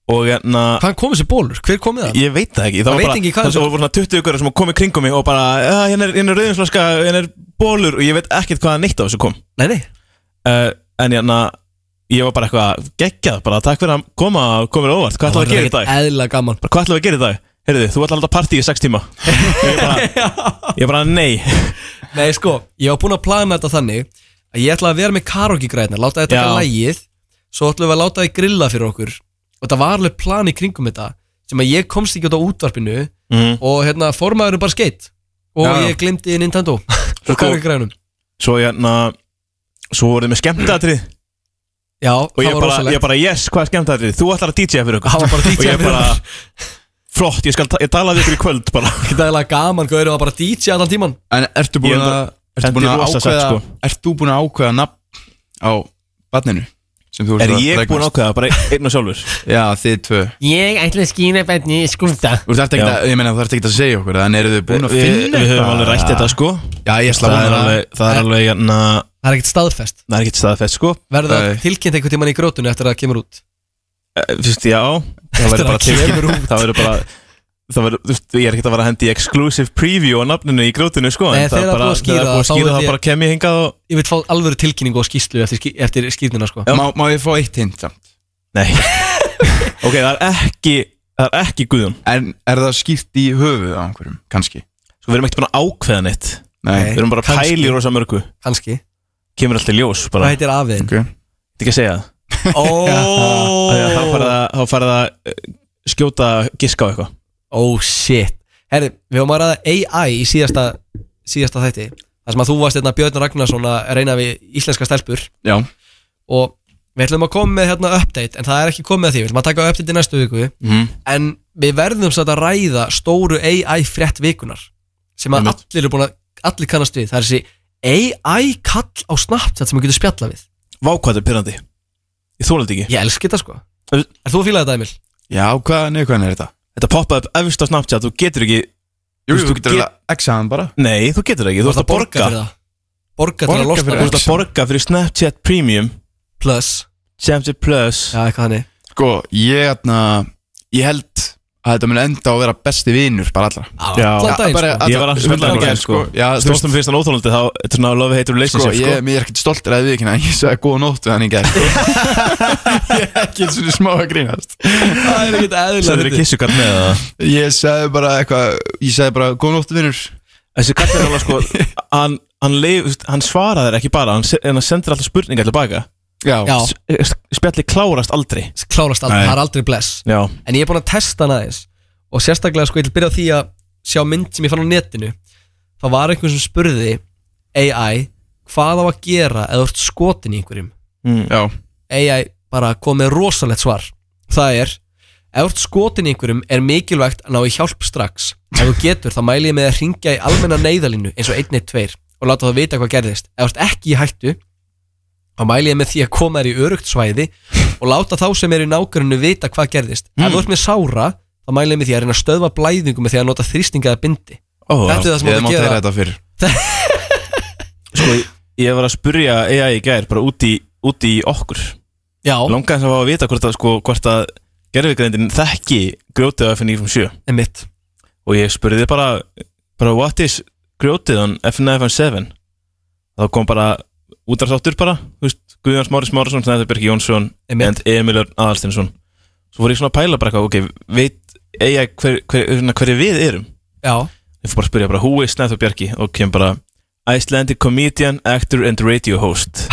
Speaker 4: Og hérna
Speaker 3: Hvaðan kom þessi bólur? Hver kom það?
Speaker 4: Ég veit það ekki
Speaker 3: Það
Speaker 4: var
Speaker 3: veit
Speaker 4: bara-
Speaker 3: ekki hvað
Speaker 4: Það voru svona 20 ykkur sem komið kringum mig Og bara, "Ah, hérna er, hérna er rauðinslaska, hérna er bólur Og ég veit ekkert hvaða neitt af þessu kom
Speaker 3: Nei, nei
Speaker 4: uh, En hérna Ég var bara eitthvað geggjað Bara takk fyrir að koma og komir óvart Hvað
Speaker 3: Það
Speaker 4: ætlaðu að
Speaker 3: var
Speaker 4: gera í
Speaker 3: ekkert
Speaker 4: dag?
Speaker 3: eðlilega gaman
Speaker 4: Bara, Hvað ætlaðu að gera í dag? Heyrðu, þú ætlaðu að halda partí í sex tíma Ég bara, ég bara nei
Speaker 3: Nei sko Ég var búinn að plana þetta þannig Að ég ætla að vera með karaokegræðina Láta þetta
Speaker 4: Já.
Speaker 3: ekki lægið Svo ætlum við að láta þið grilla fyrir okkur Og það var alveg plan í kringum þetta Sem að ég komst ekki út á útvarpinu
Speaker 4: Mhm.
Speaker 3: og hérna formaður er bara skeitt og
Speaker 4: Já, Sko. já.
Speaker 3: ég glimti Nintendo
Speaker 4: Svo
Speaker 3: og kakki grænum
Speaker 4: Svo hérna Svo voruð þið með skemmtatrið
Speaker 3: Já,
Speaker 4: Og
Speaker 3: það
Speaker 4: ég
Speaker 3: var
Speaker 4: bara,
Speaker 3: rosalegt.
Speaker 4: ég bara, yes, hvað er skemmtatrið? Þú ætlar að DJ-a fyrir okkur
Speaker 3: Hann var bara að
Speaker 4: Og
Speaker 3: DJ-a
Speaker 4: ég
Speaker 3: fyrir
Speaker 4: bara,
Speaker 3: okkur.
Speaker 4: flott, ég skal, ta- ég tala við ykkur í kvöld bara
Speaker 3: Þetta er eiginlega gaman, gauður var bara DJ allan tíman
Speaker 5: En ertu búin
Speaker 4: Ég held
Speaker 5: að
Speaker 4: að-
Speaker 5: Ertu búin
Speaker 4: þetta er
Speaker 5: að
Speaker 4: rosa
Speaker 5: ákveða
Speaker 4: sagt, sko.
Speaker 5: Ert þú búin að ákveða nafn á barninu sem þú ert
Speaker 4: Er
Speaker 5: að
Speaker 4: ég
Speaker 5: eignast?
Speaker 4: búin að ákveða, bara einn og sjálfur
Speaker 5: Já, þið tvö
Speaker 20: Ég ætla að skýna benni í skúta
Speaker 5: Þú ert ekki að, ég meina þú ert ekki að segja okkur En eru þið búin að
Speaker 4: Við-
Speaker 5: finna
Speaker 4: Eh, Við höfum alveg rætt þetta sko
Speaker 5: Já, ég slá
Speaker 4: Það er alveg, það er alveg, hérna
Speaker 3: Það er ekkert staðfest
Speaker 4: Það er ekkert staðfest sko
Speaker 3: Verða
Speaker 4: Nei.
Speaker 3: tilkynnt einhvern tíman í grótunni eftir að það kemur út
Speaker 4: Fyrst, Eh, já Það
Speaker 3: Eftir
Speaker 4: verður
Speaker 3: að
Speaker 4: bara
Speaker 3: það kemur
Speaker 4: tilkynnt Það verður bara Það verður, þú veist, ég er ekkert að vera að hendi exclusive preview á nafninu í grótinu sko en
Speaker 3: Nei,
Speaker 4: það er
Speaker 3: Eh, þegar það er
Speaker 4: bara-
Speaker 3: búið að skýra
Speaker 4: þegar það er búið að skýra
Speaker 3: þá
Speaker 4: það
Speaker 3: vil
Speaker 4: bara kem ég hingað og
Speaker 3: Ég vil fá alvöru tilkynningu og skýslu eftir, ský- eftir skýrnina sko
Speaker 5: má, má ég fá eitt hint samt?
Speaker 4: Nei Ok, það er ekki Það er ekki Guðjón
Speaker 5: En er það skýrt í höfuð á einhverjum, kannski?
Speaker 4: Sko, við erum ekkert búin að ákveða neitt
Speaker 5: Nei.
Speaker 4: Við erum bara að
Speaker 5: Kannski.
Speaker 4: pæla í rosa mörgu
Speaker 3: Kanski
Speaker 4: Kemur alltaf í ljós bara
Speaker 3: Hvað heitir afiðin?
Speaker 5: Okay.
Speaker 4: Þetta ekki að segja það
Speaker 3: Ó
Speaker 4: Af því að Þá farið það Þá farið það eh, Skjóta giska á eitthvað
Speaker 3: Oh shit Herri, við höfum að ræða AI í síðasta, síðasta þætti Það sem að þú varst hérna Björn Ragnarsson að reyna við íslenska stelpur
Speaker 5: Já
Speaker 3: Og við ætlum að koma með hérna update En það er ekki komið að því, við ætlum að taka update í næstu viku
Speaker 5: Mhm.
Speaker 3: En við verðum satt að ræða stóru AI frétt vikunar Sem að allir eru búin að, allir kannast við Það er þessi AI kall á Snapchat sem við getum spjalla við
Speaker 4: Vá hvað þetta er pyrrandi Ég þóla þetta ekki
Speaker 3: Ég elski þetta sko Er þú að fíla þetta Emil?
Speaker 5: Já, hvað, nei, hvað er þetta?
Speaker 4: Þetta poppaði upp efst á Snapchat Þú getur ekki
Speaker 5: Jú, þú getur alveg exa hann bara
Speaker 4: Nei, þú getur ekki Þú ert að borga
Speaker 3: fyrir það. Borga til að
Speaker 4: Borga
Speaker 3: losna
Speaker 4: fyrir- Þú ert að borga fyrir Snapchat Premium
Speaker 3: Plus
Speaker 4: Snapchat Plus
Speaker 3: Já, eitthvað hannig
Speaker 5: Sko, ég, atna, ég held að þetta mun enda á að vera besti vinur bara allra bara
Speaker 3: sko.
Speaker 5: allan-
Speaker 4: Ég var alltaf
Speaker 5: allan
Speaker 4: smöldan í
Speaker 5: daginn,
Speaker 4: gæð sko
Speaker 5: Já, þú veist-
Speaker 4: Stórstum fyrst hann óþólandi Þá, þetta er svona love hate
Speaker 5: Sko,
Speaker 4: relationship sko
Speaker 5: ég, ég er ekkert stoltur að við ekki en ég sagði góða nótt við hann í gær sko. Ég er ekki eins og smá að grínast
Speaker 3: Það er ekkert eðlilega
Speaker 4: Sagðirðu fyndið. kissukall með það?
Speaker 5: Ég sagði bara eitthvað, ég sagði bara góða nótt vinnur
Speaker 4: Þessi kall er alveg sko Hann, hann, leif, þú veist, hann svaraði þér ekki bara hann, se- En hann sendir alltaf spurningar til baka
Speaker 5: Já,
Speaker 3: Já.
Speaker 4: S- Spjalli klárast aldrei
Speaker 3: klárast aldrei,
Speaker 4: Nei.
Speaker 3: það er aldrei bless
Speaker 4: Já
Speaker 3: en ég er búin að testa hann aðeins og sérstaklega sko, ég vil byrja á því að sjá mynd sem ég fann á netinu það var einhver sem spurði AI, hvað á að gera eða þú ert skotin í einhverjum
Speaker 4: Mm.
Speaker 5: Já
Speaker 3: AI bara kom með rosalegt svar það er, ef þú ert skotin í einhverjum er mikilvægt að ná í hjálp strax ef þú getur, þá mæli ég með að ringja í almenna neyðalínu eins og 112 og láta það vita hvað gerðist, ef þú ert ekki í hættu þá mæli ég með því að koma þér í örugt svæði og láta þá sem er í nákvæmunu vita hvað gerðist ef þú ert með sára, þá mæli ég með því að reyna að stöðva blæðingu með því að nota þrýstinga eða bindi þetta er það sem
Speaker 5: Ég mátt
Speaker 3: þú átt að
Speaker 5: heyra
Speaker 3: gera
Speaker 5: þetta fyrir
Speaker 4: Sko, ég- ég var að spurja AI í gær Bara út í, út í okkur
Speaker 3: Já
Speaker 4: Langaði sem að fá að vita hvort að sko Hvort að gerfugreindin þekki Grjótið á FNF 7
Speaker 3: Einmitt.
Speaker 4: Og ég spurði bara, bara What is grjótið on FNF 7 Þá kom bara útrastáttur bara, þú veist, Guðjón Smári Smárasson Snæður Birki Jónsson
Speaker 3: Einmitt.
Speaker 4: and Emil Örn Aðalstinsson Svo fór ég svona að pæla bara eitthvað, ok, veit eiga hver, hver, hver, hverju við erum
Speaker 3: Já.
Speaker 4: Ég fór bara að spyrja bara, who is Snæður Bjarki og kem bara, Icelandic comedian, actor and radio host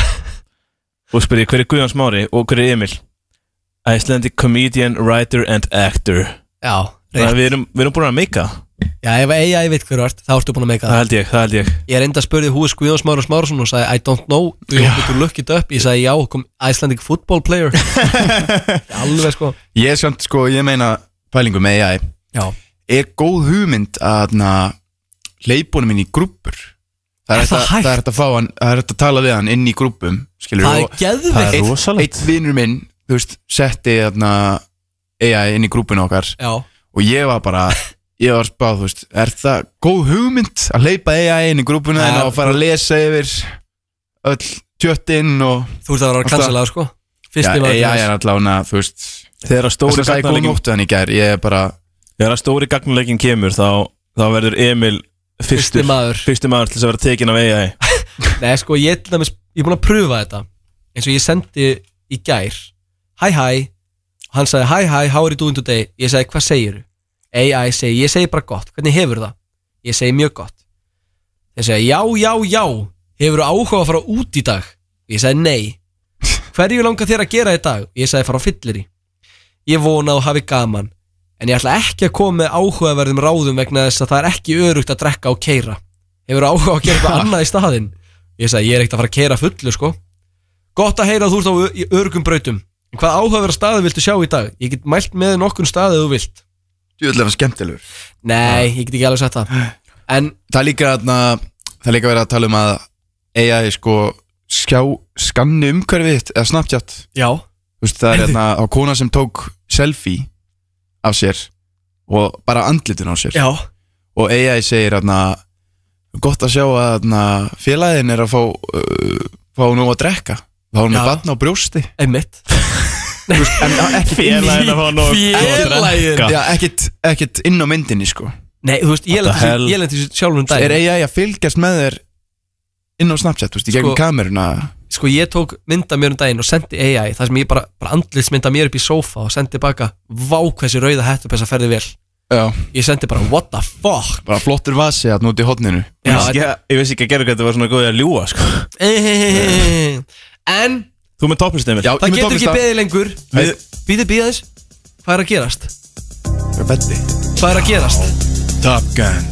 Speaker 4: og spyr ég hver er Guðjón Smári og hver er Emil Icelandic comedian, writer and actor
Speaker 3: Já,
Speaker 4: Þannig að við erum, við erum búin að meika það.
Speaker 3: Já, ef AI veit hverju ert, þá ertu búin að meika
Speaker 4: það held ég, það held ég
Speaker 3: Ég er enda að spurði húi Skvíðan Smára Smárasson og sagði I don't know, do you want me to look it up Ég sagði já, kom Icelandic football player Alveg sko
Speaker 5: Ég er samt sko, ég meina pælingu með AI
Speaker 3: Já.
Speaker 5: Er góð hugmynd að na, leipunum inn í grúpur Það er,
Speaker 3: Er
Speaker 5: hægt
Speaker 3: það
Speaker 5: að-
Speaker 3: hægt?
Speaker 5: það er hægt að fá hann, það er hægt að tala við hann inn í grúpum skilur,
Speaker 3: Það er
Speaker 5: og-
Speaker 3: geðveikt.
Speaker 5: Það er
Speaker 3: Eitt-
Speaker 5: rosalegt Eitt vinnur minn, þú veist, setti þarna AI inn í grúpun okkar
Speaker 3: Já.
Speaker 5: Og ég var bara, ég var spáð, þú veist Er það góð hugmynd að leipa AI inn í grúpuna En
Speaker 3: Já.
Speaker 5: að fara að lesa yfir öll tjöttinn og
Speaker 3: Þú ert að vera að cancela það, sko. Fyrsti
Speaker 5: Já,
Speaker 3: var
Speaker 5: AI
Speaker 3: cancel.
Speaker 5: er allavega, þú veist
Speaker 4: Þegar að
Speaker 5: Þess að sagði góð nótt hann í gær Ég er bara
Speaker 4: Þegar að stóri gagnuleikin kemur þá, þá verður Emil fyrstur,
Speaker 3: Fyrsti maður.
Speaker 4: Fyrsti maður til þess að vera tekin af AI
Speaker 3: Nei, sko, ég er til dæmis, ég er búin að pröfa þetta eins og ég sendi í gær Hæ, hæ Og Hann sagði, hæ, hæ, how are you doing today? Ég sagði, hvað segirðu? AI segi, ég segi bara gott, hvernig hefur það? Ég segi mjög gott Þeir segja, já, já, já Hefurðu áhuga að fara út í dag? Ég sagði, nei Hverju langar þér að gera í dag? Ég sagði, fara á fyllir í Ég vona og hafi gaman En ég ætla ekki að koma með áhugaverðum ráðum vegna þess að það er ekki örugt að drekka og keira Hefur áhuga á að gera eitthvað annað í staðinn Ég sagði, ég er ekkert að fara að keira fullu, sko Gott að heyra að þú ert á ö- í örugum brautum En hvað áhugaverða staði viltu sjá í dag? Ég get mælt með nokkun staði ef þú vilt
Speaker 5: Djúðlega skemmtilegur
Speaker 3: Nei, ég get ekki alveg sett það En
Speaker 5: það er líka þarna Það er líka verið að tala um að AI sko skjá, skanni umhverfið þitt eða Snapchat
Speaker 3: Já
Speaker 5: Þú veist, það er
Speaker 3: Heyrðu.
Speaker 5: hérna á kona sem tók selfie af sér og bara andlitin á sér
Speaker 3: Já.
Speaker 5: og AI segir hérna gott að sjá að hérna, félagin er að fá uh, fá nú að drekka þá er hún með
Speaker 3: Já.
Speaker 5: barn á brjósti
Speaker 3: Einmitt
Speaker 5: Félagin
Speaker 3: að fá nóg að drekka.
Speaker 5: Já, ekkit, ekkit inn á myndinni sko
Speaker 3: Nei, þú veist, ég
Speaker 5: What the
Speaker 3: lenti þessu-
Speaker 5: hell?
Speaker 3: ég lenti þessu sjálfur um
Speaker 5: Þú veist,
Speaker 3: daginn.
Speaker 5: Er AI að fylgjast með þér inn á Snapchat, þú veist, í gegnum kameruna
Speaker 3: Sko ég tók mynda mér um daginn og sendi AI Það sem ég bara, bara andlitsmynda mér upp í sófa og sendi baka Vá hversi rauða hættu þess að ferði vel
Speaker 5: Já.
Speaker 3: Ég sendi bara what the fuck
Speaker 5: Bara flottur vasi að út í hotninu
Speaker 4: Ég vissi ekki, ég vissi ekki að gera hvað þetta var svona góðið að ljúa sko.
Speaker 3: En
Speaker 4: Þú með topplistin Emil
Speaker 3: það getur ekki beðið lengur
Speaker 4: Við-
Speaker 3: Býðið býðið þess Hvað er að gerast?
Speaker 5: Beddi
Speaker 3: Hvað er að gerast?
Speaker 4: Top Gun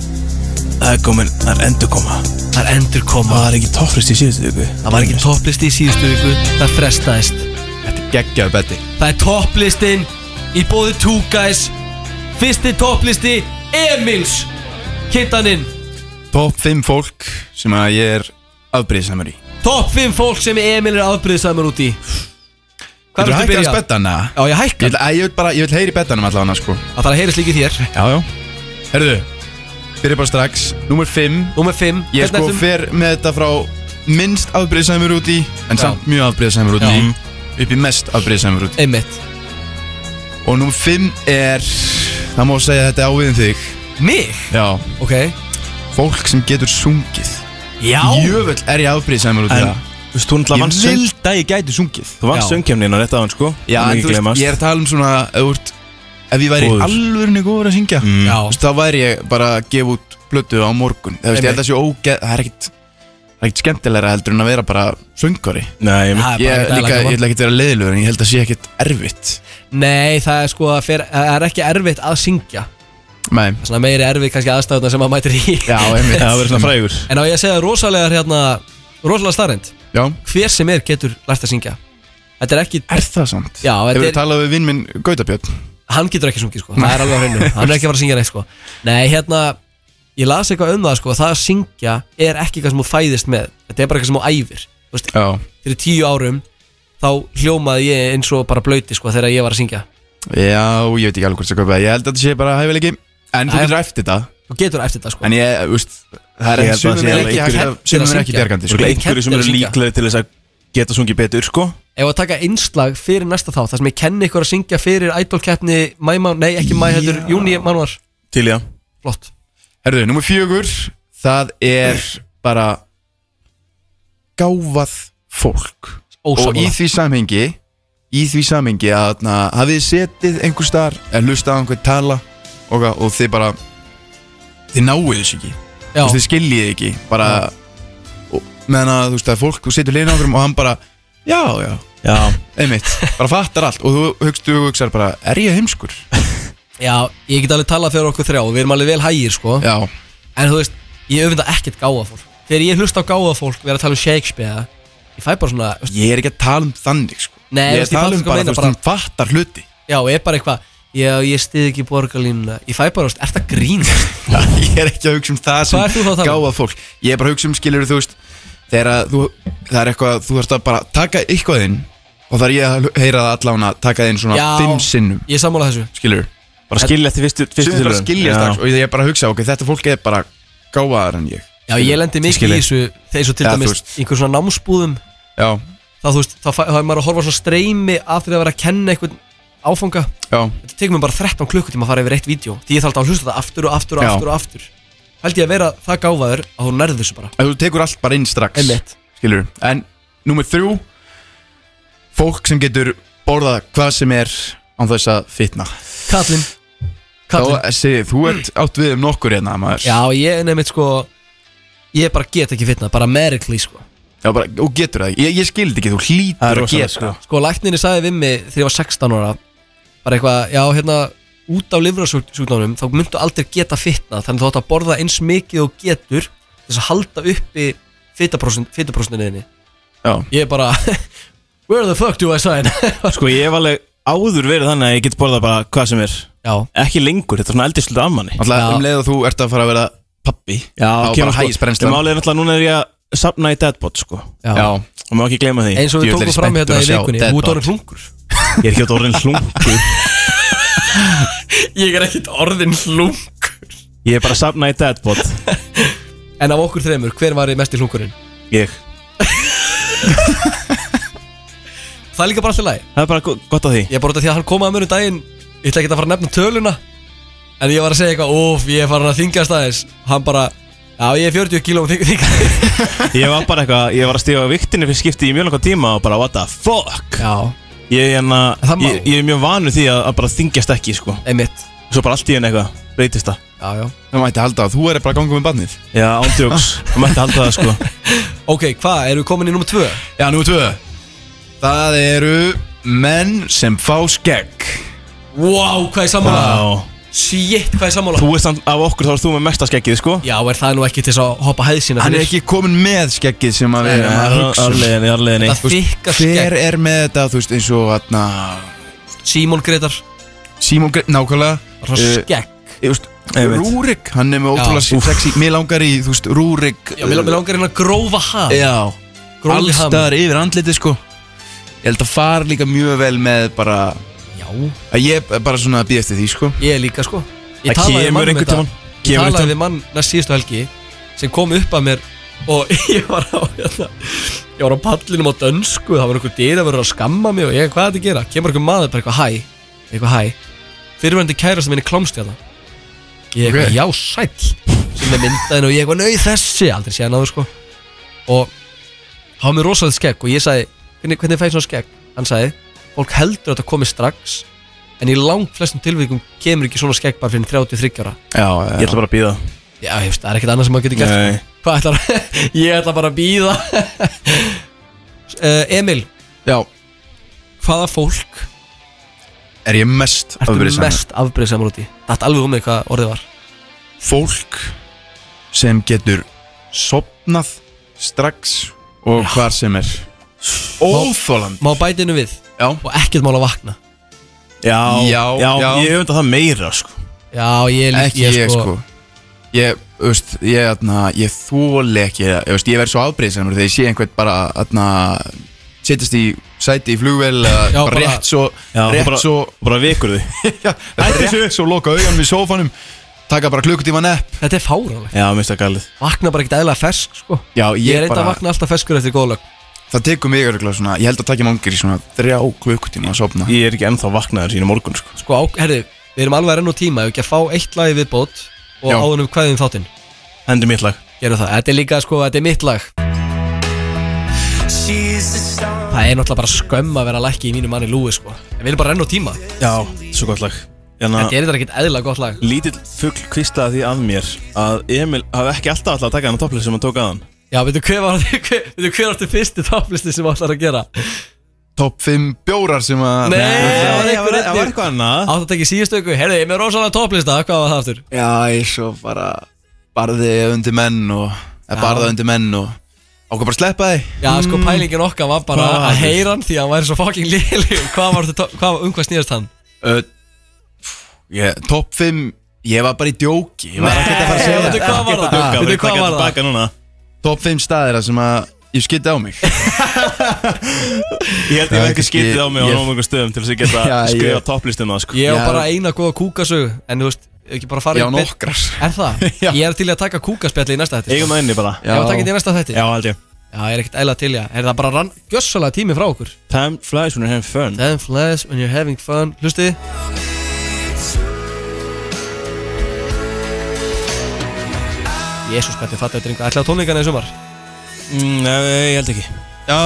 Speaker 4: Það er komin, það er endur koma
Speaker 3: Það er endur koma
Speaker 4: Það var ekki topplist í síðustu viku
Speaker 3: Það var ekki topplisti í síðustu viku Það frestaðist Þetta
Speaker 5: er geggjaðu beti
Speaker 3: Það er topplistin í bóði 2 guys Fyrsti topplisti Emils Kittaninn
Speaker 5: Top 5 fólk sem að ég er afbrýðisamur í
Speaker 3: Topp 5 fólk sem Emil er afbrýðisamur út í Hvað
Speaker 5: Geturðu
Speaker 3: viltu
Speaker 5: hækkað
Speaker 3: byrja?
Speaker 5: aðeins beddan, eða?
Speaker 3: Já, ég hækka
Speaker 5: Ég vil, að, ég vil bara, ég vil heyri bettanum allavega sko
Speaker 3: Það þarf að heyri slíkið þér
Speaker 5: Já, já Herðu, byrja bara strax Númer 5
Speaker 3: Númer 5
Speaker 5: Ég
Speaker 3: Hvernig
Speaker 5: sko
Speaker 3: ertu-
Speaker 5: fer með þetta frá minnst afbrýðisamur út í En
Speaker 3: Já.
Speaker 5: samt mjög afbrýðisamur út í Upp í mest afbrýðisamur út í
Speaker 3: Einmitt
Speaker 5: Og númer 5 er Það má segja að þetta er áviðin þig
Speaker 3: Mig?
Speaker 5: Já
Speaker 3: Ok
Speaker 5: Fólk sem getur sungið
Speaker 3: Já
Speaker 5: Jöfull er ég afbrýðisamur út í
Speaker 4: En,
Speaker 5: það
Speaker 4: þú veist, hún
Speaker 5: Ég
Speaker 4: vann söng
Speaker 5: vildi að ég gæti sungið
Speaker 4: Þú vann
Speaker 5: Já.
Speaker 4: söngkemnin á rétt af hann sko
Speaker 5: Já, en
Speaker 4: Það má ekki
Speaker 5: þú veist,
Speaker 4: gleymast.
Speaker 5: ég er að tala um svona Ef, þú ert- ef ég væri
Speaker 4: Góður.
Speaker 5: alvörinu góður að syngja mm. veist, Þá væri ég bara að gefa út blötu á morgun Það, veist, ég held að sé ógeð Það er ekkit Það er ekkit skemmtilegra heldur en að vera bara söngari
Speaker 4: Nei,
Speaker 5: ég,
Speaker 3: Það er
Speaker 5: ég, líka,
Speaker 3: bara ekkert eðlilega
Speaker 5: ég ætla ekkit að vera leiðilegur En ég held að sé ekkit erfitt
Speaker 3: Nei, það er sko að fer, það er ekki erfitt að syngja
Speaker 5: Nei
Speaker 3: Það er svona meiri erfitt kannski aðstæðuna sem maður mætir í Já,
Speaker 5: einmitt. Já, verður svona frægur.
Speaker 3: En á ég að segja rosalega hérna Rosalega starrend
Speaker 5: Já
Speaker 3: Hver sem er getur lært að syngja Þetta er ekki
Speaker 5: Er það samt?
Speaker 3: Já,
Speaker 5: Hefur
Speaker 3: þetta
Speaker 5: við
Speaker 3: er
Speaker 5: talað við vinn minn Gautabjörn
Speaker 3: Hann getur ekki sungið sko, það er alveg á hreinu Hann er ekki að fara að syngja neitt sko Nei, hérna, ég las eitthvað um það sko Það að syngja er ekki eitthvað sem þú fæðist með Þetta er bara eitthvað sem þú æfir Þú veist,
Speaker 5: Já.
Speaker 3: Fyrir tíu árum þá hljómaði ég eins og bara blöyti sko Þegar ég var að syngja
Speaker 5: Já, ég veit ekki alveg hvort það kaupið Ég held að þetta sé bara hæfileiki En þú
Speaker 3: Æ.
Speaker 5: getur eftir þetta
Speaker 3: Þú getur eftir þetta sko
Speaker 5: En ég, þú veist Það er
Speaker 4: Ég held að
Speaker 5: sumum
Speaker 4: sé
Speaker 5: er
Speaker 4: alveg
Speaker 5: ekki
Speaker 4: einhverju-
Speaker 5: hægt- sumum er ekki bjargandi sko.
Speaker 4: Örugglega einhverju sem eru
Speaker 3: Kennt er að syngja.
Speaker 4: líklegir til þess að geta sungið betur sko
Speaker 3: Ef að taka einslag fyrir næsta þá Það sem ég kenni ykkur að syngja fyrir idolkeppni Mæmán, nei ekki mæ, heldur, júni, manuar
Speaker 4: Til já
Speaker 3: Flott
Speaker 5: Herðu, nummer fjögur Það er bara Gáfað fólk
Speaker 3: Ósammála.
Speaker 5: Og í því samhengi Í því samhengi að na, hafið þið setið einhver staðar En hlustað á einhvern tala og, og þið bara Þið náið þessu ekki Þú veist, Þið skiljið ekki Bara og, Meðan að þú veist það er fólk Þú setur liðin á einhverjum og hann bara Já, já
Speaker 4: Já
Speaker 5: Einmitt Bara fattar allt Og þú hugst, þú hugsar bara Er ég heimskur?
Speaker 3: Já, ég get alveg talað fyrir okkur þrjá Við erum alveg vel hægir sko
Speaker 5: Já.
Speaker 3: En þú veist, ég öfunda ekkert gáða fólk Þegar ég hlusta á gáða fólk, við erum að tala um Shakespeare Ég fæ bara svona
Speaker 5: Ég er ekki að tala um þannig sko
Speaker 3: Nei,
Speaker 5: Ég er
Speaker 3: veist,
Speaker 5: að tala um bara
Speaker 3: fattar hvað meina,
Speaker 5: Þú veist, hann fattar hluti
Speaker 3: Já, ég er bara eitthvað Já, ég stið ekki borgarlínuna Ég fæ bara, þú veist, ert að grínast
Speaker 5: ég er ekki að hugsa um það
Speaker 3: Hvað ert þú þá
Speaker 5: sem
Speaker 3: að tala um?
Speaker 5: gáða fólk ég er bara að hugsa um skilur þú veist þegar að þú, það er eitthvað þú þarfst að bara taka eitthvað inn og þar ég að heyra það allan að taka það inn svona
Speaker 3: Já,
Speaker 5: fimm sinnum
Speaker 3: Ég sammála þessu
Speaker 5: skilur
Speaker 4: Bara skilja eftir fyrstu- fyrstu
Speaker 5: Sumir bara
Speaker 4: tilraun.
Speaker 5: skilja
Speaker 4: Já.
Speaker 5: strax og ég er bara að hugsa ok, þetta fólk er bara gáðaðar en ég
Speaker 3: Já, ég lendi mikið í þessu Þegar svo til
Speaker 5: Já, þú
Speaker 3: dæmis
Speaker 5: veist.
Speaker 3: einhver svona námsbúðum
Speaker 5: Já
Speaker 3: Þá þú veist, þá fæ- þá er maður að horfa á svona streymi Af því að vera að kenna einhvern áfanga
Speaker 5: Já
Speaker 3: Þetta tekur mér bara 13 klukkutíma að fara yfir eitt vídeo Því ég þarf alltaf að hlusta það aftur og aftur og
Speaker 5: Já.
Speaker 3: aftur og aftur Held ég að vera það gáfaður að þú nærðu þessu bara
Speaker 5: Ef þú tekur allt bara inn strax
Speaker 3: Einmitt.
Speaker 5: skilur en númer þrjú fólk sem getur borða hvað sem er án þess að fitna
Speaker 3: Kallinn
Speaker 5: þá segi þú ert átt við um nokkur hérna maður
Speaker 3: Já, ég nefnir sko Ég bara get ekki fitna, bara merikli sko
Speaker 5: Já, bara, og getur það ekki, ég, ég skildi ekki, þú hlýtur að geta
Speaker 3: Sko, lækninni sagði við mig þegar ég var 16 ára Bara eitthvað, já, hérna út af livrasúklanum þá myndu aldrei geta fitna þannig þú átt að borða eins mikið og getur til þess að halda uppi fitaprosentinu
Speaker 4: Já.
Speaker 3: ég er bara where the fuck do I sign
Speaker 4: Sko ég hef alveg áður verið þannig að ég get borðað bara hvað sem er
Speaker 3: Já.
Speaker 4: Ekki lengur, þetta er svona eldislega afmanni
Speaker 5: Alltaf um leið og þú ert að fara að vera pappi Já, þá
Speaker 4: sko.
Speaker 5: bara hægisbrennslan
Speaker 4: Málið er náttúrulega núna er ég að sapna í deadbot sko
Speaker 5: Já. Já.
Speaker 4: Og má ekki gleyma því
Speaker 3: eins og við tókum fram hérna í vikunni þú ert orðin hlungur
Speaker 4: Ég er ekki orðin hlungur
Speaker 3: ég er ekkert orðin hlung
Speaker 4: Ég er bara að sapna í deadbot
Speaker 3: en af okkur þreymur hver var í mest í hlungurinn
Speaker 4: Ég
Speaker 3: það er líka bara alltaf læg
Speaker 4: Það er bara go- gott að því
Speaker 3: Ég er bara út af því að hann kom að mér um daginn Ég ætla ekki að fara að nefna töluna En ég var að segja eitthvað, óf, ég er farin að þingast aðeins Hann bara, já ég er 40 kíló þing, þing.
Speaker 4: Ég var bara eitthvað, ég var að stífa viktinni fyrir skipti í mjög langan tíma og bara what the fuck
Speaker 3: Já
Speaker 4: Ég, enna,
Speaker 3: Það má.
Speaker 4: ég, ég er mjög vanu því að, að bara þingjast ekki sko
Speaker 3: Einmitt
Speaker 4: Svo bara allt í henni eitthvað, breytist það
Speaker 3: Já, já
Speaker 5: Það mætti halda að þú er bara að ganga með barnið
Speaker 4: Já, ándjóks, það mætti halda það sko
Speaker 3: Ok, hvað, erum við komin í nummer 2?
Speaker 5: Já, nummer 2 Það eru menn sem fá skegg
Speaker 3: Wow, hvað er sammála?
Speaker 4: Vá.
Speaker 3: Shit, hvað er sammála?
Speaker 4: Þú ert samt af okkur þá ert þú með mesta skeggið sko
Speaker 3: Já, er það nú ekki til þess að hoppa hæð sína
Speaker 5: Hann er ekki komin með skeggið sem að
Speaker 4: Nei,
Speaker 5: vera
Speaker 4: nei, arfleiðinni, arfleiðinni. Þetta
Speaker 5: Hver
Speaker 4: þykka skegg.
Speaker 5: er með þetta, þú veist, eins og atna,
Speaker 3: Simon Gretar
Speaker 5: Simon Gretar, nákvæmlega
Speaker 3: Bara skegg.
Speaker 5: uh, ég veist,
Speaker 3: Einmitt.
Speaker 5: Rúrik, hann er með
Speaker 3: Já.
Speaker 5: ótrúlega
Speaker 3: Úff.
Speaker 5: sexy Mér langar í, þú veist, Rúrik
Speaker 3: Já, mér mér langar hérna að grófa hann
Speaker 5: Já,
Speaker 3: Grófi ham.
Speaker 5: allstaðar yfir andliti sko Ég held að fara líka mjög vel með bara
Speaker 3: Já
Speaker 5: Að ég er bara svona að býja eftir því sko
Speaker 3: Ég er líka sko Ég
Speaker 5: Það
Speaker 3: talaði við
Speaker 5: kemur
Speaker 3: mann um
Speaker 5: einhvern
Speaker 3: þetta
Speaker 5: tímann.
Speaker 3: Ég
Speaker 5: Kemur
Speaker 3: talaði
Speaker 5: einhvern
Speaker 3: við mann næst síðustu helgi sem kom upp að mér og ég var á hérna, ég var á pallinum á dönsku það var einhver dýr að vera að skamma mig og ég, hvað er þetta að gera? Kemur einhver maður bara eitthvað hæ eitthvað hæ fyrirvændi kærasta minni klámst hérna ég eitthvað,
Speaker 5: Ok.
Speaker 3: já sæll sem er myndaðin og ég eitthvað, nau þessi aldrei séð náður sko og hafa mér rosalega skegg og ég sagði hvernig, hvernig fæði svona skegg? Hann sagði fólk heldur að þetta komi strax en í langt flestum tilvíkum kemur ekki svona skegg bara fyrir 33 ára
Speaker 4: Já, já Ég ætla bara að býða
Speaker 3: Já, ég veist, það er ekkert annað sem maður getur gert
Speaker 4: Nei.
Speaker 3: sko. Hvað ætlar, ég ætla bara að býða uh, Emil
Speaker 5: Já
Speaker 3: Hvaða fólk
Speaker 5: Er ég mest um
Speaker 3: ertu
Speaker 5: afbrýðisamur?
Speaker 3: mest afbreyðsamur út í? Það er alveg um mig hvað orðið var
Speaker 5: Fólk sem getur sopnað strax og hvar sem er Óþóland
Speaker 3: Má bæti innu við
Speaker 5: Já
Speaker 3: Og ekkert mál að vakna
Speaker 4: Já,
Speaker 5: já,
Speaker 4: já,
Speaker 5: já.
Speaker 4: ég öfnda það meira sko
Speaker 3: Já, ég er
Speaker 5: Ekki ég sko Ég, þú veist, ég, atna, ég þóli ekki Ég, veist, ég verð svo afbreyðsamur þegar ég sé einhvern bara atna, Setjast í sæti í flugvel
Speaker 4: Já,
Speaker 5: Bara
Speaker 4: bara-
Speaker 5: rétt svo
Speaker 4: Já,
Speaker 5: rétt
Speaker 4: bara-
Speaker 5: svo,
Speaker 4: bara vikur því
Speaker 5: Já, bara rétt svo loka augan við sófanum Taka bara klukkutíma nepp
Speaker 3: Þetta er fáránlegt
Speaker 4: Já, mista galið
Speaker 3: Vakna bara ekkert eðla fersk sko
Speaker 5: Já,
Speaker 3: Ég,
Speaker 5: ég
Speaker 3: er eitthvað að
Speaker 5: bara-
Speaker 3: vakna alltaf ferskur eftir góðlög
Speaker 5: Það tekur mig örgulega svona Ég held að taki mangir í svona þrjá klukkutíma að sopna
Speaker 4: Ég er ekki ennþá vaknaður sína morgun sko
Speaker 3: Sko, á, herri, við erum alveg að renna úr tíma Ef ekki að fá eitt lagi viðbót Og
Speaker 4: Já.
Speaker 3: áðunum hvaðið um þáttinn
Speaker 4: Hendi mitt lag
Speaker 3: Gerum það, þetta er líka sko, þetta er mitt lag Það er náttúrulega bara skömm að vera lækki í mínu manni lúi sko En við erum bara að renna á tíma
Speaker 4: Já, svo gott lag Janna,
Speaker 3: Þetta er þetta ekkert eðla gott lag
Speaker 4: Lítill fugl kvislaði því að mér Að Emil hafði ekki alltaf alltaf að taka hann á topplið sem hann tók að hann
Speaker 3: Já, veitu hver var hver, veitu hver áttu fyrsti topplisti sem allar að gera
Speaker 5: Top 5 bjórar sem að
Speaker 3: Nei, það var
Speaker 4: það var-
Speaker 3: einhver
Speaker 4: það var eitthvað annað
Speaker 3: Átt að tekja síðustu ykkur, heyrðu, ég er með rosalega topplista, hvað var það aftur?
Speaker 5: Já, ég svo bara barði undir menn og eða
Speaker 3: Já.
Speaker 5: barða undir menn og ákvað bara að sleppa þig
Speaker 3: Já, sko pælingin okkar var bara
Speaker 5: Mm. Hvað var
Speaker 3: að
Speaker 5: það?
Speaker 3: heyra hann því að hann væri svo fucking léli Hvað var þetta, hvað, um hvað snýðast hann?
Speaker 5: uh, ég, Top 5 Ég var bara í djóki Ég var
Speaker 3: Nei,
Speaker 5: ekkert að fara að segja
Speaker 3: veitu
Speaker 5: þetta.
Speaker 3: hvað var
Speaker 4: Ah,
Speaker 5: Ekkert að
Speaker 3: það?
Speaker 5: djóka,
Speaker 3: Veitu
Speaker 5: bara taka
Speaker 3: hvað var
Speaker 5: þetta
Speaker 3: það?
Speaker 5: baka
Speaker 4: núna.
Speaker 5: Top 5 staðir að sem að ég skytti á mig
Speaker 4: Ég
Speaker 5: Já,
Speaker 4: held ég hef ekki
Speaker 5: kannski-
Speaker 4: skitið á mig á
Speaker 5: ég-
Speaker 4: námöngum stöðum Til þess að ég geta
Speaker 5: Já, ég-
Speaker 4: skrifa topplistina sko
Speaker 3: Ég var bara eina góða kúkasögu, en þú veist, ekki bara fara
Speaker 4: Já,
Speaker 3: í beinn-
Speaker 4: nokkrar.
Speaker 3: Er það? Ég er til í að taka kúkaspjalli í næsta sko. þetta
Speaker 4: Eigum það inni bara
Speaker 3: Já, takk í næsta þætti
Speaker 4: Já, held ég
Speaker 3: Já, ég er ekkert eila til, já Er það bara rann gjössalega tími frá okkur
Speaker 4: Time flies when you're having fun
Speaker 3: Time flies when you're having fun Hlustið Jésús, hvað þið fattu þetta einhver Ætlaðu tónleikana í sumar?
Speaker 4: Mm, Nei, ég held ekki
Speaker 5: Já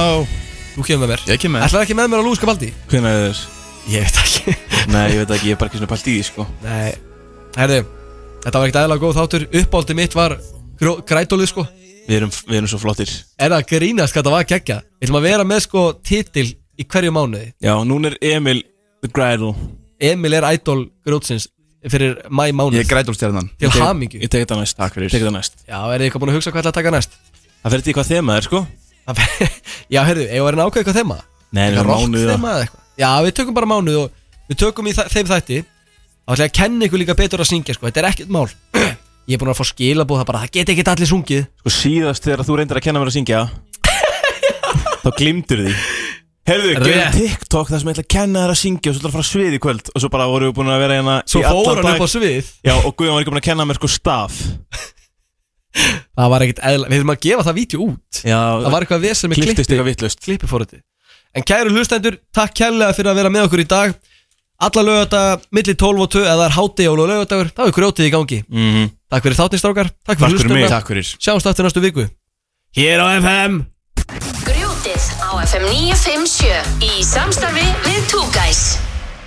Speaker 3: Þú kemur með mér
Speaker 5: Ég kemur
Speaker 3: Ætlaðu ekki með mér á Lúi Skapaldi?
Speaker 4: Hvernig er þess?
Speaker 3: Ég veit ekki
Speaker 4: Nei, ég veit ekki, ég er bara ekki svona pælt í því sko
Speaker 3: Nei Herðu, þetta var ekkert eila góð þáttur Uppáldið mitt var gró- grætólið sko
Speaker 4: Við erum, við erum svo flottir
Speaker 3: Er það að grínast hvað það var geggja Við ætlum að vera með sko titil í hverju mánuði
Speaker 4: Já, núna er Emil the Gridle
Speaker 3: Emil er idol grjótsins fyrir mæ mánuð
Speaker 5: Ég er grædólstjarnan.
Speaker 3: Til
Speaker 4: Ég tek-
Speaker 3: hamingju
Speaker 4: Ég tek þetta næst Takk fyrir Tek þetta næst
Speaker 3: Já, er þið eitthvað búin að hugsa hvað ætla að taka næst?
Speaker 4: Það fyrir þetta í hvað þema er sko
Speaker 3: Það fer- Já, heyrðu, eigum við að reyna að ákveða eitthvað þema?
Speaker 4: Nei, við
Speaker 3: Eitthvað
Speaker 4: erum mánuð
Speaker 3: rock
Speaker 4: eða-
Speaker 3: þema eða eitthvað? Já, við tökum bara mánuð og við tökum í þa- þeim þætti Þá ætla ég að kenna ykkur líka betur að syngja, sko, þetta er ekkert mál Ég er búin að fá skilabóð það bara, það get ekki allir sungið
Speaker 4: Sko síðast þegar þú reyndir að kenna mér að syngja Þá glimtur því Herðu,
Speaker 3: Rétt.
Speaker 4: gerum TikTok þar sem ég ætla að kenna þér að syngja og svo ætla að fara á svið í kvöld og svo bara vorum við búin að vera hérna
Speaker 3: Svo
Speaker 4: í allan
Speaker 3: fór hann
Speaker 4: dag.
Speaker 3: upp á svið?
Speaker 4: Já, og Guðjón var ekki búin að kenna mér sko staf
Speaker 3: Það var ekkert eðla, við þurfum að gefa það vídeo út
Speaker 4: Já,
Speaker 3: Það var eitthvað vesen með
Speaker 4: klipptist
Speaker 3: klippi-
Speaker 4: eitthvað vitlaust.
Speaker 3: klippi fór þetta En kæru hlustendur, takk kærlega fyrir að vera með okkur í dag Alla lögata, milli 12 og 2 eða það er hátdejól og lögatagur þá er grjótið í gangi
Speaker 4: Mhm.
Speaker 3: Takk fyrir þáttinstrákar, takk
Speaker 4: Takk
Speaker 3: fyrir
Speaker 4: fyrir mig.
Speaker 3: hlustunna
Speaker 4: Takk fyrir.
Speaker 3: Sjáumst aftur næstu viku Hér á FM
Speaker 14: Grjótið á FM 957 í samstarfi við Two Guys